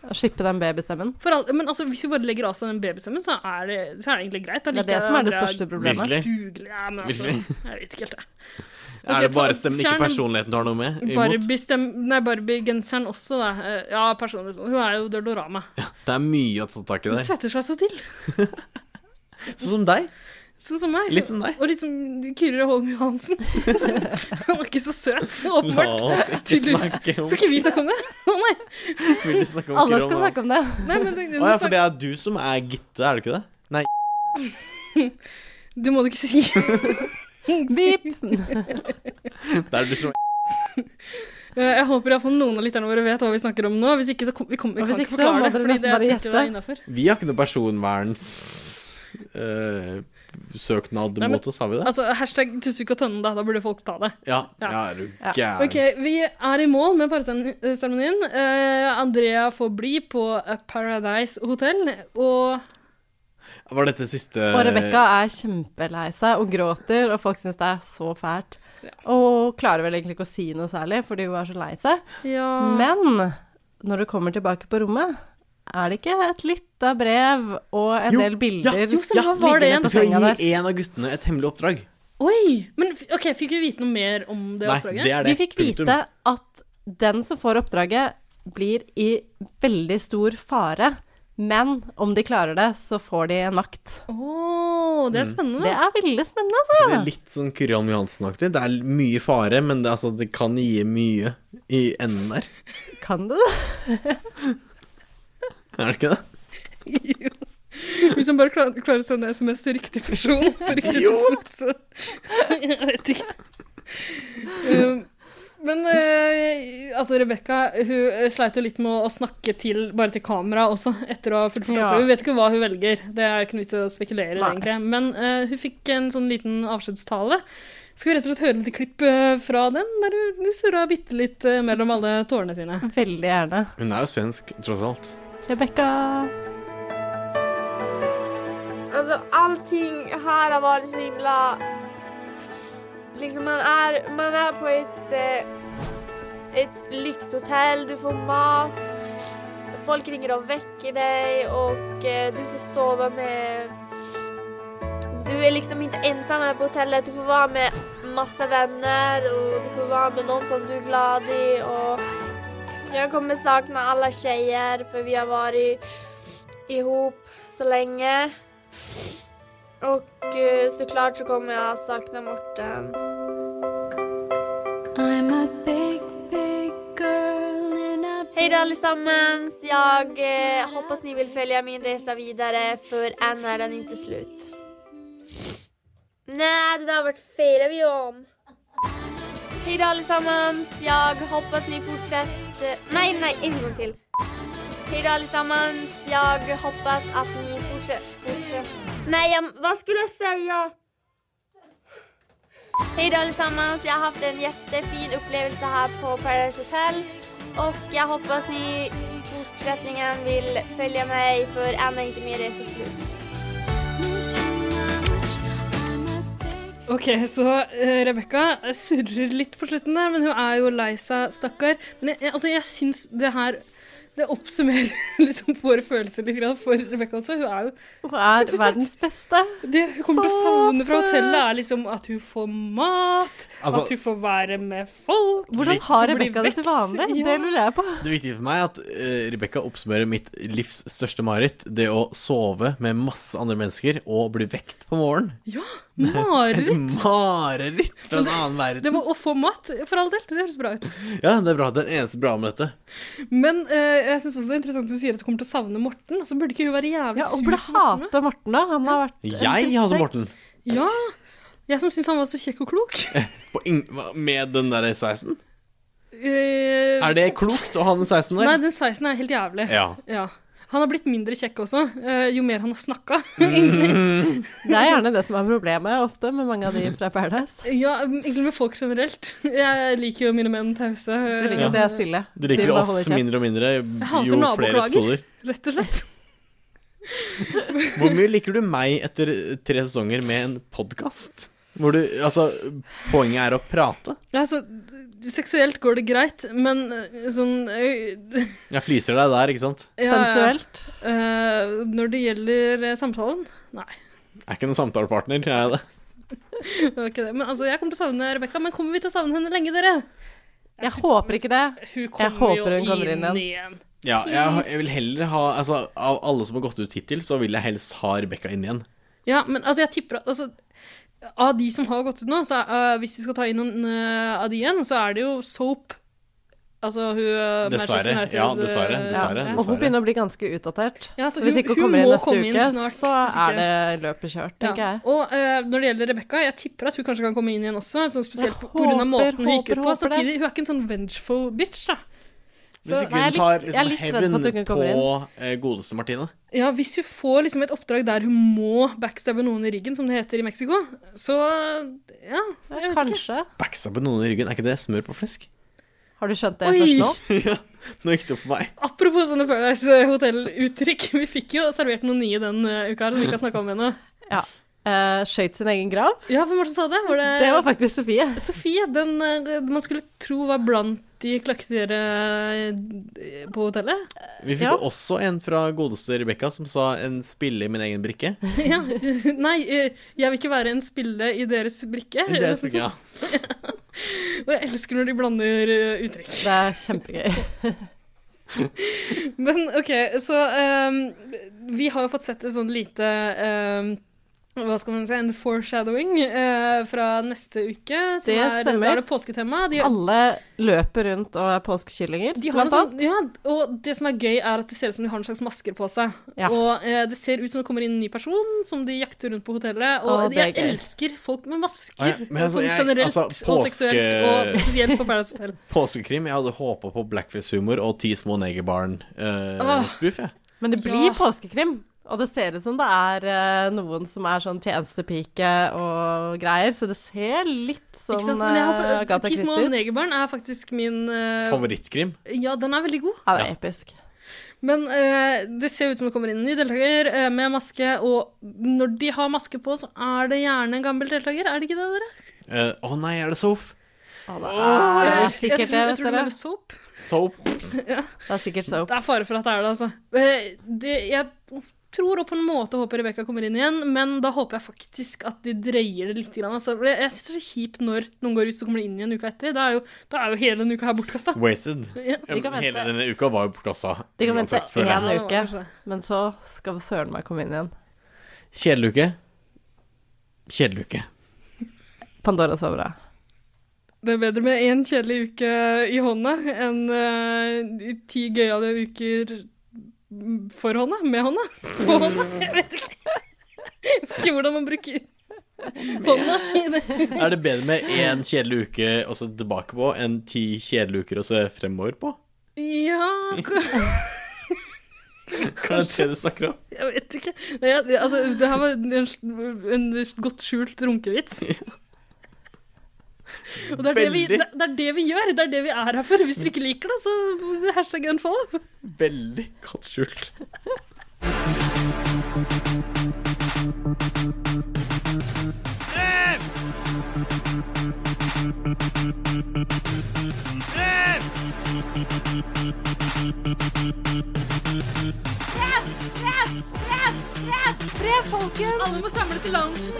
Speaker 1: Å slippe den babystemmen.
Speaker 3: For all, men altså, hvis vi bare legger av seg den babystemmen, så er det, så er det egentlig greit. Da
Speaker 1: Det er
Speaker 3: liker
Speaker 1: det
Speaker 3: jeg
Speaker 1: som er det
Speaker 3: Andrea
Speaker 1: største problemet.
Speaker 2: Virkelig.
Speaker 3: Dugelig. Ja, men altså,
Speaker 2: Virkelig.
Speaker 3: jeg vet ikke helt, jeg.
Speaker 2: er det
Speaker 3: Ok, ta-
Speaker 2: bare stemmen, ikke
Speaker 3: fjern den
Speaker 2: personligheten du har noe med? Imot?
Speaker 3: Barbie-stem... Nei, Barbie-genseren også, da. Eh, Ja, personlig sånn. Hun er jo Dørdorama.
Speaker 2: Det er mye å ta tak i
Speaker 3: Hun
Speaker 2: der.
Speaker 3: søter seg så til.
Speaker 2: Sånn som deg.
Speaker 3: Sånn som meg.
Speaker 2: Litt som deg.
Speaker 3: Og litt som Kyrre Holm Johansen. Hun var ikke så søt,
Speaker 2: La
Speaker 3: åpenbart.
Speaker 2: oss ikke
Speaker 3: Tydeligvis.
Speaker 2: snakke om
Speaker 3: Skal ikke vi snakke om det? Å nei.
Speaker 2: Vil du snakke om
Speaker 1: Alle
Speaker 2: Kyrre
Speaker 1: skal
Speaker 2: og
Speaker 1: snakke om det.
Speaker 3: nei men det,
Speaker 2: Å
Speaker 3: du,
Speaker 2: ja, for det er du som er Gitte, er det ikke det? Nei.
Speaker 3: det må du ikke si.
Speaker 1: Beep.
Speaker 2: Det er du som
Speaker 3: Eh, Jeg håper i hvert fall noen av lytterne våre vet hva vi snakker om nå. Hvis ikke så kom, vi kommer, vi
Speaker 1: Hvis
Speaker 3: kan
Speaker 1: ikke
Speaker 3: ikke
Speaker 1: så må
Speaker 3: forklare det.
Speaker 1: dere
Speaker 3: Fordi
Speaker 1: nesten
Speaker 3: det
Speaker 1: bare
Speaker 3: jeg tenkte
Speaker 1: gjette.
Speaker 3: var innafor.
Speaker 2: Vi har ikke noe personvernssøknad
Speaker 3: Nei, men-
Speaker 2: mot oss, har vi det?
Speaker 3: Altså, hashtag Tusvik og Tønne, da. Da burde folk ta det.
Speaker 2: Ja.
Speaker 3: ja.
Speaker 2: Ja, er du
Speaker 1: Ja.
Speaker 2: gæren.
Speaker 3: Ok, vi er i mål med parseremonien. Andrea får bli på eh, Paradise Hotel, og
Speaker 2: Var dette siste
Speaker 1: Og Rebekka er kjempelei seg og gråter, og folk syns det er så fælt.
Speaker 3: Ja.
Speaker 1: Og klarer vel egentlig ikke å si noe særlig, fordi hun er så lei seg.
Speaker 3: Ja.
Speaker 1: Ah. Men når du kommer tilbake på rommet, er det ikke et lite brev og en
Speaker 2: Jo,
Speaker 1: del bilder
Speaker 2: ja, jo,
Speaker 3: stemmer, hva var det
Speaker 1: liggende
Speaker 3: igjen?
Speaker 1: på
Speaker 2: Jeg skal
Speaker 1: senga der?
Speaker 2: gi en av guttene et hemmelig oppdrag.
Speaker 3: Oi! Men f- ok, fikk vi vite noe mer om det
Speaker 2: Nei,
Speaker 3: oppdraget?
Speaker 2: det er det.
Speaker 1: Vi fikk
Speaker 2: Punktum.
Speaker 1: vite at den som får oppdraget, blir i veldig stor fare. Men om de klarer det, så får de en makt.
Speaker 3: Åh, det er
Speaker 2: Mm.
Speaker 3: spennende.
Speaker 1: Det er veldig spennende, altså.
Speaker 2: Det er litt sånn Kyrjan Johansen-aktig. Det er mye fare, men det, altså, det kan gi mye i enden der.
Speaker 1: altså. Kan du det?
Speaker 2: Er det ikke det?
Speaker 3: Hvis han bare klar, klarer å sende SMS til riktig person på riktig tidspunkt, så Jeg vet ikke. Um, men eh, altså, Rebekka eh, sleit jo litt med å snakke til, bare til kamera også, etter å ha fulgt med.
Speaker 1: Ja.
Speaker 3: Vi vet ikke hva hun velger, det er ikke noe vits i å spekulere i,
Speaker 1: Nei.
Speaker 3: egentlig. Men eh, hun fikk en sånn liten avskjedstale. Skal vi rett og slett høre et lite klipp eh, fra den, der hun surra bitte litt eh, mellom alle tårene sine?
Speaker 1: Veldig gjerne.
Speaker 2: Hun er jo svensk, tross alt.
Speaker 1: Rebekka
Speaker 8: Alltså allting här har varit så himla... Liksom man är, man är på ett, eh, ett lyxhotell, du får mat, folk ringer och väcker dig och eh, du får sova med... Du är liksom inte ensam här på hotellet, du får vara med massa vänner och du får vara med någon som du är glad i. Och jag kommer sakna alla tjejer för vi har varit ihop så länge. Och eh, såklart så kommer jag sakna Morten. Hej då allesammans! Jag eh, hoppas ni vill följa min resa vidare för än är den inte slut. Nej, det där vart fejlar vi om. Hej då allesammans! Jag hoppas ni fortsätter... Nej, nej, en gång till. Hej då allesammans! Jag hoppas att ni fortsätter... Fortsätt. Nej, jag, vad skulle jag säga? Hej då allesammans! Jag har haft en jättefin upplevelse här på Paradise Hotel. Och jag hoppas ni i fortsättningen vill följa mig för än är inte min resa slut.
Speaker 3: Ok, så uh, Rebekka surrer litt på slutten der, men hun er jo lei seg, stakkar. Men jeg, jeg, altså, jeg syns det her det oppsummerer liksom våre følelser litt grann for Rebekka også. Hun er jo
Speaker 1: Hun er
Speaker 3: Kjempesøt.
Speaker 1: verdens beste.
Speaker 3: Det hun kommer til å savne fra
Speaker 1: Så søt.
Speaker 3: hotellet, er liksom at hun får mat,
Speaker 2: Altså-
Speaker 3: at hun får være med folk.
Speaker 1: Hvordan har
Speaker 3: Blir
Speaker 1: Rebekka det til
Speaker 3: vekt.
Speaker 1: vanlig?
Speaker 3: Ja.
Speaker 1: Det lurer jeg på.
Speaker 2: Det viktige for meg er at uh, Rebekka oppsummerer mitt livs største mareritt. Det å sove med masse andre mennesker og bli vekt på morgenen.
Speaker 3: Ja, mareritt.
Speaker 2: Mareritt fra en annen
Speaker 3: Det
Speaker 2: verden.
Speaker 3: var å få mat, for all del. Det høres bra ut.
Speaker 2: Ja, det er bra. Det er det eneste bra med dette.
Speaker 3: Men eh, jeg synes også det er interessant at hun sier at hun kommer til å savne Morten. Altså, burde ikke hun være jævlig
Speaker 1: Ja, og
Speaker 3: sur
Speaker 1: burde
Speaker 3: på Morten, da?
Speaker 1: hate Morten, da. Han har vært en
Speaker 2: Jeg hadde
Speaker 1: drittsekk.
Speaker 2: Morten.
Speaker 3: Ja. Jeg som syns han var så kjekk og klok.
Speaker 2: På ing hva- med den der sveisen.
Speaker 3: Eh,
Speaker 2: Er det klokt å ha den sveisen
Speaker 3: Nei,
Speaker 2: der?
Speaker 3: den sveisen er helt jævlig.
Speaker 2: Ja.
Speaker 3: Ja. Han har blitt mindre kjekk også, eh, jo mer han har snakka.
Speaker 1: Det er gjerne det som er problemet ofte med mange av de fra Paradise.
Speaker 3: ja, egentlig med folk generelt. Jeg liker jo mine menn tause. eh,
Speaker 1: Du liker
Speaker 2: Ja.
Speaker 1: at det er stille.
Speaker 2: Du
Speaker 1: De
Speaker 2: liker
Speaker 1: bare
Speaker 2: oss
Speaker 1: holder kjeft.
Speaker 2: mindre og mindre
Speaker 3: hater
Speaker 2: jo flere
Speaker 3: naboklager.
Speaker 2: episoder.
Speaker 3: Rett og slett.
Speaker 2: Hvor mye liker du meg etter tre sesonger med en podkast? Hvor du Altså, poenget er å prate.
Speaker 3: Ja, så, d- seksuelt går det greit, men eh, sånn eh,
Speaker 2: Jeg pleaser deg der, ikke sant?
Speaker 3: ja, ja.
Speaker 1: Sensuelt.
Speaker 3: Eh, når det gjelder eh, samtalen Nei,
Speaker 2: Jeg er ikke noen samtalepartner, er jeg det?
Speaker 3: det var ikke det. Men altså, jeg kommer til å savne Rebekka. Men kommer vi til å savne henne lenge, dere?
Speaker 1: Jeg håper ikke det.
Speaker 3: Hun kommer
Speaker 1: håper
Speaker 3: jo
Speaker 1: hun kommer inn igjen.
Speaker 2: Ja, jeg, jeg vil heller ha Altså, av alle som har gått ut hittil, så vil jeg helst ha Rebekka inn igjen.
Speaker 3: Ja, men altså, jeg tipper at altså, Av de som har gått ut nå, så eh, hvis de skal ta inn noen eh, av de igjen, så er det jo Soap. Altså hun eh, Manchester
Speaker 2: Dessverre.
Speaker 3: United,
Speaker 2: Ja, dessverre,
Speaker 3: eh,
Speaker 2: dessverre,
Speaker 3: ja.
Speaker 1: Og hun begynner å bli ganske utdatert.
Speaker 3: Ja,
Speaker 1: så,
Speaker 3: så
Speaker 1: hvis
Speaker 3: hun-
Speaker 1: ikke hun
Speaker 3: hun
Speaker 1: kommer inn
Speaker 3: må
Speaker 1: neste
Speaker 3: komme inn
Speaker 1: uke,
Speaker 3: snart,
Speaker 1: så
Speaker 3: hvis ikke-
Speaker 1: er det løpet kjørt, tenker
Speaker 3: Ja.
Speaker 1: jeg.
Speaker 3: Og eh, når det gjelder Rebekka, jeg tipper at hun kanskje kan komme inn igjen også. Sånn spesielt
Speaker 1: Jeg
Speaker 3: på- på grunn av
Speaker 1: håper,
Speaker 3: måten hun gikk ut
Speaker 1: håper,
Speaker 3: på.
Speaker 1: håper det.
Speaker 3: Samtidig, hun er ikke en sånn vengeful bitch, da.
Speaker 1: nei,
Speaker 2: Hvis ikke
Speaker 1: jeg
Speaker 2: hun
Speaker 1: er
Speaker 2: tar
Speaker 1: litt- jeg er
Speaker 2: liksom
Speaker 1: litt redd for at
Speaker 2: hevn
Speaker 1: hun ikke
Speaker 2: på
Speaker 1: kommer
Speaker 2: eh, godeste Martine
Speaker 3: Ja, hvis hun får liksom et oppdrag der hun må backstabbe noen i ryggen, som det heter i Mexico, så ja, jeg vet ikke.
Speaker 1: Kanskje.
Speaker 2: Backstabbe noen i ryggen, er ikke det smør på flesk?
Speaker 1: Har du skjønt det
Speaker 3: Oi.
Speaker 1: først nå?
Speaker 2: ja, nå gikk det opp for meg.
Speaker 3: Apropos sånne Paradise Hotel-uttrykk. Vi fikk jo servert noen nye den eh, uka her som vi ikke har snakka om ennå.
Speaker 1: Uh, Skøyt sin egen grav.
Speaker 3: Ja, hvem var det som sa det? Var det,
Speaker 1: Det var faktisk Sofie.
Speaker 3: Sofie? Den eh, man skulle tro var blant de klakkedyra eh, på hotellet?
Speaker 2: Vi fikk
Speaker 1: Ja.
Speaker 2: også en fra godeste Rebekka som sa 'en spille i min egen brikke'.
Speaker 3: ja. Nei, eh, jeg vil ikke være en spille i deres brikke.
Speaker 2: Det er så, ja.
Speaker 3: Og jeg elsker når de blander eh, uttrykk.
Speaker 1: Det er kjempegøy.
Speaker 3: Men OK, så ehm, Vi har jo fått sett et sånn lite ehm, hva skal man si, En foreshadowing eh, fra neste uke. som
Speaker 1: Det
Speaker 3: er,
Speaker 1: stemmer.
Speaker 3: Da er det påsketema. De,
Speaker 1: Alle løper rundt og er påskekyllinger,
Speaker 3: de har en
Speaker 1: blant
Speaker 3: sånn,
Speaker 1: annet.
Speaker 3: ja, og det som er gøy, er at det ser ut som de har en slags masker på seg.
Speaker 1: Ja.
Speaker 3: Og eh, det ser ut som det kommer inn en ny person som de jakter rundt på hotellet. Og
Speaker 1: Å, det er
Speaker 3: jeg
Speaker 1: gøy.
Speaker 3: elsker folk med masker.
Speaker 2: Ah, ja, men altså,
Speaker 3: sånn
Speaker 2: jeg-
Speaker 3: generelt
Speaker 2: altså,
Speaker 3: og seksuelt, og
Speaker 2: påske-
Speaker 3: spesielt på Paradise Hotel.
Speaker 2: Påskekrim. Jeg hadde håpa på blackface-humor og ti små
Speaker 3: Åh.
Speaker 2: negerbarn-spoof, jeg.
Speaker 1: Men det blir
Speaker 3: Ja.
Speaker 1: påskekrim. Og det ser ut som det er eh, noen som er sånn tjenestepike og greier, så det ser litt
Speaker 3: Ikke sant?
Speaker 1: sånn
Speaker 3: Men jeg har,
Speaker 1: eh,
Speaker 3: prøvd-
Speaker 1: Agatha
Speaker 3: Ti små
Speaker 1: Christie ut.
Speaker 3: negerbarn er faktisk min eh,
Speaker 2: Favorittkrim.
Speaker 3: Ja, den er veldig god.
Speaker 1: Ja, det
Speaker 2: Ja.
Speaker 1: er episk.
Speaker 3: Men eh, det ser ut som det kommer inn en ny deltaker eh, med maske, og når de har maske på, så er det gjerne en gammel deltaker, er det ikke det, dere?
Speaker 2: Eh, Å nei, er det Soap?
Speaker 1: Å, det er
Speaker 3: Eh,
Speaker 1: sikkert
Speaker 3: jeg tror,
Speaker 1: det,
Speaker 3: jeg
Speaker 1: vet
Speaker 3: tror det
Speaker 1: dere.
Speaker 3: er soap.
Speaker 2: Soap.
Speaker 1: Det er sikkert soap.
Speaker 3: Det er fare for at det er det, altså. Eh, det, jeg tror og på en måte håper Rebekka kommer inn igjen, men da håper jeg faktisk at de dreier det litt. Grann, altså. For Jeg jeg synes det er så kjipt når noen går ut, så kommer de inn igjen uka etter. Da er jo, da er jo hele denne uka her bortkasta.
Speaker 2: Wasted.
Speaker 1: De kan
Speaker 2: Hele
Speaker 1: vente.
Speaker 2: denne uka var jo bortkasta.
Speaker 1: De kan vente
Speaker 2: uansett, føler jeg.
Speaker 1: en uke, men så skal søren meg komme inn igjen.
Speaker 2: Kjedelig uke. Kjedelig uke.
Speaker 1: Pandora så bra.
Speaker 3: Det er bedre med én kjedelig uke i hånda enn eh, ti gøyale uker for hånda, med hånda, på hånda. Jeg vet ikke. Jeg vet ikke hvordan man bruker hånda. i det.
Speaker 2: Er det bedre med én kjedelig uke å se tilbake på enn ti kjedelige uker å se fremover på?
Speaker 3: Ja k-
Speaker 2: Kan jeg se det du snakker om?
Speaker 3: Jeg vet ikke. Nei, jeg- altså, det her var en, en godt skjult runkevits. Og det er det, vi, det, det er det vi gjør. Det er det vi er her for. Hvis dere ikke liker det, så hashtag unfollow.
Speaker 2: Veldig godt skjult.
Speaker 3: Alle må samles i loungen.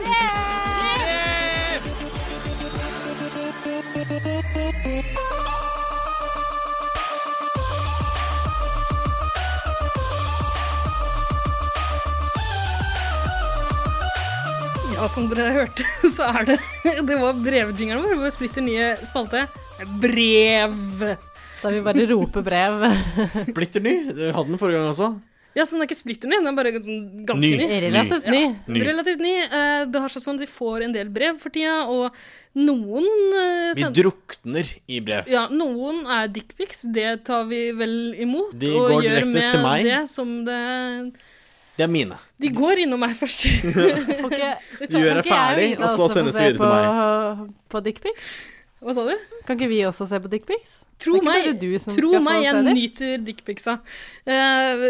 Speaker 3: Ja, som dere hørte, så er det Det var brevjingeren vår, vår splitter nye spalte. Brev!
Speaker 1: Da vi bare roper brev.
Speaker 2: Splitter ny. Du hadde den forrige gang også.
Speaker 3: Ja, så den er ikke splitter ny, den er bare sånn ganske ny.
Speaker 1: Relativt ny.
Speaker 2: Ny.
Speaker 3: Relativt ny. Eh, Det har seg sånn at vi får en del brev for tida, og noen eh,
Speaker 2: Vi
Speaker 3: send-
Speaker 2: drukner i brev.
Speaker 3: ja, noen er dickpics, det tar vi vel imot.
Speaker 2: De
Speaker 3: og
Speaker 2: går
Speaker 3: gjør
Speaker 2: direkte
Speaker 3: med
Speaker 2: til meg.
Speaker 3: det som det
Speaker 2: Det er mine.
Speaker 3: De går innom meg først.
Speaker 1: Får ikke,
Speaker 3: Vi
Speaker 2: Du gjør
Speaker 3: tar-
Speaker 2: det ferdig, og så sendes det videre til meg.
Speaker 1: meg. På dickpics?
Speaker 3: Hva sa du?
Speaker 1: Kan ikke vi også se på dickpics?
Speaker 3: Tro
Speaker 1: Det er ikke
Speaker 3: meg,
Speaker 1: bare du som
Speaker 3: tro
Speaker 1: skal få
Speaker 3: meg, jeg
Speaker 1: se de.
Speaker 3: nyter dickpicsa. Eh,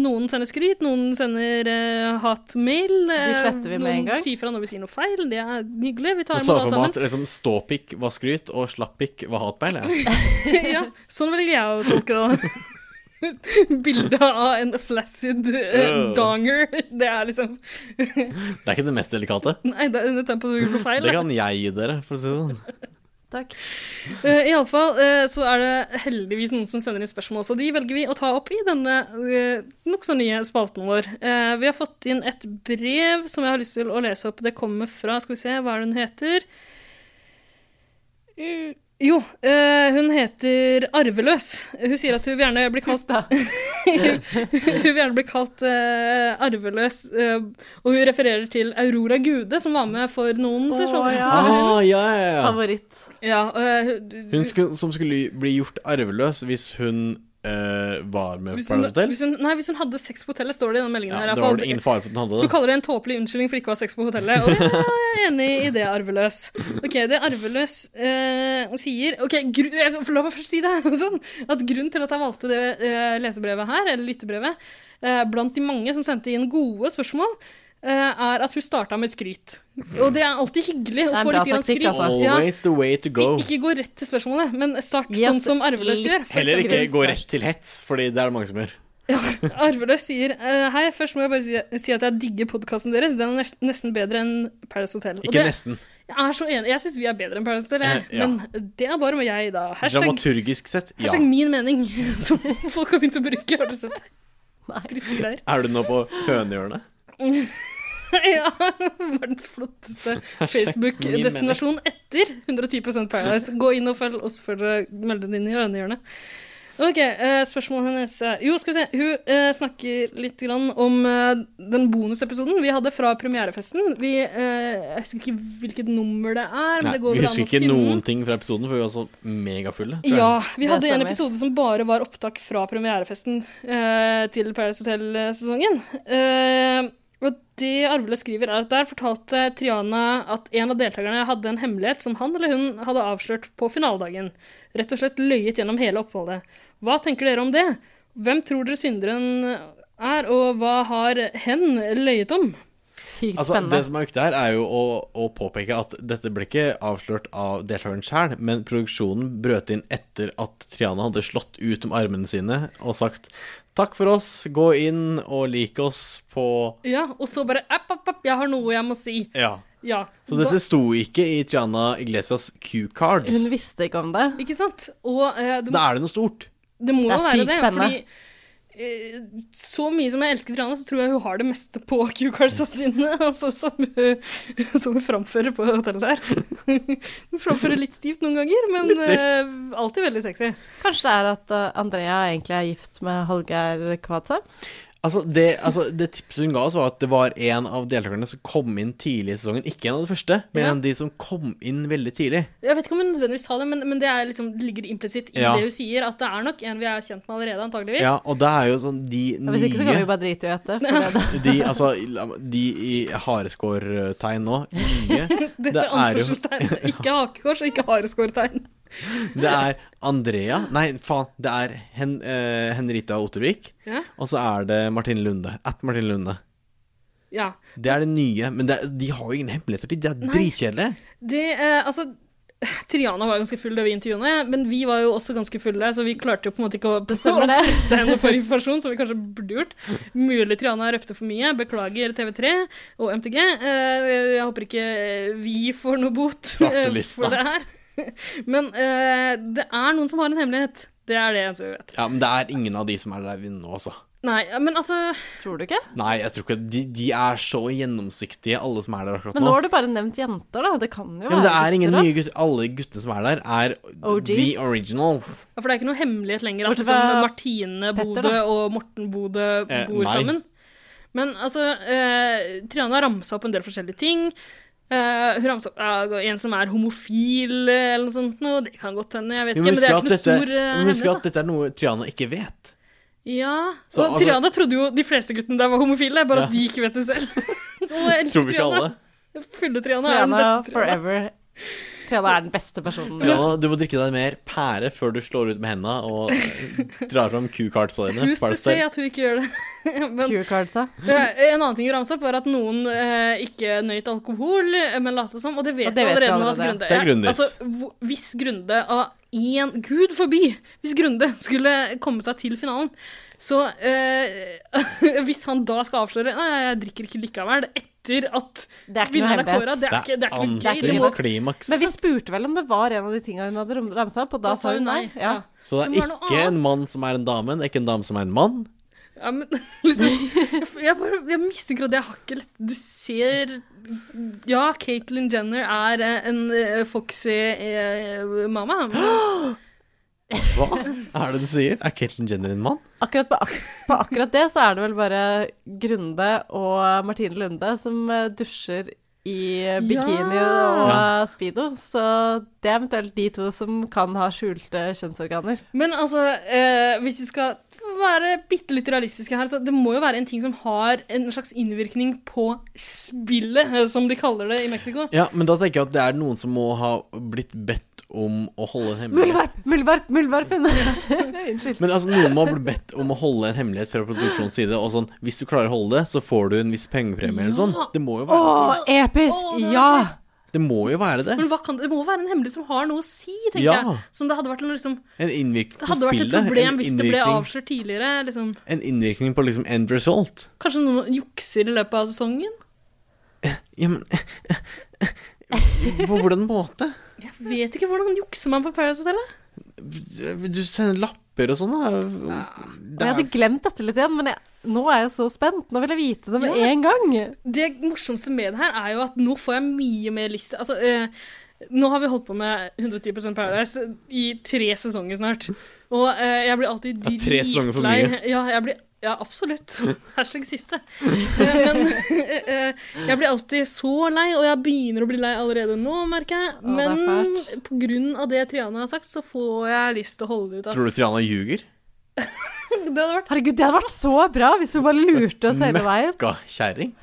Speaker 3: noen sender skryt, noen sender eh, hatmail. eh,
Speaker 1: sletter vi med en gang.
Speaker 3: Noen sier fra når vi sier noe feil. Det er hyggelig. Vi
Speaker 2: Og
Speaker 3: tar
Speaker 2: så
Speaker 3: imot alt
Speaker 2: for meg at
Speaker 3: sammen.
Speaker 2: liksom, ståpikk var skryt, og slappikk var hatbeil. jeg.
Speaker 3: ja, sånn velger jeg å tolke det. Bildet av en flaccid eh,
Speaker 2: Øh.
Speaker 3: donger. Det er liksom
Speaker 2: Det er ikke det mest delikate.
Speaker 3: Nei, det er dette er på noe feil.
Speaker 2: Det
Speaker 3: da.
Speaker 2: kan jeg gi dere, for å si det sånn.
Speaker 1: Takk.
Speaker 3: Eh, i alle fall eh, så er det heldigvis noen som sender inn spørsmål, så de velger vi å ta opp i denne eh, nokså nye spalten vår. Eh, vi har fått inn et brev som jeg har lyst til å lese opp. Det kommer fra Skal vi se, hva er det hun heter? Eh, jo, eh, hun heter Arveløs. Hun sier at hun vil gjerne bli kalt Hun vil gjerne bli kalt eh, arveløs, eh, og hun refererer til Aurora Gude, som var med for noen sesonger.
Speaker 1: ja.
Speaker 3: sesonger.
Speaker 2: Ah, ja, ja, ja.
Speaker 1: Favoritt.
Speaker 3: Ja, eh, hun-
Speaker 2: Hun skulle, som skulle bli gjort arveløs hvis hun eh, var med
Speaker 3: Hvis
Speaker 2: på
Speaker 3: hun,
Speaker 2: et hotell?
Speaker 3: hvis hun, nei, hvis hun hadde sex på hotellet, står det i den meldingen
Speaker 2: Ja,
Speaker 3: her. i
Speaker 2: da
Speaker 3: hvert fall.
Speaker 2: var det ingen fare for at hun hadde
Speaker 3: hun
Speaker 2: det.
Speaker 3: kaller det en tåpelig unnskyldning for ikke å ha sex på hotellet. Og det, ja, er enig i det, Arveløs. Ok, Det Arveløs eh, sier ok, gru, jeg, for La meg først si det sånn, at grunnen til at jeg valgte det eh, lesebrevet her, eller lyttebrevet, eh, blant de mange som sendte inn gode spørsmål, eh, er at hun starta med skryt. Og det er alltid hyggelig
Speaker 1: Det
Speaker 3: å
Speaker 1: er en
Speaker 3: få
Speaker 1: bra
Speaker 3: litt grann
Speaker 1: taktikk,
Speaker 3: skryt.
Speaker 1: altså.
Speaker 3: Ja,
Speaker 2: Always the way to go.
Speaker 3: ikke gå rett til spørsmålet, men start
Speaker 1: Gi
Speaker 3: sånn
Speaker 1: oss
Speaker 3: som Arveløs
Speaker 1: litt
Speaker 3: gjør. for
Speaker 2: Heller
Speaker 3: eksempel.
Speaker 2: ikke gå rett til hets, Fordi det er det mange som gjør.
Speaker 3: Arveløs sier eh, Hei, først må jeg bare si, si at jeg digger podkasten deres. Den er nes- nesten bedre enn Paradise Hotel. Og
Speaker 2: Ikke
Speaker 3: det,
Speaker 2: nesten.
Speaker 3: jeg er så enig. Jeg syns vi er bedre enn Paradise Hotel, jeg.
Speaker 2: Ja.
Speaker 3: men det er bare med jeg, da. Hashtag,
Speaker 2: Dramaturgisk sett, ja.
Speaker 3: hashtag min mening, som folk har begynt å bruke. Har du sett det?
Speaker 1: Nei.
Speaker 3: Triste greier.
Speaker 2: Er du nå på hønehjørnet?
Speaker 3: Ja, verdens flotteste Facebook-destinasjon etter 110 Paradise. Gå inn og følg oss før dere melder dere inn i øynehjørnet. Ok, eh, Spørsmålet hennes er Jo, skal vi se. Hun eh, snakker litt grann om eh, den bonusepisoden vi hadde fra premierefesten. Vi, eh, jeg husker ikke hvilket nummer det er. Men
Speaker 2: Nei,
Speaker 3: det går
Speaker 2: vi
Speaker 3: vel an å
Speaker 2: husker ikke
Speaker 3: finne den.
Speaker 2: noen ting fra episoden, for vi var så megafulle. tror jeg.
Speaker 3: Ja, vi
Speaker 1: Det
Speaker 3: hadde en
Speaker 1: stemmer.
Speaker 3: episode som bare var opptak fra premierefesten eh, til Paradise Hotel-sesongen. Eh, og det Arvele skriver, er at der fortalte Triana at en av deltakerne hadde en hemmelighet som han eller hun hadde avslørt på finaledagen. Rett og slett løyet gjennom hele oppholdet. Hva tenker dere om det? Hvem tror dere synderen er, og hva har hen løyet om?
Speaker 1: Sykt
Speaker 2: Altså,
Speaker 1: spennende.
Speaker 2: det som er viktig her, er jo å, å påpeke at dette ble ikke avslørt av deltakeren sjøl, men produksjonen brøt inn etter at Triana hadde slått ut om armene sine og sagt 'takk for oss, gå inn og lik oss' på
Speaker 3: Ja, og så bare app, app, app, jeg har noe jeg må si.
Speaker 2: Ja.
Speaker 3: Ja.
Speaker 2: Så
Speaker 3: Da-
Speaker 2: dette sto ikke i Triana Iglesias Q-cards.
Speaker 1: Hun visste ikke om det.
Speaker 3: Ikke sant? Og eh, du
Speaker 2: Da er det noe stort.
Speaker 3: Det må
Speaker 1: Det
Speaker 3: jo
Speaker 1: er
Speaker 3: være
Speaker 1: sykt
Speaker 3: det,
Speaker 1: spennende.
Speaker 3: fordi eh, så mye som jeg elsker Triana, så tror jeg hun har det meste på Q-cardsa sine, altså, som, hun- som hun framfører på hotellet der. Hun framfører litt stivt noen ganger, men
Speaker 2: Litt stivt.
Speaker 3: eh, alltid veldig sexy.
Speaker 1: Kanskje det er at eh, Andrea egentlig er gift med Hallgeir Kvadsheim?
Speaker 2: Altså det, altså, det tipset hun ga oss, var at det var en av deltakerne som kom inn tidlig i sesongen. Ikke en av de første, men
Speaker 3: Ja.
Speaker 2: en av de som kom inn veldig tidlig.
Speaker 3: Jeg vet ikke om hun nødvendigvis sa det, men, men det er liksom, det ligger implisitt i
Speaker 2: Ja.
Speaker 3: det hun sier, at det er nok en vi er kjent med allerede, antageligvis.
Speaker 2: Ja, og det er jo sånn de
Speaker 1: Ja, Hvis ikke så kan vi
Speaker 2: nye
Speaker 1: bare drite i å gjette. for det-
Speaker 2: de, altså, la meg- de i hareskårtegn nå, nye, det
Speaker 3: Dette er
Speaker 2: er jo
Speaker 3: anførselstegn. Ikke hakekors og ikke hareskårtegn.
Speaker 2: Det er Andrea Nei, faen. Det er Hen, eh, Henrita Ottervik.
Speaker 3: Ja.
Speaker 2: Og så er det Martine Lunde. At Martine Lunde.
Speaker 3: ja.
Speaker 2: Det er det nye. Men det, er- de har jo ingen hemmeligheter. De de er dritkjedelige.
Speaker 3: Det, eh, altså Triana var ganske full da vi intervjuene, men vi var jo også ganske fulle, så vi klarte jo på en måte ikke å
Speaker 1: Det stemmer det.
Speaker 3: presse henne for informasjon, som vi kanskje burde gjort. Mulig Triana røpte for mye. Beklager TV3 og MTG. Eh, jeg håper ikke eh, vi får noe bot eh,
Speaker 2: Svartelista.
Speaker 3: for det her. Men eh, det er noen som har en hemmelighet. Det er det eneste vi vet.
Speaker 2: Ja, men det er ingen av de som er der inne nå, altså.
Speaker 3: Nei, men altså
Speaker 1: Tror du ikke?
Speaker 2: Nei, jeg tror ikke De, de er så gjennomsiktige, alle som er der akkurat
Speaker 1: Men nå
Speaker 2: nå.
Speaker 1: har du bare nevnt jenter, da. Det kan jo
Speaker 2: Ja, men det
Speaker 1: være
Speaker 2: er ingen
Speaker 1: gutter, da.
Speaker 2: nye gutter. Alle guttene som er der, er
Speaker 1: OGs.
Speaker 2: the originals.
Speaker 3: ja, For det er ikke noe hemmelighet lenger at
Speaker 1: Bortsett
Speaker 3: liksom,
Speaker 1: fra
Speaker 3: Martine
Speaker 1: Petter,
Speaker 3: Bodø og Morten Bodø
Speaker 2: Eh,
Speaker 3: bor
Speaker 2: nei.
Speaker 3: sammen. Men altså eh, Triana ramsa opp en del forskjellige ting. Eh, hun ramsa opp ja, en som er homofil, eh, eller noe sånt. Nå, det kan godt hende. Jeg vet
Speaker 2: Vi
Speaker 3: ikke,
Speaker 2: må
Speaker 3: men
Speaker 2: huske
Speaker 3: det er
Speaker 2: at
Speaker 3: ikke noe
Speaker 2: dette-
Speaker 3: stor
Speaker 2: vi
Speaker 3: eh,
Speaker 2: må huske at
Speaker 3: hemmelighet.
Speaker 2: dette er noe Triana ikke vet.
Speaker 3: Da. Ja.
Speaker 2: Så,
Speaker 3: og
Speaker 2: altså-
Speaker 3: Triana trodde jo de fleste guttene der var homofile,
Speaker 2: Ja.
Speaker 3: bare at de ikke vet det selv. og jeg elsker
Speaker 2: Tror vi ikke
Speaker 3: Triana.
Speaker 2: alle?
Speaker 3: Fylle-Triana er den
Speaker 1: Triana
Speaker 3: beste Triana.
Speaker 1: forever. Triana er den beste personen.
Speaker 2: Triana, du må drikke deg mer pære før du slår ut med henda og eh, drar fram Q-cardsa dine.
Speaker 3: Who's to say at hun ikke gjør det? men
Speaker 1: Q-cards, da.
Speaker 3: Eh, En annen ting hun ramset opp, var at noen eh, ikke nøyt alkohol, eh, men lot som. Og det vet
Speaker 1: Og det
Speaker 3: vi
Speaker 1: vet vi
Speaker 3: allerede nå at
Speaker 1: allerede.
Speaker 3: Grunde
Speaker 2: Det er Grundis.
Speaker 3: Altså, hvor- hvis Grunde av én Gud forby! Hvis Grunde skulle komme seg til finalen, så eh, Hvis han da skal avsløre Nei, jeg drikker ikke likevel, etter at
Speaker 1: Det er ikke noe
Speaker 3: vinneren er kåra,
Speaker 1: hemmelighet.
Speaker 3: det er ikke, det er ikke noe gøy. Det må,
Speaker 2: antiklimaks.
Speaker 1: Men vi spurte vel om det var en av de tinga hun hadde rom- ramsa opp, og da sa hun nei. Ja.
Speaker 2: Så det
Speaker 3: Så må
Speaker 2: er
Speaker 3: det være noe
Speaker 2: ikke en
Speaker 3: annet.
Speaker 2: mann som er en dame, det er ikke en dame som er en mann.
Speaker 3: Ja, men liksom Jeg, f- jeg bare Jeg mistenker at jeg har ikke lett Du ser Ja, Caitlyn Jenner er eh, en eh, foxy eh, mamma. men-
Speaker 2: Hva er det du sier? Er Caitlyn Jenner en mann?
Speaker 1: Akkurat på, ak på akkurat det så er det vel bare Grunde og Martine Lunde som eh, dusjer i eh, bikini og
Speaker 2: Ja.
Speaker 1: eh, speedo, så det er eventuelt de to som kan ha skjulte kjønnsorganer.
Speaker 3: Men altså, eh, hvis vi skal være bitte litt realistiske her, så det må jo være en ting som har en slags innvirkning på spillet, eh, som de kaller det i Mexico.
Speaker 2: Ja, men da tenker jeg at det er noen som må ha blitt bedt om å holde en hemmelighet.
Speaker 1: Muldvarp, muldvarp, muldvarpen. Unnskyld.
Speaker 2: Men altså, noen må ha blitt bedt om å holde en hemmelighet fra produksjonens side. Og sånn, hvis du klarer å holde det, så får du en viss pengepremie eller sånn. Det må jo
Speaker 1: Å,
Speaker 2: være,
Speaker 1: episk! Ja!
Speaker 2: det må jo være det.
Speaker 3: Men hva kan, det må være en hemmelighet som har noe å si, tenker
Speaker 2: Ja.
Speaker 3: jeg. Som det hadde vært, en liksom,
Speaker 2: En innvirkning
Speaker 3: det
Speaker 2: på
Speaker 3: hadde vært et
Speaker 2: spillet.
Speaker 3: problem
Speaker 2: en,
Speaker 3: hvis det ble
Speaker 2: innvirkning,
Speaker 3: avslørt tidligere. Liksom.
Speaker 2: en innvirkning på liksom end result.
Speaker 3: Kanskje noen jukser i løpet av sesongen?
Speaker 2: Ja, men På hvordan måte?
Speaker 3: Jeg vet ikke hvordan jukser man på Paradise Hotel. da?
Speaker 2: Du sender lapper og sånn, da.
Speaker 1: Og jeg
Speaker 2: Det
Speaker 1: hadde glemt dette litt igjen, men jeg, nå er jeg så spent. Nå vil jeg vite det med
Speaker 3: Ja.
Speaker 1: en gang.
Speaker 3: Det morsomste med det her er jo at nå får jeg mye mer lyst til altså, eh, Nå har vi holdt på med 110 Paradise i tre sesonger snart. Og eh, jeg blir alltid
Speaker 2: Ja,
Speaker 3: dritlei.
Speaker 2: tre sesonger for mye.
Speaker 3: Ja, jeg blir, ja absolutt. Hashtag siste. Eh, men eh, jeg blir alltid så lei, og jeg begynner å bli lei allerede nå, merker jeg.
Speaker 1: det er
Speaker 3: Men på grunn av det Triana har sagt, så får jeg lyst til å holde det ut. ass.
Speaker 2: Tror du Triana ljuger?
Speaker 3: Det hadde vært
Speaker 1: Herregud, det hadde vært så bra hvis hun bare lurte oss hele veien.
Speaker 2: Møkka kjerring?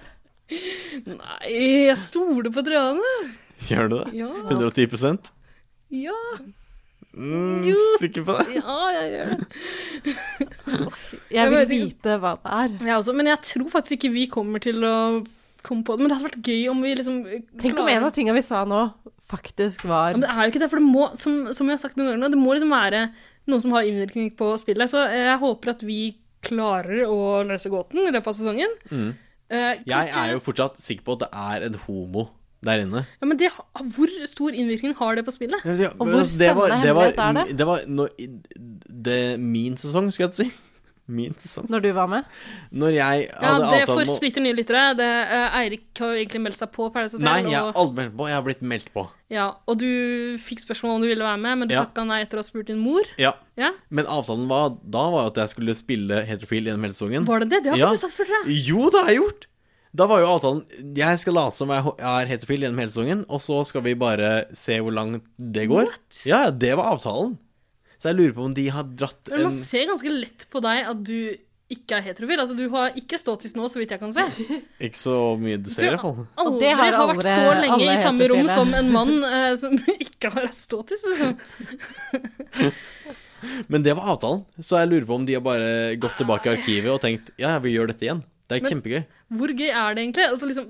Speaker 3: Nei, jeg stoler på Triana.
Speaker 2: Gjør du det?
Speaker 3: Ja,
Speaker 2: 110
Speaker 3: ja,
Speaker 2: mm,
Speaker 3: Jo.
Speaker 2: Sikker på det?
Speaker 3: ja, jeg gjør det.
Speaker 1: Jeg vil
Speaker 3: Jeg vet ikke.
Speaker 1: vite hva det er.
Speaker 3: Jeg også, men jeg tror faktisk ikke vi kommer til å komme på det. Men det hadde vært gøy om vi liksom
Speaker 1: Tenk om en av tingene vi sa nå, faktisk var
Speaker 3: Men Det er jo ikke det, for det må, som, som jeg har sagt noen ganger nå, det må liksom være noe som har innvirkning på spillet. Så eh, jeg håper at vi klarer å løse gåten i løpet av sesongen. Eh,
Speaker 2: Mm. Jeg
Speaker 3: kan ikke-
Speaker 2: er jo fortsatt sikker på at det er en homo der inne.
Speaker 3: ja, men det, hvor stor innvirkning har det på spillet?
Speaker 2: Jeg vil si,
Speaker 1: Og hvor
Speaker 2: altså, det var-
Speaker 1: spennende hemmelighet er
Speaker 2: det? var når, det, min sesong, skulle jeg til å si. Min sesong.
Speaker 1: når du var med.
Speaker 2: Når jeg
Speaker 3: Ja,
Speaker 2: hadde
Speaker 3: Det
Speaker 2: avtale
Speaker 3: får
Speaker 2: med å-
Speaker 3: splitter nye lyttere. Det, eh, Eirik har jo egentlig meldt seg på Paradise Hotel.
Speaker 2: Nei, jeg har
Speaker 3: og-
Speaker 2: aldri meldt på. Jeg har blitt meldt på.
Speaker 3: Ja, og du fikk spørsmål om du ville være med, men du
Speaker 2: Ja.
Speaker 3: takka nei etter å ha spurt din mor.
Speaker 2: Ja.
Speaker 3: Ja,
Speaker 2: Men avtalen var, da var jo at jeg skulle spille heterofil gjennom hele sesongen.
Speaker 3: Var det det? Det har
Speaker 2: Ja.
Speaker 3: ikke du sagt før, tror jeg.
Speaker 2: Jo, det har jeg gjort! Da var jo avtalen Jeg skal late som jeg ho- er heterofil gjennom hele sesongen, og så skal vi bare se hvor langt det går.
Speaker 3: What?
Speaker 2: Ja, ja, det var avtalen. Så jeg lurer på om de har dratt
Speaker 3: Men
Speaker 2: en
Speaker 3: man ser ganske lett på deg at du ikke er heterofil. Altså, du har ikke ståtiss nå, så vidt jeg kan se.
Speaker 2: Ikke så mye du ser, i hvert fall.
Speaker 1: Og
Speaker 3: Aldri
Speaker 1: det har
Speaker 3: har,
Speaker 1: alle-
Speaker 3: vært så lenge
Speaker 1: alle
Speaker 3: i samme rom
Speaker 1: heterofile.
Speaker 3: som en mann eh, som ikke har hatt ståtiss. Liksom.
Speaker 2: Men det var avtalen, så jeg lurer på om de har bare gått tilbake i arkivet og tenkt ja, ja, vi gjør dette igjen. Det er
Speaker 3: Men-
Speaker 2: kjempegøy.
Speaker 3: Hvor gøy er det egentlig? Altså, liksom,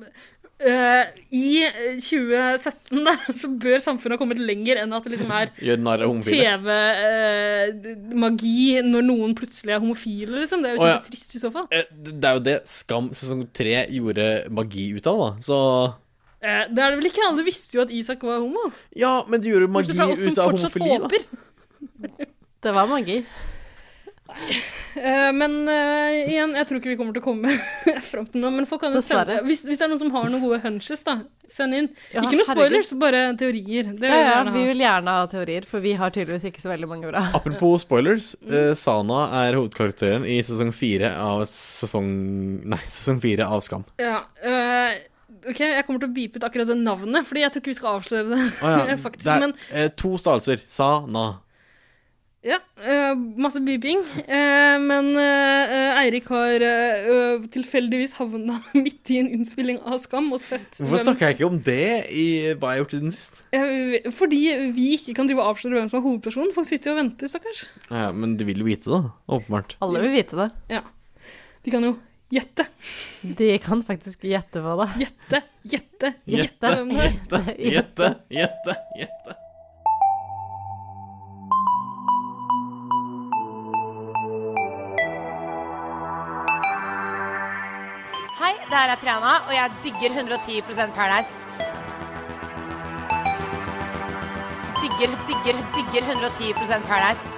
Speaker 3: eh, I eh, 2017 da, så bør samfunnet ha kommet lenger enn at det liksom er
Speaker 2: Gjør narr av homofile.
Speaker 3: TV-magi når noen plutselig er homofile, liksom. Det er jo
Speaker 2: Å, ja.
Speaker 3: kjempetrist i så fall.
Speaker 2: Eh, Det det er jo det Skam sesong tre gjorde magi ut av, da. Så
Speaker 3: Eh, Det er det vel ikke? Alle visste jo at Isak var homo.
Speaker 2: Ja, men de gjorde magi
Speaker 3: Bortsett fra oss som
Speaker 2: ut av
Speaker 3: fortsatt
Speaker 2: homofili, da.
Speaker 3: håper.
Speaker 1: Det var magi.
Speaker 3: Eh, Men eh, igjen, jeg tror ikke vi kommer til å komme fram til noe. Men folk kan jo
Speaker 1: Dessverre.
Speaker 3: sende hvis, hvis det er noen som har noen gode hunches, da, send inn.
Speaker 1: Ja,
Speaker 3: ikke noe
Speaker 1: herregud.
Speaker 3: spoilers, bare teorier. Det
Speaker 1: Ja,
Speaker 3: vil jeg
Speaker 1: ja,
Speaker 3: gjerne
Speaker 1: vi
Speaker 3: ha.
Speaker 1: vil gjerne ha teorier, for vi har tydeligvis ikke så veldig mange bra.
Speaker 2: Apropos spoilers,
Speaker 3: Mm.
Speaker 2: eh, Sana er hovedkarakteren i sesong fire av sesong Nei, sesong fire av Skam.
Speaker 3: Ja, eh, ok, Jeg kommer til å beepe ut akkurat det navnet, Fordi jeg tror ikke vi skal avsløre det.
Speaker 2: Å ja,
Speaker 3: Faktisk,
Speaker 2: det er
Speaker 3: men-
Speaker 2: eh, to stavelser. Sana.
Speaker 3: Ja, eh, masse beeping. Eh, men eh, eh, Eirik har eh, eh, tilfeldigvis havna midt i en innspilling av Skam og sett
Speaker 2: Hvorfor snakka jeg ikke om det i hva jeg har gjort siden sist?
Speaker 3: Eh, Fordi vi ikke kan drive og avsløre hvem som er hovedpersonen. Folk sitter jo og venter, stakkars.
Speaker 2: Ja, men de vil jo vite det, da. Åpenbart.
Speaker 1: Alle vil vite det.
Speaker 3: Ja. De kan jo gjette,
Speaker 1: De kan faktisk gjette på det.
Speaker 3: gjette,
Speaker 2: Gjette.
Speaker 3: gjette, gjette hvem det er.
Speaker 2: Gjette, gjette, gjette.
Speaker 9: Hei, det her er Triana, og jeg digger 110 Paradise. Digger, digger, digger 110 Paradise.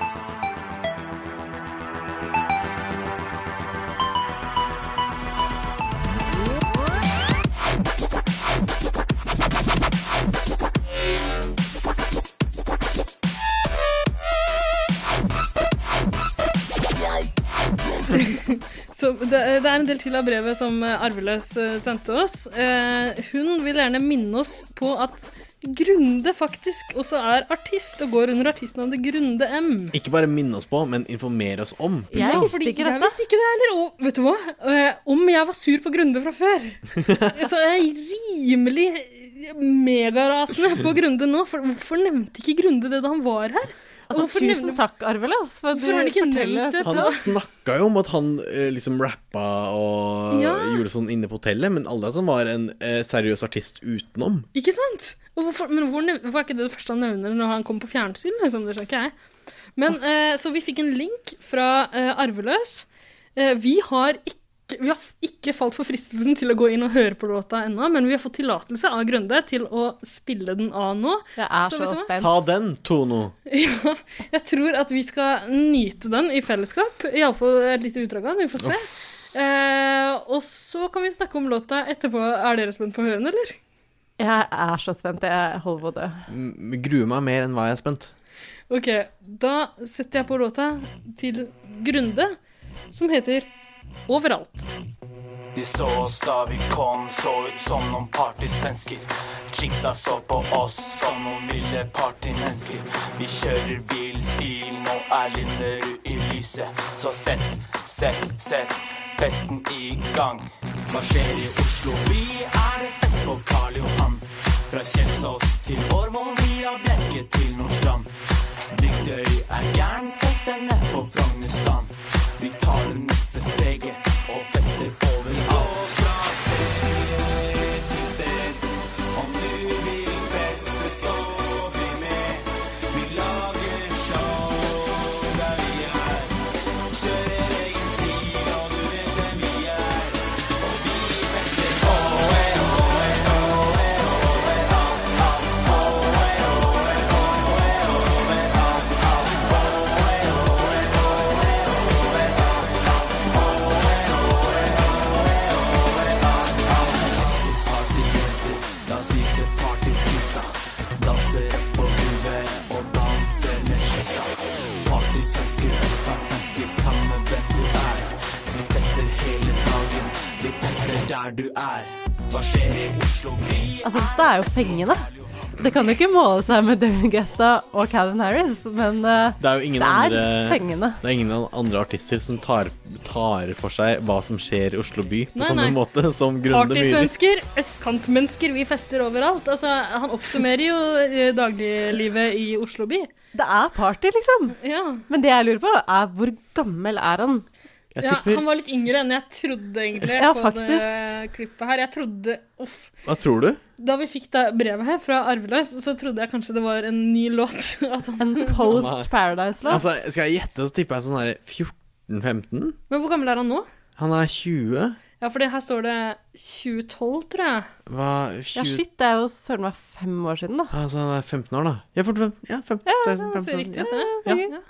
Speaker 3: Så det, det er en del til av brevet som eh, Arveløs eh, sendte oss. Eh, Hun vil gjerne minne oss på at Grunde, faktisk, også er artist og går under artistnavnet Grunde M.
Speaker 2: Ikke bare minne oss på, men informere oss om.
Speaker 1: Jeg
Speaker 3: Ja,
Speaker 1: visste
Speaker 3: fordi
Speaker 1: ikke
Speaker 3: Jeg
Speaker 1: dette.
Speaker 3: visste ikke det heller. Og vet du hva? Eh, om jeg var sur på Grunde fra før, så er jeg rimelig megarasende på Grunde nå. For hvorfor nevnte ikke Grunde det da han var her?
Speaker 1: Altså,
Speaker 3: Hvorfor
Speaker 1: tusen
Speaker 3: nevner-
Speaker 1: takk, Arvelas, for at du
Speaker 3: Hvorfor har han ikke
Speaker 1: forteller
Speaker 3: nevnt det?
Speaker 1: dette.
Speaker 2: Han snakka jo om at han eh, liksom rappa og
Speaker 3: Ja.
Speaker 2: gjorde sånn inne på hotellet, men aldri at han var en eh, seriøs artist utenom.
Speaker 3: Ikke sant? Og hvorfor, men hvor, nev- hvorfor er ikke det det første han nevner når han kommer på fjernsyn? Liksom, det skjønner ikke jeg. Men, eh, så vi fikk en link fra eh, Arveløs. Eh, vi har ikke vi har f- ikke falt for fristelsen til å gå inn og høre på låta ennå, men vi har fått tillatelse av Grønde til å spille den av nå.
Speaker 1: Jeg er så,
Speaker 3: Så vet du hva?
Speaker 1: spent.
Speaker 2: Ta den, Tono!
Speaker 3: Ja, jeg tror at vi skal nyte den i fellesskap. Iallfall et lite utdrag av den. Vi får se. Eh, og så kan vi snakke om låta etterpå. Er dere spent på å høre den, eller?
Speaker 1: Jeg er så spent. Jeg holder på å dø.
Speaker 2: M- Gruer meg mer enn hva jeg er spent.
Speaker 3: Ok, da setter jeg på låta til Grunde, som heter Overalt.
Speaker 10: De så oss da vi kom, så ut som noen partysvensker. Chicksa så på oss som noen ville partymennesker. Vi kjører vill stil, nå er Linderud i lyset. Så sett, sett, sett festen i gang. Hva skjer i Oslo? Vi er et fest på Karl Johan. Fra Kjelsås til Årvoll via Bjerke til Nordstrand. Bygdøy er gæren, festene på Frognerstrand. Vi tar det neste steget og fester overalt. Gå fra sted til sted, om du vil feste, så bli med. Vi lager show der vi er. Kjører egen stil, og du vet hvem vi er. Og vi fester over, over, over, over, alt, alt, over, over, over, over, alt, alt, over, over, over, over, alt, alt, over, over, over, alt, alt. Sexy partyjenter, la oss vise partyskissa. Danser rett på huet og danser med skissa. Partysvensker, østlandsmennesker, samme hvem du er. Vi fester hele dagen, vi fester der du er. Hva skjer i Oslo? Vi
Speaker 1: Altså, dette er jo pengene. Det kan jo ikke måle seg med David Guetta og Calvin Harris, men eh,
Speaker 2: Det er jo ingen
Speaker 1: det er
Speaker 2: andre
Speaker 1: pengene.
Speaker 2: Det er ingen andre artister som tar, tar for seg hva som skjer i Oslo by på
Speaker 3: Nei,
Speaker 2: samme
Speaker 3: nei.
Speaker 2: måte som Grunde Myhre.
Speaker 3: Partysvensker, østkantmennesker, vi fester overalt. Altså, han oppsummerer jo eh, dagliglivet i Oslo by.
Speaker 1: Det er party, liksom.
Speaker 3: Ja.
Speaker 1: Men det jeg lurer på, er hvor gammel er han?
Speaker 2: Jeg
Speaker 3: ja,
Speaker 2: tipper
Speaker 3: han var litt yngre enn jeg trodde, egentlig,
Speaker 1: Ja,
Speaker 3: på det
Speaker 1: faktisk.
Speaker 3: klippet her. Jeg trodde Uff.
Speaker 2: Hva tror du?
Speaker 3: Da vi fikk det brevet her fra Arveløs, så trodde jeg kanskje det var en ny låt. At han...
Speaker 1: En Post Paradise-låt?
Speaker 2: Altså, skal jeg gjette, så tipper jeg sånn her 14-15?
Speaker 3: Men hvor gammel er han nå?
Speaker 2: Han er 20.
Speaker 3: Ja, for det her står det 2012, tror jeg.
Speaker 2: Hva
Speaker 1: Ja,
Speaker 2: 20
Speaker 1: shit, det er jo søren meg fem år siden, da.
Speaker 2: Altså, han er 15 år, da. Ja, 45, ja, 15, 16,
Speaker 3: Så
Speaker 2: 15,
Speaker 3: riktig
Speaker 2: ja.
Speaker 3: at det
Speaker 2: Ja.
Speaker 3: er. Ja.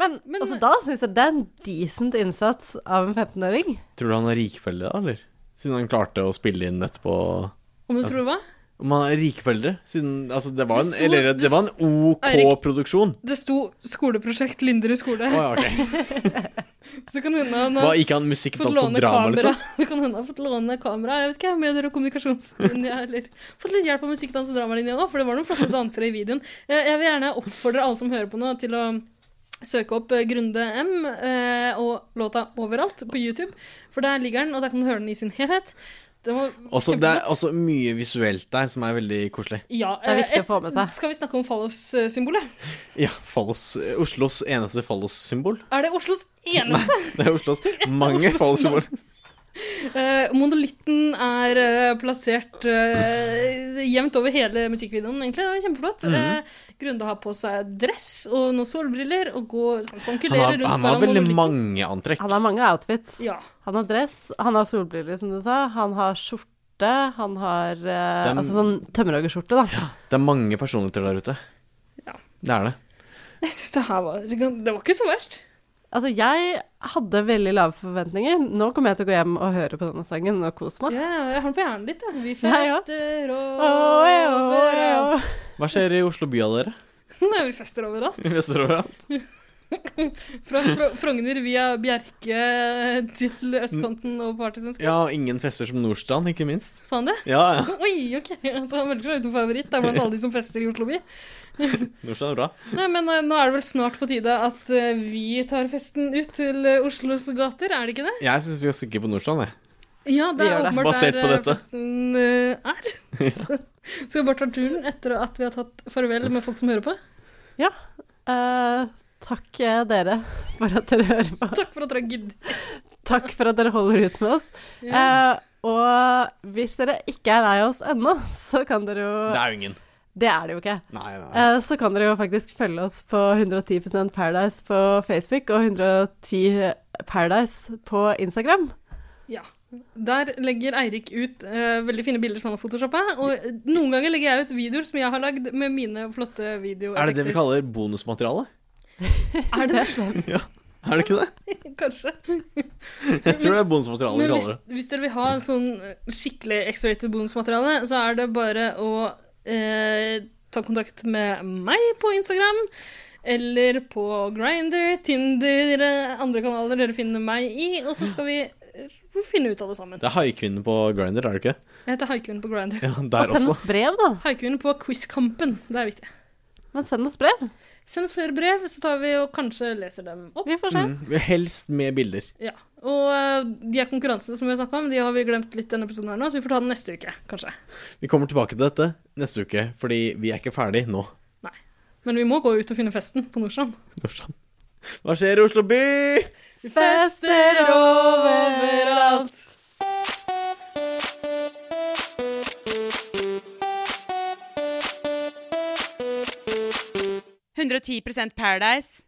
Speaker 1: Men,
Speaker 3: Men-
Speaker 1: altså, da syns jeg det er en decent innsats av en 15-åring.
Speaker 2: Tror du han er rikforeldre, da, eller? Siden han klarte å spille inn etterpå
Speaker 3: Om
Speaker 2: Altså-
Speaker 3: du tror hva?
Speaker 2: Om han er rikforeldre? Siden Altså, det var en,
Speaker 3: Det sto-
Speaker 2: eller,
Speaker 3: det
Speaker 2: det var en OK
Speaker 3: Eirik.
Speaker 2: produksjon.
Speaker 3: Det sto 'Skoleprosjekt Linderud skole'.
Speaker 2: Å ja, ok.
Speaker 3: Så det kan hende han
Speaker 2: Var
Speaker 3: har
Speaker 2: ikke han musikk,
Speaker 3: fått
Speaker 2: dans og
Speaker 3: låne
Speaker 2: drama,
Speaker 3: kamera.
Speaker 2: liksom?
Speaker 3: Det kan hende han har fått låne kamera, jeg vet ikke, medier og kommunikasjonslinja, eller fått litt hjelp av musikk, dans og dramalinja òg, for det var noen flotte dansere i videoen. Eh, Jeg vil gjerne oppfordre alle som hører på nå, til å søke opp eh, Grunde M eh, og låta overalt på YouTube, for der ligger den, og der kan du høre den i sin helhet. Det var
Speaker 2: Også, det er
Speaker 3: kjempeflott.
Speaker 2: også mye visuelt der som er veldig koselig.
Speaker 3: Ja,
Speaker 1: Det er
Speaker 3: eh,
Speaker 1: viktig å få med seg.
Speaker 3: Skal vi snakke om eh, fallos-symbolet?
Speaker 2: Ja, fallos, Oslos eneste fallossymbol.
Speaker 3: Er det Oslos eneste?
Speaker 2: Det er Oslos mange
Speaker 3: Oslos
Speaker 2: fallossymboler.
Speaker 3: Eh, monolitten er eh, plassert eh, jevnt over hele musikkvideoen, egentlig. Det var kjempeflott.
Speaker 2: Mhm.
Speaker 3: Eh, Grunde har på seg dress og noen solbriller og går
Speaker 2: Han
Speaker 3: spankulerer
Speaker 2: har,
Speaker 3: rundt
Speaker 2: han har
Speaker 3: foran
Speaker 2: veldig
Speaker 3: monolitten.
Speaker 2: mange antrekk.
Speaker 1: Han har mange outfits.
Speaker 3: Ja.
Speaker 1: Han har dress, han har solbriller, som du sa. Han har skjorte, han har eh,
Speaker 2: Den-
Speaker 1: Altså sånn tømmerhoggerskjorte, da.
Speaker 2: Det er mange personligheter der ute.
Speaker 3: Ja.
Speaker 2: Det er det.
Speaker 3: Jeg syns det her var Det var ikke så verst.
Speaker 1: Altså, jeg hadde veldig lave forventninger. Nå kommer jeg til å gå hjem og høre på denne sangen og kose
Speaker 3: Ja,
Speaker 1: meg.
Speaker 3: jeg har den på hjernen litt, jeg. Vi
Speaker 1: Jeg òg.
Speaker 3: fester
Speaker 1: Åh, eh, åh, eh,
Speaker 3: overalt.
Speaker 1: åh.
Speaker 2: Hva skjer i Oslo by av dere?
Speaker 3: Nei, vi fester overalt.
Speaker 2: I Vesterålen?
Speaker 3: Fra Fro- Frogner via Bjerke eh, til østkanten og partysvensker.
Speaker 2: Ja, og ingen fester som Nordstrand, ikke minst.
Speaker 3: Sa han det?
Speaker 2: Ja, ja.
Speaker 3: Oi, ok. Så han velger seg ut en favoritt da, blant alle de som fester i Oslo by.
Speaker 2: Nordstrand er bra.
Speaker 3: Nei, men eh, nå er det vel snart på tide at eh, vi tar festen ut til eh, Oslos gater, er det ikke det?
Speaker 2: Jeg syns vi skal stikke på Nordstrand, jeg.
Speaker 3: Ja, det
Speaker 2: Vi
Speaker 3: er
Speaker 2: gjør det.
Speaker 3: åpenbart
Speaker 2: Basert
Speaker 3: der
Speaker 2: på
Speaker 3: eh,
Speaker 2: dette.
Speaker 3: festen eh, er.
Speaker 2: Ja.
Speaker 3: Så skal vi bare ta turen etter at vi har tatt farvel med folk som hører på.
Speaker 1: Ja. eh, takk eh, dere for at dere hører på.
Speaker 3: Takk for at dere gidder.
Speaker 1: Takk for at dere holder ut med oss.
Speaker 3: Ja.
Speaker 1: Eh, og hvis dere ikke er lei av oss ennå, så kan dere jo
Speaker 2: Det er jo ingen.
Speaker 1: Det er det jo ikke.
Speaker 2: Nei, nei.
Speaker 1: Eh, så kan dere jo faktisk følge oss på 110 Paradise på Facebook og 110 Paradise på Instagram.
Speaker 3: Ja. Der legger Eirik ut eh, veldig fine bilder som han har photoshoppa. Og eh, noen ganger legger jeg ut videoer som jeg har lagd med mine flotte videoer.
Speaker 2: Er det det vi kaller bonusmateriale?
Speaker 3: Er det
Speaker 2: Ja. Er det ikke det?
Speaker 3: Kanskje.
Speaker 2: Jeg tror det er bonusmateriale vi
Speaker 3: Men hvis,
Speaker 2: kaller det.
Speaker 3: hvis dere vil ha sånn skikkelig X-rated bonusmateriale, så er det bare å eh, ta kontakt med meg på Instagram. Eller på Grinder, Tinder, eh, andre kanaler dere finner meg i. Og så skal vi eh, finne ut av det sammen.
Speaker 2: Det er haikvinnen på Grinder, er det ikke?
Speaker 3: Jeg heter Haikuen på Grinder.
Speaker 2: Ja, der også.
Speaker 1: brev, da.
Speaker 3: Haikuen på Quizkampen. Det er viktig.
Speaker 1: Men send oss brev.
Speaker 3: Send oss flere brev, så tar vi og kanskje leser dem opp.
Speaker 1: Vi får
Speaker 2: Mm, helst med bilder.
Speaker 3: Ja. Og eh, de her konkurransene som vi har snakka om, de har vi glemt litt denne episoden her nå, så vi får ta den neste uke, kanskje.
Speaker 2: Vi kommer tilbake til dette neste uke, fordi vi er ikke ferdig nå.
Speaker 3: Men vi må gå ut og finne festen på Nordstrand.
Speaker 2: Hva skjer i Oslo by?
Speaker 3: Vi fester overalt.
Speaker 4: Paradise. 110 Paradise.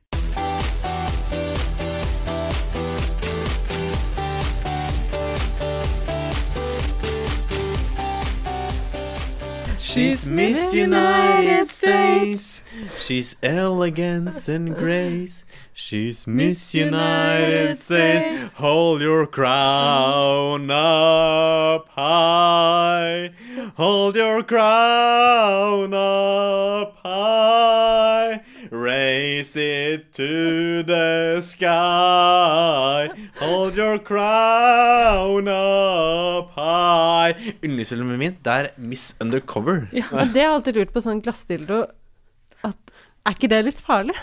Speaker 2: She's
Speaker 3: Miss United States.
Speaker 2: She's elegance and grace. She's Miss
Speaker 3: Miss United
Speaker 2: United States.
Speaker 3: States.
Speaker 2: Hold your crown up high. Hold your crown up high. Raise it to the sky. Hold your crown up high. Yndlingsfilmen min, det er Miss Undercover.
Speaker 1: Men det har jeg alltid lurt på, sånn glassdildo at Er ikke det litt farlig?